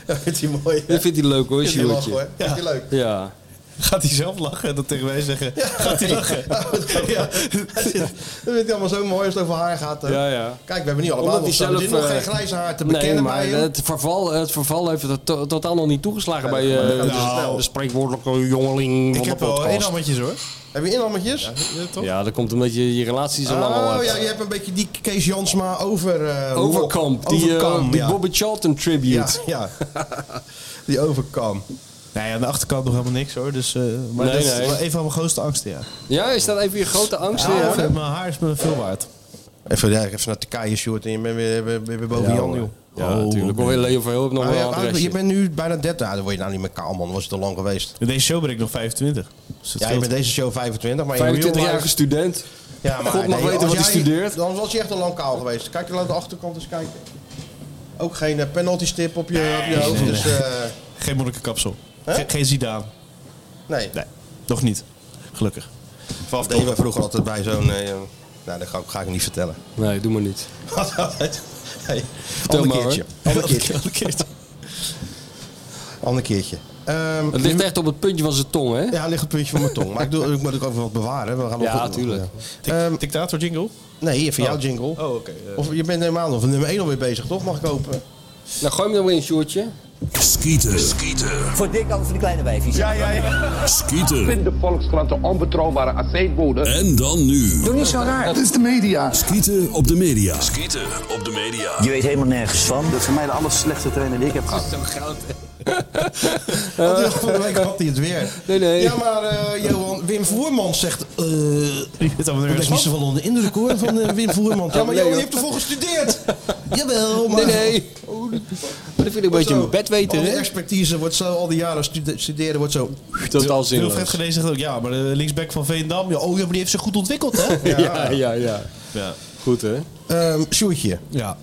Speaker 2: Ja, vindt hij mooi. hè?
Speaker 3: Dat vindt hij leuk hoor,
Speaker 2: Vindt hij lachen, hoor.
Speaker 3: Sjoerdje.
Speaker 2: Vindt hij leuk.
Speaker 3: Ja.
Speaker 4: Gaat hij zelf lachen en dat tegen mij zeggen? Gaat hij lachen?
Speaker 2: Ja, dat vindt- dat vindt hij allemaal zo mooi als het over haar gaat. hè.
Speaker 3: Ja, ja.
Speaker 2: Kijk, we hebben niet allemaal
Speaker 3: Omdat
Speaker 2: nog
Speaker 3: hij
Speaker 2: zo. Er zit
Speaker 3: zelf,
Speaker 2: nog
Speaker 3: eh,
Speaker 2: geen grijze haar te bekennen
Speaker 3: Nee, maar
Speaker 2: bij hem.
Speaker 3: het verval, het verval heeft het to- totaal nog niet toegeslagen bij eh,
Speaker 2: dat Nou.
Speaker 3: de-
Speaker 2: is snel.
Speaker 3: de spreekwoordelijke jongeling
Speaker 4: Ik
Speaker 3: van de
Speaker 4: heb wel één
Speaker 3: podcast.
Speaker 4: hammetjes hoor.
Speaker 2: Heb je inhammetjes?
Speaker 4: Ja, toch?
Speaker 3: Ja, dat komt omdat je je relatie zo lang al
Speaker 2: oh,
Speaker 3: hebt.
Speaker 2: ja, je hebt een beetje die Kees Jansma over... eh,
Speaker 3: Overkamp, die, eh,
Speaker 2: Overkamp,
Speaker 3: die
Speaker 2: ja.
Speaker 3: Bobby Charlton tribute.
Speaker 2: Ja, ja. die overkam.
Speaker 4: Nee, aan de achterkant nog helemaal niks hoor. Dus, eh, maar
Speaker 3: Nee,
Speaker 4: dat is
Speaker 3: nee.
Speaker 4: wel een van mijn grootste angsten, ja.
Speaker 3: Ja, is dat even je grote angst?
Speaker 4: Ja,
Speaker 3: hè?
Speaker 4: hoor, Mijn haar is me veel waard.
Speaker 2: Even, ja, even naar Turkije, Sjoerd, en je bent weer, weer- weer- weer boven
Speaker 3: Ja,
Speaker 2: Jan,
Speaker 3: hoor.
Speaker 2: joh.
Speaker 3: Ja,
Speaker 4: Oh.
Speaker 3: natuurlijk. Hoor, Leo van Heel heeft nog
Speaker 2: Maar
Speaker 3: wel
Speaker 2: Ah, ja,
Speaker 3: een
Speaker 2: maar
Speaker 3: adresje.
Speaker 2: je bent nu bijna 30. Ja, dan word je nou niet meer kaal, man. Was het al lang geweest.
Speaker 4: In deze show ben ik nog 25. Dus dat
Speaker 2: Ja, je
Speaker 4: scheelt.
Speaker 2: bent deze show 25, maar in real
Speaker 3: 25-jarige
Speaker 2: life-
Speaker 3: student.
Speaker 2: Ja, maar
Speaker 3: God mag
Speaker 2: nee,
Speaker 3: weten
Speaker 2: als
Speaker 3: wat hij
Speaker 2: jij-
Speaker 3: studeert.
Speaker 2: Dan was je echt al lang kaal geweest. Kijk, laat de achterkant eens kijken. Ook geen eh, penalty stip op je, op je hoofd. Dus, eh,
Speaker 4: Geen monnikenkapsel. Ge- geen Zidane.
Speaker 2: nee.
Speaker 4: Nee, nog niet. Gelukkig.
Speaker 2: Vanaf deden we vroeger altijd bij zo'n... eh, nou, dat ga, ik- ga ik niet vertellen.
Speaker 3: Nee, doe maar niet.
Speaker 2: hey, ander
Speaker 3: maar, hoor.
Speaker 2: keertje. Ander keertje. Ander keertje. Ehm,
Speaker 3: Het ligt echt op het puntje van zijn tong, hè?
Speaker 2: ja, ligt een puntje van mijn tong. Maar ik, doe, ik moet ook over wat bewaren. We gaan nog
Speaker 3: Ja,
Speaker 2: goed-
Speaker 3: tuurlijk.
Speaker 4: Dik-
Speaker 2: Ehm,
Speaker 4: Dictator jingle?
Speaker 2: Nee, even jouw jingle.
Speaker 4: Oh, oké. eh.
Speaker 2: Of je bent helemaal nog van nummer 1 alweer bezig, toch? Mag ik hopen?
Speaker 3: Nou, gooi hem dan weer in, Sjoerdje.
Speaker 8: Skieten. Skieten.
Speaker 9: Voor dik over de kleine wijfjes. Ja, ja, ja.
Speaker 8: Skieten.
Speaker 10: de Volkskrant de onbetrouwbare aceetbode.
Speaker 8: En dan nu.
Speaker 9: Doe niet zo raar.
Speaker 10: is de media.
Speaker 8: Skieten op de media. Skieten op de media.
Speaker 9: Je weet helemaal nergens van.
Speaker 10: Dat is voor mij de aller slechtste trainer die ik heb gehad.
Speaker 2: Want die had- Vorige week had hij het weer.
Speaker 3: Eh. Nee, nee.
Speaker 2: Ja, maar eh, Johan, Wim Voerman zegt... eh
Speaker 4: Je bent allemaal
Speaker 2: ik ben
Speaker 4: nergens
Speaker 2: niet zo
Speaker 4: van.
Speaker 2: van onder de indruk hoor, van eh, Wim Voerman. Ja, maar
Speaker 3: nee,
Speaker 2: Johan,
Speaker 3: hoor.
Speaker 2: je hebt ervoor gestudeerd. Jawel, maar...
Speaker 3: Nee, nee. Oh, dat maar dat vind ik een beetje
Speaker 2: Zo,
Speaker 3: een bedweter,
Speaker 2: Al die
Speaker 3: hè?
Speaker 2: expertise wordt zo, al die jaren stude- studeren wordt zo...
Speaker 3: Totaal
Speaker 4: Wilfred
Speaker 3: zinloos.
Speaker 4: Genees zegt ook, ja, maar de linksback van Veendam, ja, oh ja, maar die heeft zich goed ontwikkeld, hè?
Speaker 3: Ja, ja, ja.
Speaker 4: ja.
Speaker 3: Goed, hè?
Speaker 2: Ehm Sjoerdje,
Speaker 4: ja.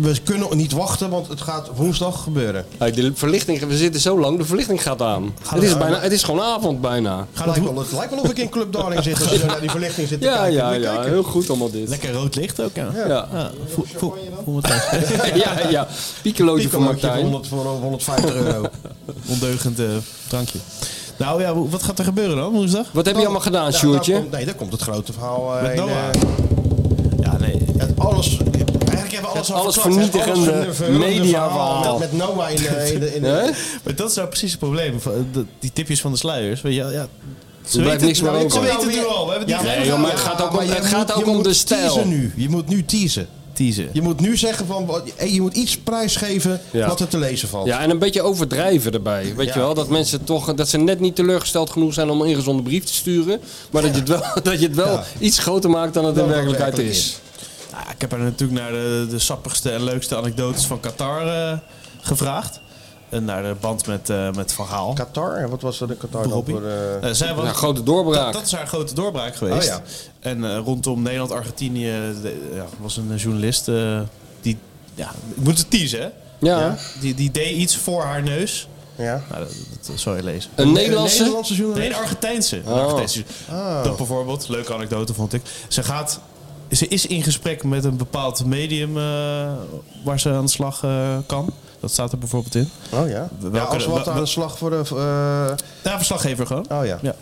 Speaker 2: we kunnen niet wachten, want het gaat woensdag gebeuren.
Speaker 3: Hey, de verlichting, we zitten zo lang, de verlichting gaat aan. het, is bijna, het is gewoon avond bijna.
Speaker 2: Het lijkt, wel, het lijkt wel of ik in Club Darling zit als je naar die verlichting zit te
Speaker 3: Ja,
Speaker 2: kijken.
Speaker 3: ja,
Speaker 2: Moet je
Speaker 3: ja.
Speaker 2: kijken.
Speaker 3: Heel goed allemaal dit.
Speaker 4: Lekker rood licht ook, ja.
Speaker 3: Ja,
Speaker 4: ja. Voel, voel, voel me thuis.
Speaker 3: ja, ja. Piekelootje van
Speaker 2: Piekelootje voor,
Speaker 3: Martijn.
Speaker 2: 100, voor 150 euro.
Speaker 4: Ondeugend eh, drankje. Nou ja, wat gaat er gebeuren dan woensdag?
Speaker 3: Wat heb je allemaal gedaan,
Speaker 2: Nou,
Speaker 3: Sjoerdje?
Speaker 2: daar komt- nee, daar komt het grote verhaal. eh,
Speaker 4: Met
Speaker 2: in,
Speaker 4: Noah.
Speaker 2: eh,
Speaker 4: Ja, nee.
Speaker 2: het alles, eigenlijk hebben we alles alles al
Speaker 3: alles
Speaker 2: verklapt, hè? Alles
Speaker 3: vernietigende
Speaker 2: een verhullende verhaal
Speaker 3: mediaverhaal.
Speaker 2: met- met Noah in de- in de- in de-
Speaker 3: Hè?
Speaker 4: Maar dat is nou precies het probleem. van de- Die tipjes van de sluiers. Weet je, wel, ja, ze
Speaker 3: Er blijft
Speaker 4: weten-
Speaker 3: niks meer
Speaker 4: ze
Speaker 3: over.
Speaker 4: weten het nu al. We hebben die
Speaker 2: Ja,
Speaker 4: gegeven.
Speaker 3: nee, joh, maar het gaat ook om-
Speaker 2: maar je
Speaker 3: het gaat
Speaker 2: moet-
Speaker 3: ook
Speaker 2: je
Speaker 3: om
Speaker 2: moet
Speaker 3: de stijl.
Speaker 2: teasen nu. Je moet nu teasen.
Speaker 4: Teasen.
Speaker 2: Je moet nu zeggen van, wat- hey, je moet iets prijsgeven
Speaker 3: Ja.
Speaker 2: wat er te lezen valt.
Speaker 3: Ja, en een beetje overdrijven erbij. Weet
Speaker 2: Ja.
Speaker 3: je wel, dat mensen toch, dat ze net niet teleurgesteld genoeg zijn om een ingezonden brief te sturen. Maar dat je het wel, dat je het wel iets groter maakt dan het in
Speaker 2: Dan het
Speaker 3: werkelijkheid
Speaker 2: werkelijk
Speaker 3: is.
Speaker 2: is.
Speaker 4: Nou, ik heb haar natuurlijk naar de, de sappigste en leukste anekdotes van Qatar eh, gevraagd. En naar de band met, eh met Van Gaal.
Speaker 2: Qatar? En Wat was er in Qatar dan
Speaker 4: Robbie.
Speaker 2: voor... eh,
Speaker 4: Eh, zij was,
Speaker 3: Ja, grote doorbraak.
Speaker 4: Dat, dat is haar grote doorbraak geweest.
Speaker 2: Oh,
Speaker 4: En eh, rondom Nederland-Argentinië de- ja, was een journalist eh, die... Ja, ik moet het teasen, hè?
Speaker 3: Ja.
Speaker 4: Die, die deed iets voor haar neus.
Speaker 2: Ja.
Speaker 4: Nou, dat, dat zou je lezen.
Speaker 3: Een Nederlandse?
Speaker 4: Nee, een Argentijnse. Een
Speaker 3: Oh.
Speaker 4: Argentijnse.
Speaker 2: Oh.
Speaker 4: Dat bijvoorbeeld, leuke anekdote vond ik. Ze gaat... Ze is in gesprek met een bepaald medium eh, waar ze aan de slag eh, kan. Dat staat er bijvoorbeeld in.
Speaker 2: Oh ja.
Speaker 4: We-
Speaker 2: ja
Speaker 4: welke-
Speaker 2: als wat
Speaker 4: wel-
Speaker 2: aan de slag voor de... eh,
Speaker 4: Ja, verslaggever gewoon.
Speaker 2: Oh ja.
Speaker 4: Ja.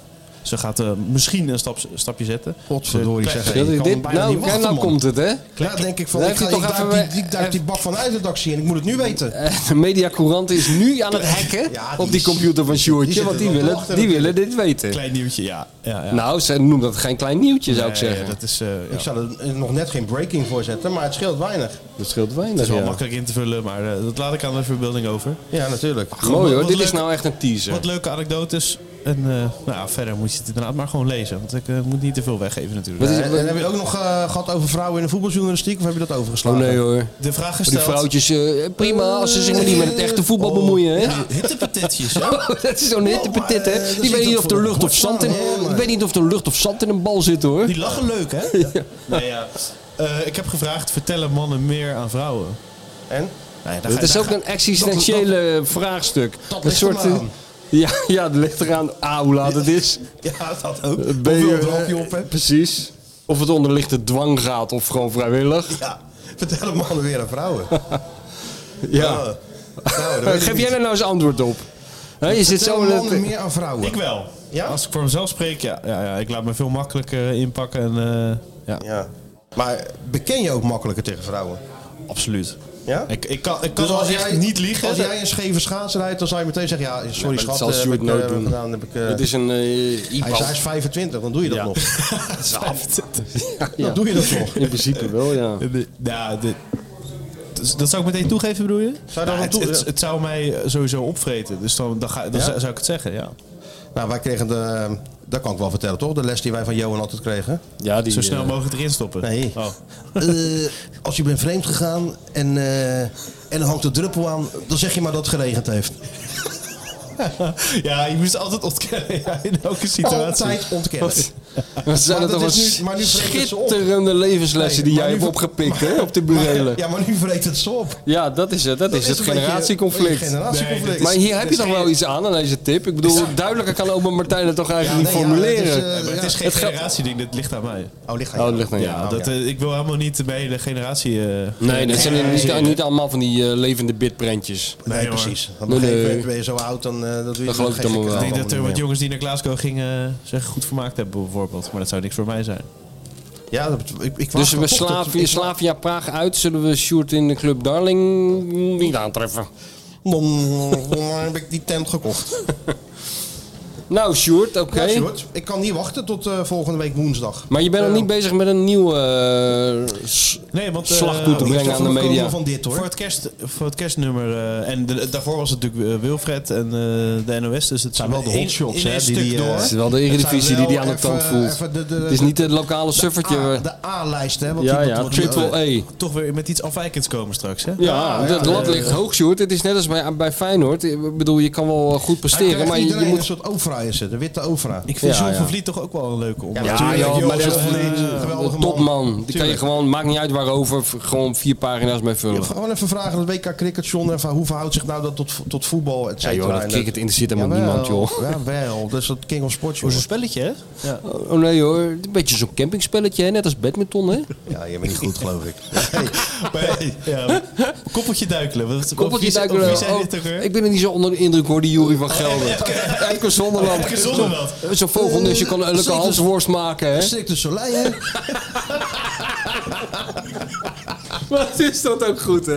Speaker 4: Ze gaat eh, misschien een stap, stapje zetten.
Speaker 2: Potverdorie
Speaker 4: Ze-
Speaker 2: zeg.
Speaker 3: Dat is
Speaker 2: Ik kan
Speaker 3: dit,
Speaker 2: bijna
Speaker 3: nou,
Speaker 2: niet wachten,
Speaker 3: kijk, nou
Speaker 2: man.
Speaker 3: komt het, hè?
Speaker 2: Ja, denk ik van,
Speaker 3: Dan
Speaker 2: ik,
Speaker 3: heeft hij
Speaker 2: ga, ik
Speaker 3: toch
Speaker 2: duik,
Speaker 3: even
Speaker 2: die,
Speaker 3: weer-
Speaker 2: ik duik die bak van uit de taxi en ik moet het nu weten.
Speaker 3: Eh, De mediacourant is nu aan het hacken
Speaker 2: Ja, die
Speaker 3: op die
Speaker 2: is-
Speaker 3: computer van Sjoerdje,
Speaker 2: die zit
Speaker 3: want die
Speaker 2: er nog
Speaker 3: willen,
Speaker 2: achter
Speaker 3: die willen
Speaker 2: natuurlijk.
Speaker 3: dit weten.
Speaker 4: Klein nieuwtje, ja. ja, ja.
Speaker 3: Nou, ze noemen dat geen klein nieuwtje, zou ik
Speaker 4: Nee,
Speaker 3: zeggen.
Speaker 4: dat is, eh, ja.
Speaker 2: Ik zou er nog net geen breaking voor zetten, maar het scheelt weinig.
Speaker 3: Dat scheelt
Speaker 4: Het
Speaker 3: weinig,
Speaker 4: is wel
Speaker 3: ja.
Speaker 4: makkelijk in te vullen, maar eh, dat laat ik aan de verbeelding over.
Speaker 2: Ja, natuurlijk.
Speaker 3: Mooi hoor,
Speaker 4: Wat
Speaker 3: dit is
Speaker 4: leuk.
Speaker 3: nou echt een teaser.
Speaker 4: Wat leuke anekdotes. En eh, nou, ja, verder moet je het inderdaad maar gewoon lezen. Want ik eh, moet niet te veel weggeven natuurlijk.
Speaker 3: Wat is-
Speaker 2: En, en heb je ook nog eh, gehad over vrouwen in de voetbaljournalistiek? Of heb je dat
Speaker 3: Oh
Speaker 2: overgeslagen?
Speaker 3: nee hoor.
Speaker 4: De vraag
Speaker 3: Die
Speaker 4: gesteld. Oh,
Speaker 3: vrouwtjes, eh,
Speaker 2: Oh.
Speaker 3: prima als ze zich maar niet met het echte voetbal bemoeien. Hè?
Speaker 4: Hittepatetjes, hè?
Speaker 3: Oh, dat is zo'n hittepetit,
Speaker 2: eh,
Speaker 3: hè?
Speaker 2: dat
Speaker 3: Die
Speaker 2: zit
Speaker 3: weet niet
Speaker 2: ook
Speaker 3: of er
Speaker 2: voor
Speaker 3: lucht
Speaker 2: de
Speaker 3: of zand in...
Speaker 2: borstbaan, hè,
Speaker 3: Ik
Speaker 2: maar-
Speaker 3: weet niet of er lucht of zand in een bal zit, hoor.
Speaker 4: Die lachen leuk, hè? Nee, ja. Eh, ik heb gevraagd, vertellen mannen meer aan vrouwen?
Speaker 2: En?
Speaker 4: Nee, daar
Speaker 3: Dat
Speaker 4: ga-
Speaker 3: is
Speaker 4: daar
Speaker 3: ook
Speaker 4: ga-
Speaker 3: een existentiële vraagstuk.
Speaker 2: Dat
Speaker 3: Een
Speaker 2: ligt er
Speaker 3: soort... eh,
Speaker 2: maar aan.
Speaker 3: Ja, ja, dat ligt eraan A, hoe laat het is.
Speaker 2: Ja, dat ook.
Speaker 3: B,
Speaker 2: Hoeveel
Speaker 3: eh,
Speaker 2: droog je op hebt.
Speaker 3: Precies. Of het onder lichte dwang gaat of gewoon vrijwillig.
Speaker 2: Ja, vertellen mannen weer aan vrouwen.
Speaker 3: Ja.
Speaker 2: Eh, nou, dat weet ik
Speaker 3: Geef
Speaker 2: niet.
Speaker 3: jij daar nou eens antwoord op? Hè, je zit zo...
Speaker 2: Vertellen
Speaker 3: in het-
Speaker 2: mannen meer aan vrouwen.
Speaker 4: Ik wel.
Speaker 2: Ja?
Speaker 4: Als ik voor mezelf spreek, ja. Ja, ja. Ik laat me veel makkelijker inpakken en... eh, ja.
Speaker 2: Ja. Maar beken je ook makkelijker tegen vrouwen?
Speaker 4: Absoluut.
Speaker 2: Ja? Dus
Speaker 4: Ik, ik kan, ik kan wel echt
Speaker 2: jij-
Speaker 4: niet liegen.
Speaker 2: Als jij een scheve schaats rijdt, dan zou je meteen zeggen... Ja, sorry
Speaker 3: dat
Speaker 2: schat,
Speaker 3: zal
Speaker 2: eh, heb
Speaker 3: Sjoerd
Speaker 2: ik, eh,
Speaker 3: nooit doen.
Speaker 2: gedaan, heb ik, eh,
Speaker 3: Het is een... eh,
Speaker 2: hij, is, hij is
Speaker 3: e-bal.
Speaker 2: 25, dan doe je dat
Speaker 4: Ja.
Speaker 2: nog.
Speaker 3: Ja.
Speaker 2: Dan doe je dat nog.
Speaker 3: In principe wel, ja.
Speaker 4: De- ja, de- dus dat zou ik meteen toegeven, bedoel je? Nou,
Speaker 2: Zou je dat wel
Speaker 4: het,
Speaker 2: toe-
Speaker 4: het, het zou mij eh, sowieso opvreten. Dus dan, dan, ga, dan
Speaker 2: Ja?
Speaker 4: zou- zou ik het zeggen, ja.
Speaker 2: Nou, wij kregen de... Dat kan ik wel vertellen, toch? De les die wij van Johan altijd kregen.
Speaker 3: ja die,
Speaker 4: Zo snel
Speaker 3: eh,
Speaker 4: mogelijk erin stoppen.
Speaker 2: Nee.
Speaker 4: Oh.
Speaker 2: Eh, als je bent vreemd gegaan en, eh, en dan hangt de druppel aan, dan zeg je maar dat het geregend heeft.
Speaker 4: ja, je moest het altijd ontkennen ja, in elke situatie.
Speaker 2: Altijd ontkennen.
Speaker 3: Dat zijn
Speaker 2: Maar
Speaker 3: er toch
Speaker 2: dat
Speaker 3: wel
Speaker 2: is nu- maar nu vreten ze op.
Speaker 3: schitterende levenslessen
Speaker 2: Nee,
Speaker 3: die
Speaker 2: maar
Speaker 3: jij
Speaker 2: nu
Speaker 3: hebt
Speaker 2: ver-
Speaker 3: opgepikt hè, op de burelen. Ja,
Speaker 2: Ja, maar nu vreet het ze op.
Speaker 3: dat is het. Dat, is het
Speaker 2: een beetje-
Speaker 3: generatieconflict.
Speaker 2: een generatieconflict.
Speaker 4: Nee, dat is-
Speaker 3: maar hier heb je
Speaker 4: is
Speaker 3: toch
Speaker 4: geen-
Speaker 3: wel iets aan, aan deze tip? Ik bedoel, duidelijker kan Open Martijn het toch eigenlijk
Speaker 2: Ja,
Speaker 3: niet
Speaker 2: nee, ja,
Speaker 3: formuleren?
Speaker 2: dat is, eh,
Speaker 4: Maar het is geen
Speaker 3: Het geldt-
Speaker 4: generatieding, dat ligt aan mij.
Speaker 2: Oh, ligt aan
Speaker 3: oh,
Speaker 2: jou.
Speaker 3: dat ligt aan
Speaker 4: Ja,
Speaker 3: jou.
Speaker 4: dat, eh, ik wil helemaal niet mijn hele generatie... eh,
Speaker 3: Nee, dat zijn niet,
Speaker 4: generaliseren.
Speaker 3: niet allemaal van die eh, levende bitprentjes.
Speaker 2: Nee,
Speaker 4: Nee, hoor.
Speaker 2: precies. Dan
Speaker 3: Nee, nee.
Speaker 2: ben je- ben je zo oud, dan eh, dat doe je
Speaker 3: Dat geloof ik
Speaker 2: geen
Speaker 3: allemaal
Speaker 2: gekke
Speaker 3: wel.
Speaker 4: Ik denk
Speaker 2: dingen
Speaker 4: dat er
Speaker 2: meer.
Speaker 4: wat jongens die naar Glasgow gingen eh, zeggen goed vermaakt hebben bijvoorbeeld. Maar dat zou niks voor mij zijn.
Speaker 2: Ja, dat, ik, ik wacht
Speaker 3: Dus we
Speaker 2: dan toch tot-
Speaker 3: Slavia,
Speaker 2: ik-
Speaker 3: Slavia Praag uit, zullen we Sjoerd in de Club Darling niet aantreffen.
Speaker 2: Dan dan heb ik die tent gekocht.
Speaker 3: Nou Sjoerd, oké.
Speaker 2: Ja, Sjoerd, ik kan niet wachten tot eh, volgende week woensdag.
Speaker 3: Maar je bent nog
Speaker 2: Eh,
Speaker 3: niet bezig met een nieuwe eh, s-
Speaker 4: Nee, want, eh,
Speaker 3: slag toe te
Speaker 4: niet
Speaker 3: brengen aan de
Speaker 2: voorkomen
Speaker 3: media.
Speaker 2: van dit hoor.
Speaker 4: Voor het, kerst, voor het kerstnummer. eh, en de- daarvoor was het natuurlijk eh, Wilfred en eh, de NOS. Dus het zijn
Speaker 2: wel de
Speaker 4: één-
Speaker 2: hotshots,
Speaker 4: in
Speaker 2: hè,
Speaker 4: één
Speaker 2: die-
Speaker 4: stuk
Speaker 2: die, eh,
Speaker 4: door.
Speaker 3: Het is wel de Eredivisie die die aan de
Speaker 2: Even- eh,
Speaker 3: tand voelt.
Speaker 2: even de- de-
Speaker 3: het is niet het lokale suffertje.
Speaker 2: A-
Speaker 3: we-
Speaker 2: de A-lijst, hè? Wat
Speaker 3: ja,
Speaker 2: die-
Speaker 3: ja,
Speaker 2: wat die-
Speaker 3: triple E. A.
Speaker 2: eh,
Speaker 3: Ja,
Speaker 4: Toch weer met iets afwijkends komen straks. Hè?
Speaker 3: het lat ligt hoog, Sjoerd. Het is net als bij, bij Feyenoord. Ik bedoel, je kan wel goed
Speaker 2: Hij
Speaker 3: presteren,
Speaker 2: krijgt
Speaker 3: maar je, je
Speaker 2: iedereen
Speaker 3: moet...
Speaker 2: een soort overal is het, de witte overal.
Speaker 4: Ik vind
Speaker 3: Ja,
Speaker 4: John
Speaker 3: ja.
Speaker 4: van Vliet toch ook wel een leuke om.
Speaker 2: Ja,
Speaker 3: Ja, joh,
Speaker 2: Tuurlijk,
Speaker 3: maar
Speaker 2: joh,
Speaker 3: dat is
Speaker 2: zo'n
Speaker 3: een
Speaker 2: vlieg, eh, geweldige man.
Speaker 3: topman. Die kan je
Speaker 2: Tuurlijk.
Speaker 3: gewoon, maakt niet uit waarover, v- gewoon vier pagina's mee
Speaker 2: Ja,
Speaker 3: vullen.
Speaker 2: Gewoon even vragen aan het WK Cricket, John. Even, hoe verhoudt zich nou dat tot, vo- tot voetbal, et
Speaker 3: Ja,
Speaker 2: cetera.
Speaker 3: joh, dat
Speaker 2: En eh,
Speaker 3: cricket interesseert helemaal
Speaker 2: Jawel,
Speaker 3: niemand, joh.
Speaker 2: Jawel, dat is dat King of Sports, joh.
Speaker 4: Voor zo'n spelletje, hè? Ja.
Speaker 3: Oh nee, hoor. Een beetje zo'n campingspelletje, hè? net als badminton, hè?
Speaker 2: Ja, je bent niet goed, geloof ik.
Speaker 4: ja. Koppeltje duikelen. Wat- of
Speaker 3: Koppeltje
Speaker 4: wie-
Speaker 3: duiken.
Speaker 4: of Wie zei
Speaker 3: oh,
Speaker 4: dit ook weer?
Speaker 3: ik ben er niet zo onder de indruk hoor, die Jury van Gelder. Elke Zonderland.
Speaker 4: Epke Zonderland.
Speaker 3: Zo'n vogelnusje kan een leuke
Speaker 2: Zeker.
Speaker 3: halsworst maken, hè?
Speaker 2: Strikt de Soleil, hè?
Speaker 3: Wat is dat ook goed, hè?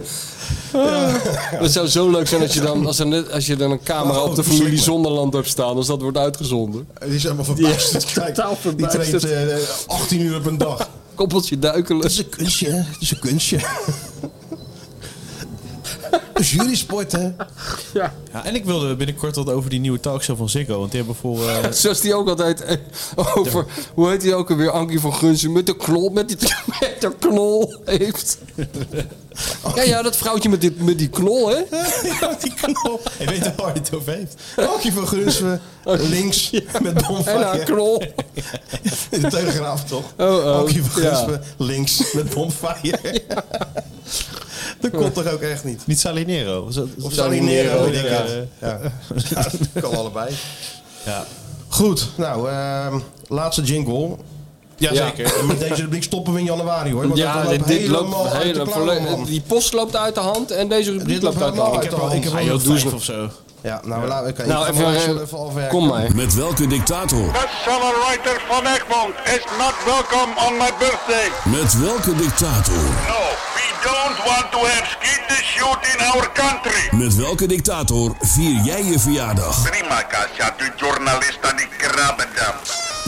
Speaker 3: Ah, Het zou zo leuk zijn als je dan, als er net, als je dan een camera op de familie Zonderland hebt staan. Als dat wordt uitgezonden.
Speaker 2: Die is helemaal verbaasd.
Speaker 3: Ja,
Speaker 2: Kijk,
Speaker 3: totaal
Speaker 2: die
Speaker 3: verbaasd.
Speaker 2: traint eh, 18 uur op een dag.
Speaker 3: Koppeltje duikelen.
Speaker 2: Dat is een kunstje, hè? dat is een kunstje. Een jurysport, hè?
Speaker 3: Ja.
Speaker 4: Ja, en ik wilde binnenkort wat over die nieuwe talkshow van Ziggo. Want die hebben voor... eh,
Speaker 3: Zoals die ook altijd eh, over, hoe heet die ook alweer, Ankie van Gunsen, met de knol, met die, met de knol heeft. Ja, ja, dat vrouwtje met die, met die knol, hè?
Speaker 4: die knol. Ik weet waar hij het over heeft.
Speaker 2: Hakje van Grunsven, eh, links met bonfire.
Speaker 3: En haar knol.
Speaker 2: In de Telegraaf, toch?
Speaker 3: Oh, oh,
Speaker 2: Hakje van
Speaker 3: ja.
Speaker 2: Grunsven, eh, links met bonfire. Dat komt toch ook echt niet?
Speaker 4: Niet Salinero. Was dat-
Speaker 2: Of Salinero,
Speaker 4: Ja,
Speaker 2: denk ik.
Speaker 4: ja,
Speaker 2: Ja,
Speaker 4: ja.
Speaker 2: dat kan allebei.
Speaker 4: Ja.
Speaker 2: Goed, nou, ehm, laatste jingle.
Speaker 4: Jazeker.
Speaker 2: En Met deze rubriek stoppen we in januari, hoor. Want
Speaker 3: Ja,
Speaker 2: dat
Speaker 3: dit, dit loopt
Speaker 2: helemaal uit de
Speaker 3: hele,
Speaker 2: klauwen, man.
Speaker 3: volle- die post loopt uit de hand en deze rubriek
Speaker 2: Dit
Speaker 3: loopt uit de hand.
Speaker 2: Ik heb al, ik heb al
Speaker 3: Ah, joh,
Speaker 2: nog
Speaker 3: doe eens
Speaker 2: vijf
Speaker 3: nog.
Speaker 2: of zo. Ja, nou, laat, oké,
Speaker 3: Nou,
Speaker 2: ik
Speaker 3: even,
Speaker 2: ga maar
Speaker 3: eh,
Speaker 2: even, even afwerken.
Speaker 3: kom maar.
Speaker 8: Met welke dictator?
Speaker 11: Accelerator van Egmond is not welcome on my birthday.
Speaker 8: Met welke dictator?
Speaker 11: No, we don't want to have skeet shoot in our country.
Speaker 8: Met welke dictator vier jij je verjaardag?
Speaker 11: Prima, Kasia, de journalist aan die krabbedam.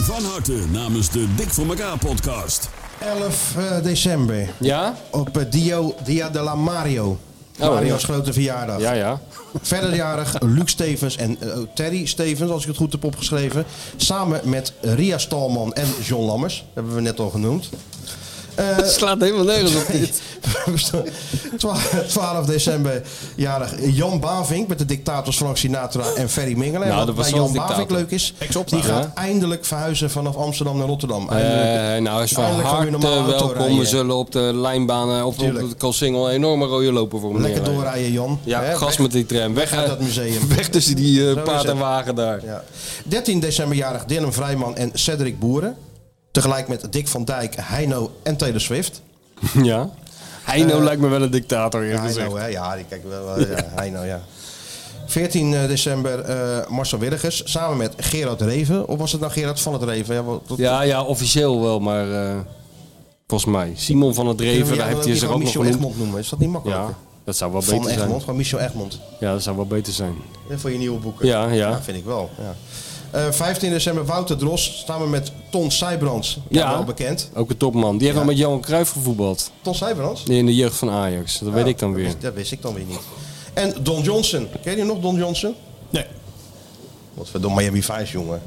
Speaker 8: Van harte namens de Dik voor elkaar podcast.
Speaker 2: 11 eh, december.
Speaker 3: Ja?
Speaker 2: Op eh, Dio, Dia de la Mario.
Speaker 3: Oh,
Speaker 2: Mario's
Speaker 3: ja.
Speaker 2: grote verjaardag.
Speaker 3: Ja, ja.
Speaker 2: Verderjarig Luc Stevens en eh, Terry Stevens, als ik het goed heb opgeschreven. Samen met Ria Stalman en John Lammers. hebben we net al genoemd. Eh,
Speaker 3: Het slaat helemaal nergens op dit.
Speaker 2: 12, december jarig Jan Bavink met de dictators Frank Sinatra en Ferry Mingelen.
Speaker 3: Nou,
Speaker 2: En
Speaker 3: dat
Speaker 2: wat
Speaker 3: was
Speaker 2: bij
Speaker 3: wel
Speaker 2: Jan
Speaker 3: een dictator.
Speaker 2: Bavink leuk is, die
Speaker 3: Ja.
Speaker 2: gaat eindelijk verhuizen vanaf Amsterdam naar Rotterdam.
Speaker 3: Eh, nou, hij is van
Speaker 2: Eindelijk gaan we
Speaker 3: harte
Speaker 2: weer normaal auto
Speaker 3: welkom. We
Speaker 2: rijden.
Speaker 3: zullen op de lijnbanen of op de
Speaker 2: Tuurlijk.
Speaker 3: Kalsingel een enorme rode loper voor hem
Speaker 2: Lekker
Speaker 3: neerleggen.
Speaker 2: doorrijden, Jan.
Speaker 3: Ja,
Speaker 2: Hè,
Speaker 3: gas
Speaker 2: weg-
Speaker 3: met die tram. Weg,
Speaker 2: uit
Speaker 3: eh,
Speaker 2: dat museum.
Speaker 3: Weg tussen die eh,
Speaker 2: Zo is
Speaker 3: paard en
Speaker 2: het.
Speaker 3: wagen daar.
Speaker 2: Ja. 13 decemberjarig Dylan Vrijman en Cedric Boeren. Tegelijk met Dick van Dijk, Heino en Taylor Swift.
Speaker 3: Ja. Heino
Speaker 2: Eh,
Speaker 3: lijkt me wel een dictator eerlijk gezegd.
Speaker 2: Heino, hè? Ja, die kijk wel. wel, Ja, Heino, ja. 14 december eh, Marcel Willigers samen met Gerard Reven. Of was het nou Gerard van het Reven? Ja, wat, wat-
Speaker 3: Ja, ja, officieel wel, maar eh, volgens mij. Simon van het Reven,
Speaker 2: Ja,
Speaker 3: daar
Speaker 2: dan
Speaker 3: heeft
Speaker 2: ook
Speaker 3: hij
Speaker 2: niet
Speaker 3: zich
Speaker 2: gewoon
Speaker 3: ook nog
Speaker 2: Michel
Speaker 3: genoemd.
Speaker 2: Egmond noemen. Is dat niet makkelijker?
Speaker 3: Ja, dat zou wel
Speaker 2: van
Speaker 3: beter
Speaker 2: Egmond,
Speaker 3: zijn.
Speaker 2: van Michel Egmond.
Speaker 3: Ja, dat zou wel beter zijn.
Speaker 2: Hè, Voor je nieuwe boeken.
Speaker 3: Ja, ja.
Speaker 2: vind ik wel. Ja. Eh, 15 december Wouter Dros samen met Ton Sijbrands. Ja,
Speaker 3: Ja.
Speaker 2: wel bekend.
Speaker 3: Ook een topman. Die heeft al met Johan Cruijff gevoetbald.
Speaker 2: Ton Sijbrands?
Speaker 3: In de jeugd van Ajax. Dat weet
Speaker 2: Ah,
Speaker 3: ik dan weer.
Speaker 2: Dat wist, dat wist ik dan weer niet. En Don Johnson. Ken je nog Don Johnson?
Speaker 4: Nee.
Speaker 2: Wat voor Don Miami Vice, jongen.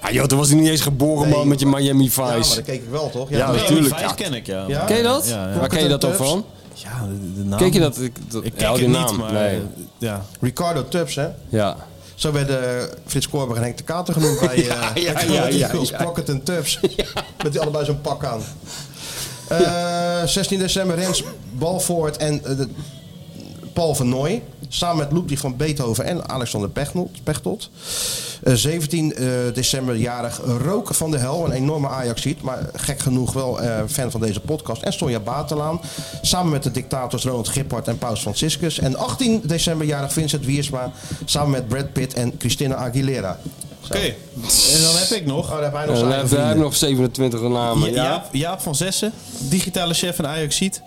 Speaker 3: Ah joh, toen was hij niet eens geboren man
Speaker 2: Nee,
Speaker 3: met je Miami
Speaker 2: Ja, maar
Speaker 3: Vice.
Speaker 2: dat keek ik wel, toch?
Speaker 3: Ja,
Speaker 2: Miami
Speaker 3: natuurlijk,
Speaker 2: Vice
Speaker 3: ja.
Speaker 2: ken ik, ja.
Speaker 3: Ken je dat?
Speaker 4: Ja, ja.
Speaker 3: Waar ken je dat dan
Speaker 2: Tubbs.
Speaker 3: van?
Speaker 4: Ja, de, de naam.
Speaker 3: Kijk je dat? Ik, dat
Speaker 4: Ik
Speaker 3: ja,
Speaker 4: kijk
Speaker 3: die
Speaker 4: het
Speaker 3: naam.
Speaker 4: niet, maar...
Speaker 3: nee.
Speaker 4: eh, Ja.
Speaker 2: Ricardo Tubbs, hè?
Speaker 3: Ja.
Speaker 2: Zo werden Frits Korber en Henk de Kater genoemd bij eh
Speaker 3: Ja,
Speaker 2: ja,
Speaker 3: ja,
Speaker 2: ja,
Speaker 3: ja, ja, ja.
Speaker 2: Pocket en Tubbs. Met die allebei zo'n pak aan. Eh, 16 december Rens Balvoort en eh, de- Paul van Nooy. Samen met Ludwig van Beethoven en Alexander Pechtold. Pechtold. Eh, 17 eh, december jarig Roken van de Hel. Een enorme Ajax-ziet, maar gek genoeg wel eh, fan van deze podcast. En Sonja Batelaan. Samen met de dictators Ronald Gippard en Paus Franciscus. En 18 december jarig Vincent Wiersma. Samen met Brad Pitt en Christina Aguilera.
Speaker 4: Oké. En dan heb ik nog...
Speaker 2: Oh, daar heb hij nog
Speaker 3: En
Speaker 2: zijn eigen
Speaker 3: hij heeft- hij heeft
Speaker 2: vrienden.
Speaker 3: nog 27 namen.
Speaker 4: Ja-
Speaker 3: Ja.
Speaker 4: Jaap, Jaap van Zessen, digitale chef van Ajax Ziet.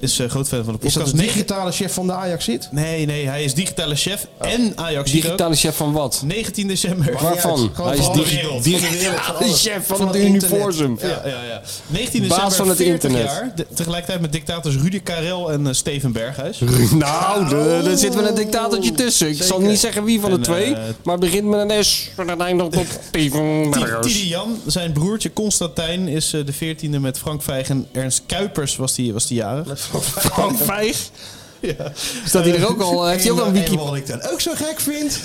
Speaker 4: Is eh, groot fan van de
Speaker 2: Is
Speaker 4: podcast.
Speaker 2: dat de digitale chef van de Ajax-ziet?
Speaker 4: Nee, nee, hij is digitale chef en Ajax Ziet.
Speaker 3: Oh. Digitale chef van wat?
Speaker 4: 19 december.
Speaker 2: Maakt niet
Speaker 3: Waarvan?
Speaker 2: uit. Gewoon
Speaker 3: Hij is
Speaker 2: van alle
Speaker 3: digi-
Speaker 2: wereld.
Speaker 3: digi-
Speaker 2: Van de wereld, van
Speaker 3: de
Speaker 2: alle-
Speaker 3: chef van het
Speaker 2: internet.
Speaker 3: universum.
Speaker 2: Ja.
Speaker 4: Ja, ja, ja. 19 december,
Speaker 3: Baas van het
Speaker 4: 40
Speaker 3: internet.
Speaker 4: jaar. De- tegelijkertijd met dictators Rudy Karel en eh, Steven Berghuis.
Speaker 3: Nou, de- er zit wel een dictatortje tussen. Ik zal niet zeggen wie van de
Speaker 4: En,
Speaker 3: twee,
Speaker 4: eh,
Speaker 3: maar het begint met een S en het eindigt op Steven
Speaker 4: Ti-
Speaker 3: Berghuis.
Speaker 4: Tidi Jan, zijn broertje Constantijn, is eh, de 14e met Frank Vijg en Ernst Kuipers was die, was die jarig.
Speaker 3: Frank Vijg.
Speaker 4: Ja.
Speaker 3: Staat hij er ook al? eh, Heeft hij ook al een wiki?
Speaker 2: En wat ik dan ook zo gek vind.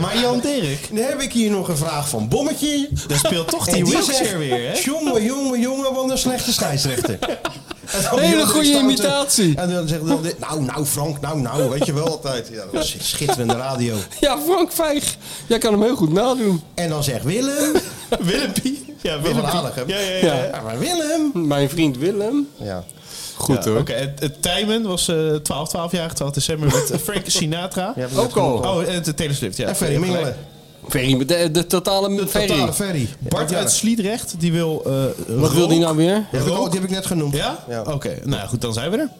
Speaker 4: Maar Jan Dirk,
Speaker 2: Dan heb ik hier nog een vraag van Bommetje.
Speaker 4: daar speelt toch
Speaker 2: En
Speaker 4: die
Speaker 2: zegt,
Speaker 4: wheelchair weer, hè?
Speaker 2: Jongen, jongen, jongen, wat een slechte scheidsrechter. En dan
Speaker 3: Hele
Speaker 2: die
Speaker 3: goede
Speaker 2: stoute-
Speaker 3: imitatie.
Speaker 2: eh, En dan zegt hij, nou, nou Frank, nou, nou, weet je wel altijd. Ja, dat is schitterende radio.
Speaker 3: Ja, Frank Vijg. Jij kan hem heel goed nadoen.
Speaker 2: En dan zegt Willem,
Speaker 4: Willempie. Ja,
Speaker 2: Willem
Speaker 4: Willempie.
Speaker 2: Aardigem.
Speaker 4: Ja, ja, ja.
Speaker 3: Ja.
Speaker 4: ja.
Speaker 2: ja, maar Willem.
Speaker 3: Mijn vriend Willem.
Speaker 2: Ja.
Speaker 3: Goed
Speaker 4: Ja,
Speaker 3: hoor.
Speaker 4: Oké, het, het Tijmen was eh 12, 12 jaar, 12 december met eh, Frank Sinatra.
Speaker 2: Ja, dat is
Speaker 3: Ook al.
Speaker 4: Oh, en de Taylor Swift, ja.
Speaker 2: En Ferry Mingelen.
Speaker 3: Ferry, met de, de totale ferry.
Speaker 2: totale ferry.
Speaker 4: Bart
Speaker 2: Ja.
Speaker 4: uit Sliedrecht, die wil. eh,
Speaker 3: Wat wil die nou weer?
Speaker 2: Die heb ik, al- die heb ik net genoemd.
Speaker 4: Ja? Oké, nou goed, dan zijn we er.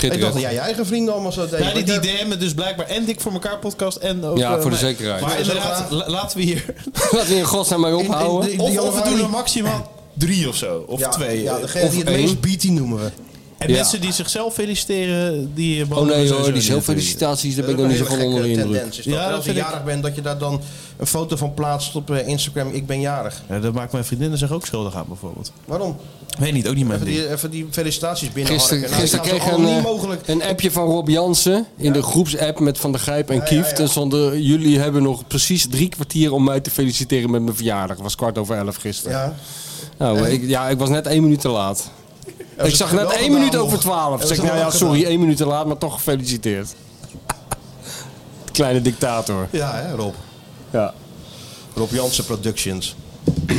Speaker 2: Ik dacht dat jij je eigen vrienden allemaal zo deed.
Speaker 4: Ja, die, die DM'en dus blijkbaar en Dik voor elkaar podcast en ook...
Speaker 3: Ja,
Speaker 4: eh,
Speaker 3: voor de
Speaker 4: mij.
Speaker 3: zekerheid.
Speaker 4: Maar
Speaker 3: Ja,
Speaker 4: inderdaad, la- laten we hier...
Speaker 3: Laten we in godsnaam maar ophouden.
Speaker 4: of, of we doen er maximaal drie of zo. Of
Speaker 2: Ja,
Speaker 4: twee.
Speaker 2: ja, degene
Speaker 4: Of
Speaker 2: die het
Speaker 4: één.
Speaker 2: meest biedt, die noemen we.
Speaker 4: En
Speaker 2: Ja.
Speaker 4: mensen die zichzelf feliciteren, die...
Speaker 3: Oh nee
Speaker 4: sowieso
Speaker 3: hoor, die
Speaker 4: niet
Speaker 3: zelffelicitaties, daar ben ik nog
Speaker 2: Dat
Speaker 3: niet
Speaker 2: is
Speaker 3: zo
Speaker 2: een
Speaker 3: van
Speaker 2: hele
Speaker 3: onder de
Speaker 2: gekke
Speaker 3: indruk.
Speaker 2: tendens is dat.
Speaker 4: Ja,
Speaker 2: En
Speaker 4: dat
Speaker 2: als je
Speaker 4: vind ik-
Speaker 2: jarig bent, dat je daar dan een foto van plaatst op eh, Instagram. Ik ben jarig.
Speaker 4: Ja, dat maakt mijn vriendinnen zich ook schuldig aan, bijvoorbeeld.
Speaker 2: Waarom?
Speaker 4: Weet niet, ook niet mijn
Speaker 2: Even
Speaker 4: ding.
Speaker 2: die, even die felicitaties binnenharken.
Speaker 3: Gisteren,
Speaker 2: Nou,
Speaker 3: gisteren
Speaker 2: dat is
Speaker 3: kreeg
Speaker 2: zo
Speaker 3: een,
Speaker 2: anoniem
Speaker 3: eh,
Speaker 2: mogelijk.
Speaker 3: een appje van Rob Jansen in de groepsapp met Van der Grijp en Kieft. En stonden, jullie hebben nog precies drie kwartier om mij te feliciteren met mijn verjaardag. Het was kwart over elf gisteren.
Speaker 2: Ja.
Speaker 3: Nou,
Speaker 2: En?
Speaker 3: ik, ja, ik was net één minuut te laat.
Speaker 2: ze
Speaker 3: ik zag
Speaker 2: het
Speaker 3: net
Speaker 2: wel
Speaker 3: één
Speaker 2: gedaan
Speaker 3: minuut
Speaker 2: nog?
Speaker 3: over twaalf.
Speaker 2: Hebben
Speaker 3: Zeg,
Speaker 2: ze het
Speaker 3: nou ja,
Speaker 2: wel gedaan?
Speaker 3: sorry, één minuut te laat, maar toch gefeliciteerd. Kleine dictator.
Speaker 2: Ja, hè, Rob.
Speaker 3: Ja.
Speaker 2: Rob Jansen Productions.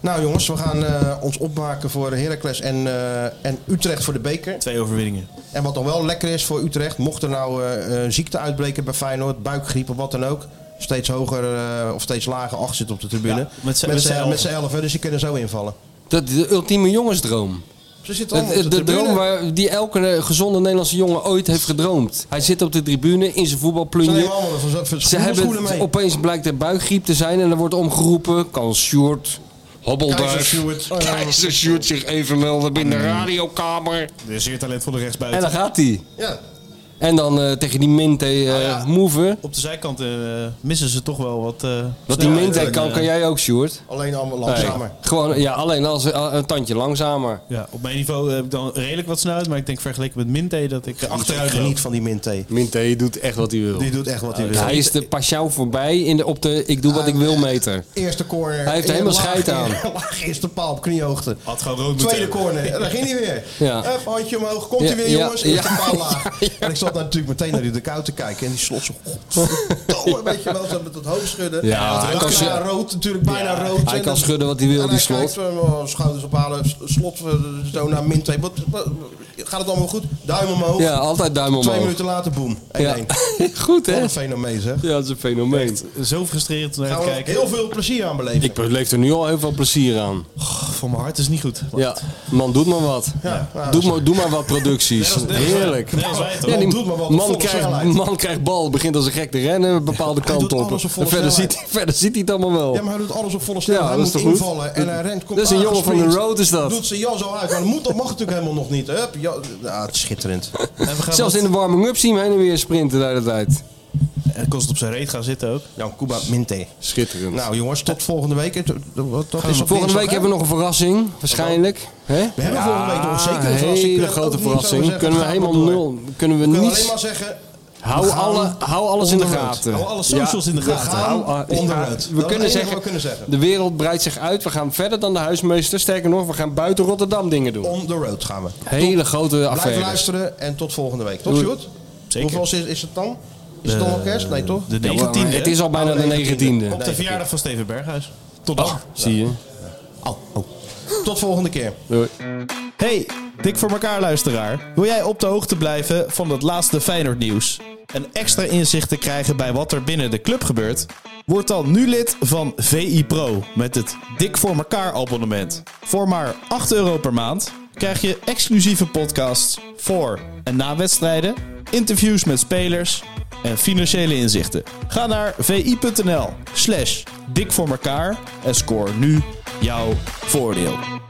Speaker 2: Nou jongens, we gaan eh, ons opmaken voor Heracles en, eh, en Utrecht voor de beker.
Speaker 4: Twee overwinningen.
Speaker 2: En wat dan wel lekker is voor Utrecht, mocht er nou eh, eh, ziekte uitbreken bij Feyenoord, buikgriep of wat dan ook. Steeds hoger eh, of steeds lager acht zit op de tribune.
Speaker 4: Ja, met z'n-
Speaker 2: met
Speaker 4: met z'n
Speaker 2: z'n
Speaker 4: elf.
Speaker 2: met z'n elf, hè, dus die kunnen zo invallen.
Speaker 3: Dat is de ultieme jongensdroom.
Speaker 2: Ze zitten
Speaker 3: De,
Speaker 2: allemaal op de,
Speaker 3: de, de
Speaker 2: tribune.
Speaker 3: droom waar die elke eh, gezonde Nederlandse jongen ooit heeft gedroomd. Hij zit op de tribune in zijn
Speaker 2: Ze
Speaker 3: voetbalplunje.
Speaker 2: nemen allemaal van zo'n- van
Speaker 3: Ze
Speaker 2: schoenen- schoenen
Speaker 3: hebben
Speaker 2: mee.
Speaker 3: opeens blijkt er buikgriep te zijn en er wordt omgeroepen. Kan Sjoerd,
Speaker 2: Keizer
Speaker 3: Hobbelduif,
Speaker 2: Sjoerd. Mm.
Speaker 3: Keizer Sjoerd zich even melden binnen de radiokamer.
Speaker 4: Dus zeer talentvolle rechtsbuiten.
Speaker 3: En dan gaat hij.
Speaker 2: Ja.
Speaker 3: En dan eh, tegen die Minte eh
Speaker 2: Ah,
Speaker 3: move.
Speaker 4: Op de zijkant eh, missen ze toch wel wat... eh,
Speaker 3: Wat die
Speaker 4: snelheid
Speaker 3: Minte
Speaker 4: en,
Speaker 3: kan,
Speaker 4: eh,
Speaker 3: kan jij ook, Sjoerd.
Speaker 2: Alleen allemaal langzamer.
Speaker 3: Nee. Gewoon, ja, alleen als eh, een tandje langzamer.
Speaker 4: Ja, op mijn niveau heb ik dan redelijk wat snuit, maar ik denk vergeleken met Minte dat ik
Speaker 2: Geniet-
Speaker 4: achteruit loop.
Speaker 2: Geniet van die minthee.
Speaker 3: Minte doet echt wat hij wil.
Speaker 2: Die doet echt wat hij wil.
Speaker 3: Hij is de Pashao voorbij in de, op de ik doe wat
Speaker 2: Ah,
Speaker 3: ik wil meter.
Speaker 2: Eerste corner.
Speaker 3: Hij heeft er helemaal
Speaker 2: Laag-
Speaker 3: scheid aan.
Speaker 2: Laag eerste paal op kniehoogte.
Speaker 4: Had gewoon rood moeten
Speaker 2: Tweede
Speaker 4: hebben.
Speaker 2: corner. Ja, daar ging hij weer.
Speaker 3: Ja.
Speaker 2: Even handje omhoog. Komt hij
Speaker 3: Ja,
Speaker 2: weer,
Speaker 3: ja,
Speaker 2: jongens.
Speaker 3: ja.
Speaker 2: Eerste paal laag. En ik zat daar natuurlijk meteen naar die de kou te kijken. En die slot zo... Godverdomme, weet je wel. Ze hebben het hoofd schudden.
Speaker 3: Ja, hij
Speaker 2: hij
Speaker 3: kan
Speaker 2: kan
Speaker 3: schu-
Speaker 2: rood. Natuurlijk bijna rood. En
Speaker 3: Hij kan
Speaker 2: dan-
Speaker 3: schudden wat hij wil,
Speaker 2: en
Speaker 3: die
Speaker 2: hij
Speaker 3: slot.
Speaker 2: kijkt, eh, schouders ophalen. s- Slot eh, zo naar min 2. Wat, wat- gaat het allemaal goed? Duim omhoog.
Speaker 3: Ja, altijd duim
Speaker 2: Twee
Speaker 3: omhoog.
Speaker 2: minuten later, boom. 1-1.
Speaker 3: Ja. Goed
Speaker 2: Wat
Speaker 3: hè?
Speaker 2: een fenomeen, zeg.
Speaker 3: Ja, dat is een fenomeen.
Speaker 4: Zo frustrerend om naar
Speaker 2: Gaan
Speaker 4: te
Speaker 2: we
Speaker 4: kijken.
Speaker 2: heel veel plezier aan beleven.
Speaker 3: Ik beleef er nu al heel veel plezier aan.
Speaker 4: Voor mijn hart is niet goed.
Speaker 3: Ja, man, doe maar wat. doe, maar, doe maar wat producties. Heerlijk.
Speaker 4: Nee, dat is wij toch?
Speaker 3: Ja, die
Speaker 2: Man doet maar wat,
Speaker 3: man,
Speaker 2: volle
Speaker 3: krijgt,
Speaker 2: snelheid.
Speaker 3: man krijgt bal, begint als een gek te rennen, een bepaalde kant
Speaker 2: doet
Speaker 3: op.
Speaker 2: alles op volle
Speaker 3: En Verder
Speaker 2: snelheid.
Speaker 3: ziet, hij- verder ziet hij het allemaal wel.
Speaker 2: Ja, maar hij doet alles op volle snelheid.
Speaker 3: Ja,
Speaker 2: hij
Speaker 3: dat
Speaker 2: moet
Speaker 3: is toch goed?
Speaker 2: invallen en hij rent. Komt
Speaker 3: Dat is een jongen van de
Speaker 2: aangesprint.
Speaker 3: road, is dat?
Speaker 2: Doet zijn jas zo uit, maar dat moet, dat mag natuurlijk helemaal nog niet. Hup, ja, ah, het is schitterend.
Speaker 4: En we gaan
Speaker 3: Zelfs in de warming-up zien we heen en weer sprinten de hele tijd.
Speaker 4: En kost op zijn reet gaan zitten ook.
Speaker 2: Jan Nou, Cuba Minte.
Speaker 3: Schitterend. Dus
Speaker 2: Nou jongens, tot volgende week. Het- het- wat- Dat is op
Speaker 3: Volgende
Speaker 2: dinsdag,
Speaker 3: week
Speaker 2: hè?
Speaker 3: hebben we nog een verrassing, waarschijnlijk. Hè?
Speaker 2: We hebben volgende week nog zeker een
Speaker 3: een
Speaker 2: verrassing. Kunnen
Speaker 3: hele
Speaker 2: we
Speaker 3: grote
Speaker 2: ook niet zo
Speaker 3: verrassing.
Speaker 2: zeggen.
Speaker 3: Kunnen we
Speaker 2: Gaat maar
Speaker 3: helemaal
Speaker 2: door.
Speaker 3: nul. Kunnen we
Speaker 2: We kunnen
Speaker 3: niet.
Speaker 2: alleen maar zeggen...
Speaker 3: Hou,
Speaker 2: we gaan
Speaker 3: alle, hou alles in de
Speaker 2: onderuit.
Speaker 3: gaten.
Speaker 4: Hou alle socials in de
Speaker 2: We
Speaker 4: gaten.
Speaker 2: gaan
Speaker 3: Hou- ah,
Speaker 2: onderuit.
Speaker 3: ja,
Speaker 2: eh, Dat is
Speaker 3: we,
Speaker 2: het
Speaker 3: kunnen
Speaker 2: enige
Speaker 3: zeggen,
Speaker 2: wat we kunnen zeggen.
Speaker 3: De wereld breidt zich uit. We gaan verder dan de huismeester. Sterker nog, we gaan buiten Rotterdam dingen doen.
Speaker 2: On the road gaan we.
Speaker 3: Hele grote
Speaker 2: Blijf
Speaker 3: affaires.
Speaker 2: luisteren en tot volgende week. Tot
Speaker 3: Doei.
Speaker 2: Sjoerd? Hoeveel is, is het dan? Is het dan al kerst? Nee toch? Oh,
Speaker 4: De
Speaker 3: Ja, maar
Speaker 4: 19e.
Speaker 3: het is al bijna de 19e.
Speaker 4: Op de verjaardag van Steven Berghuis. Tot dan.
Speaker 3: Oh, zie je.
Speaker 2: Oh, Tot volgende keer.
Speaker 3: Doei.
Speaker 4: Hey, dik voor elkaar luisteraar. Wil jij op de hoogte blijven van het laatste Feyenoord nieuws? En extra inzicht te krijgen bij wat er binnen de club gebeurt? Word dan nu lid van VI Pro met het Dik voor elkaar abonnement. Voor maar 8 euro per maand krijg je exclusieve podcasts voor en na wedstrijden, interviews met spelers en financiële inzichten. Ga naar vi.nl slash dik voor elkaar en scoor nu jouw voordeel.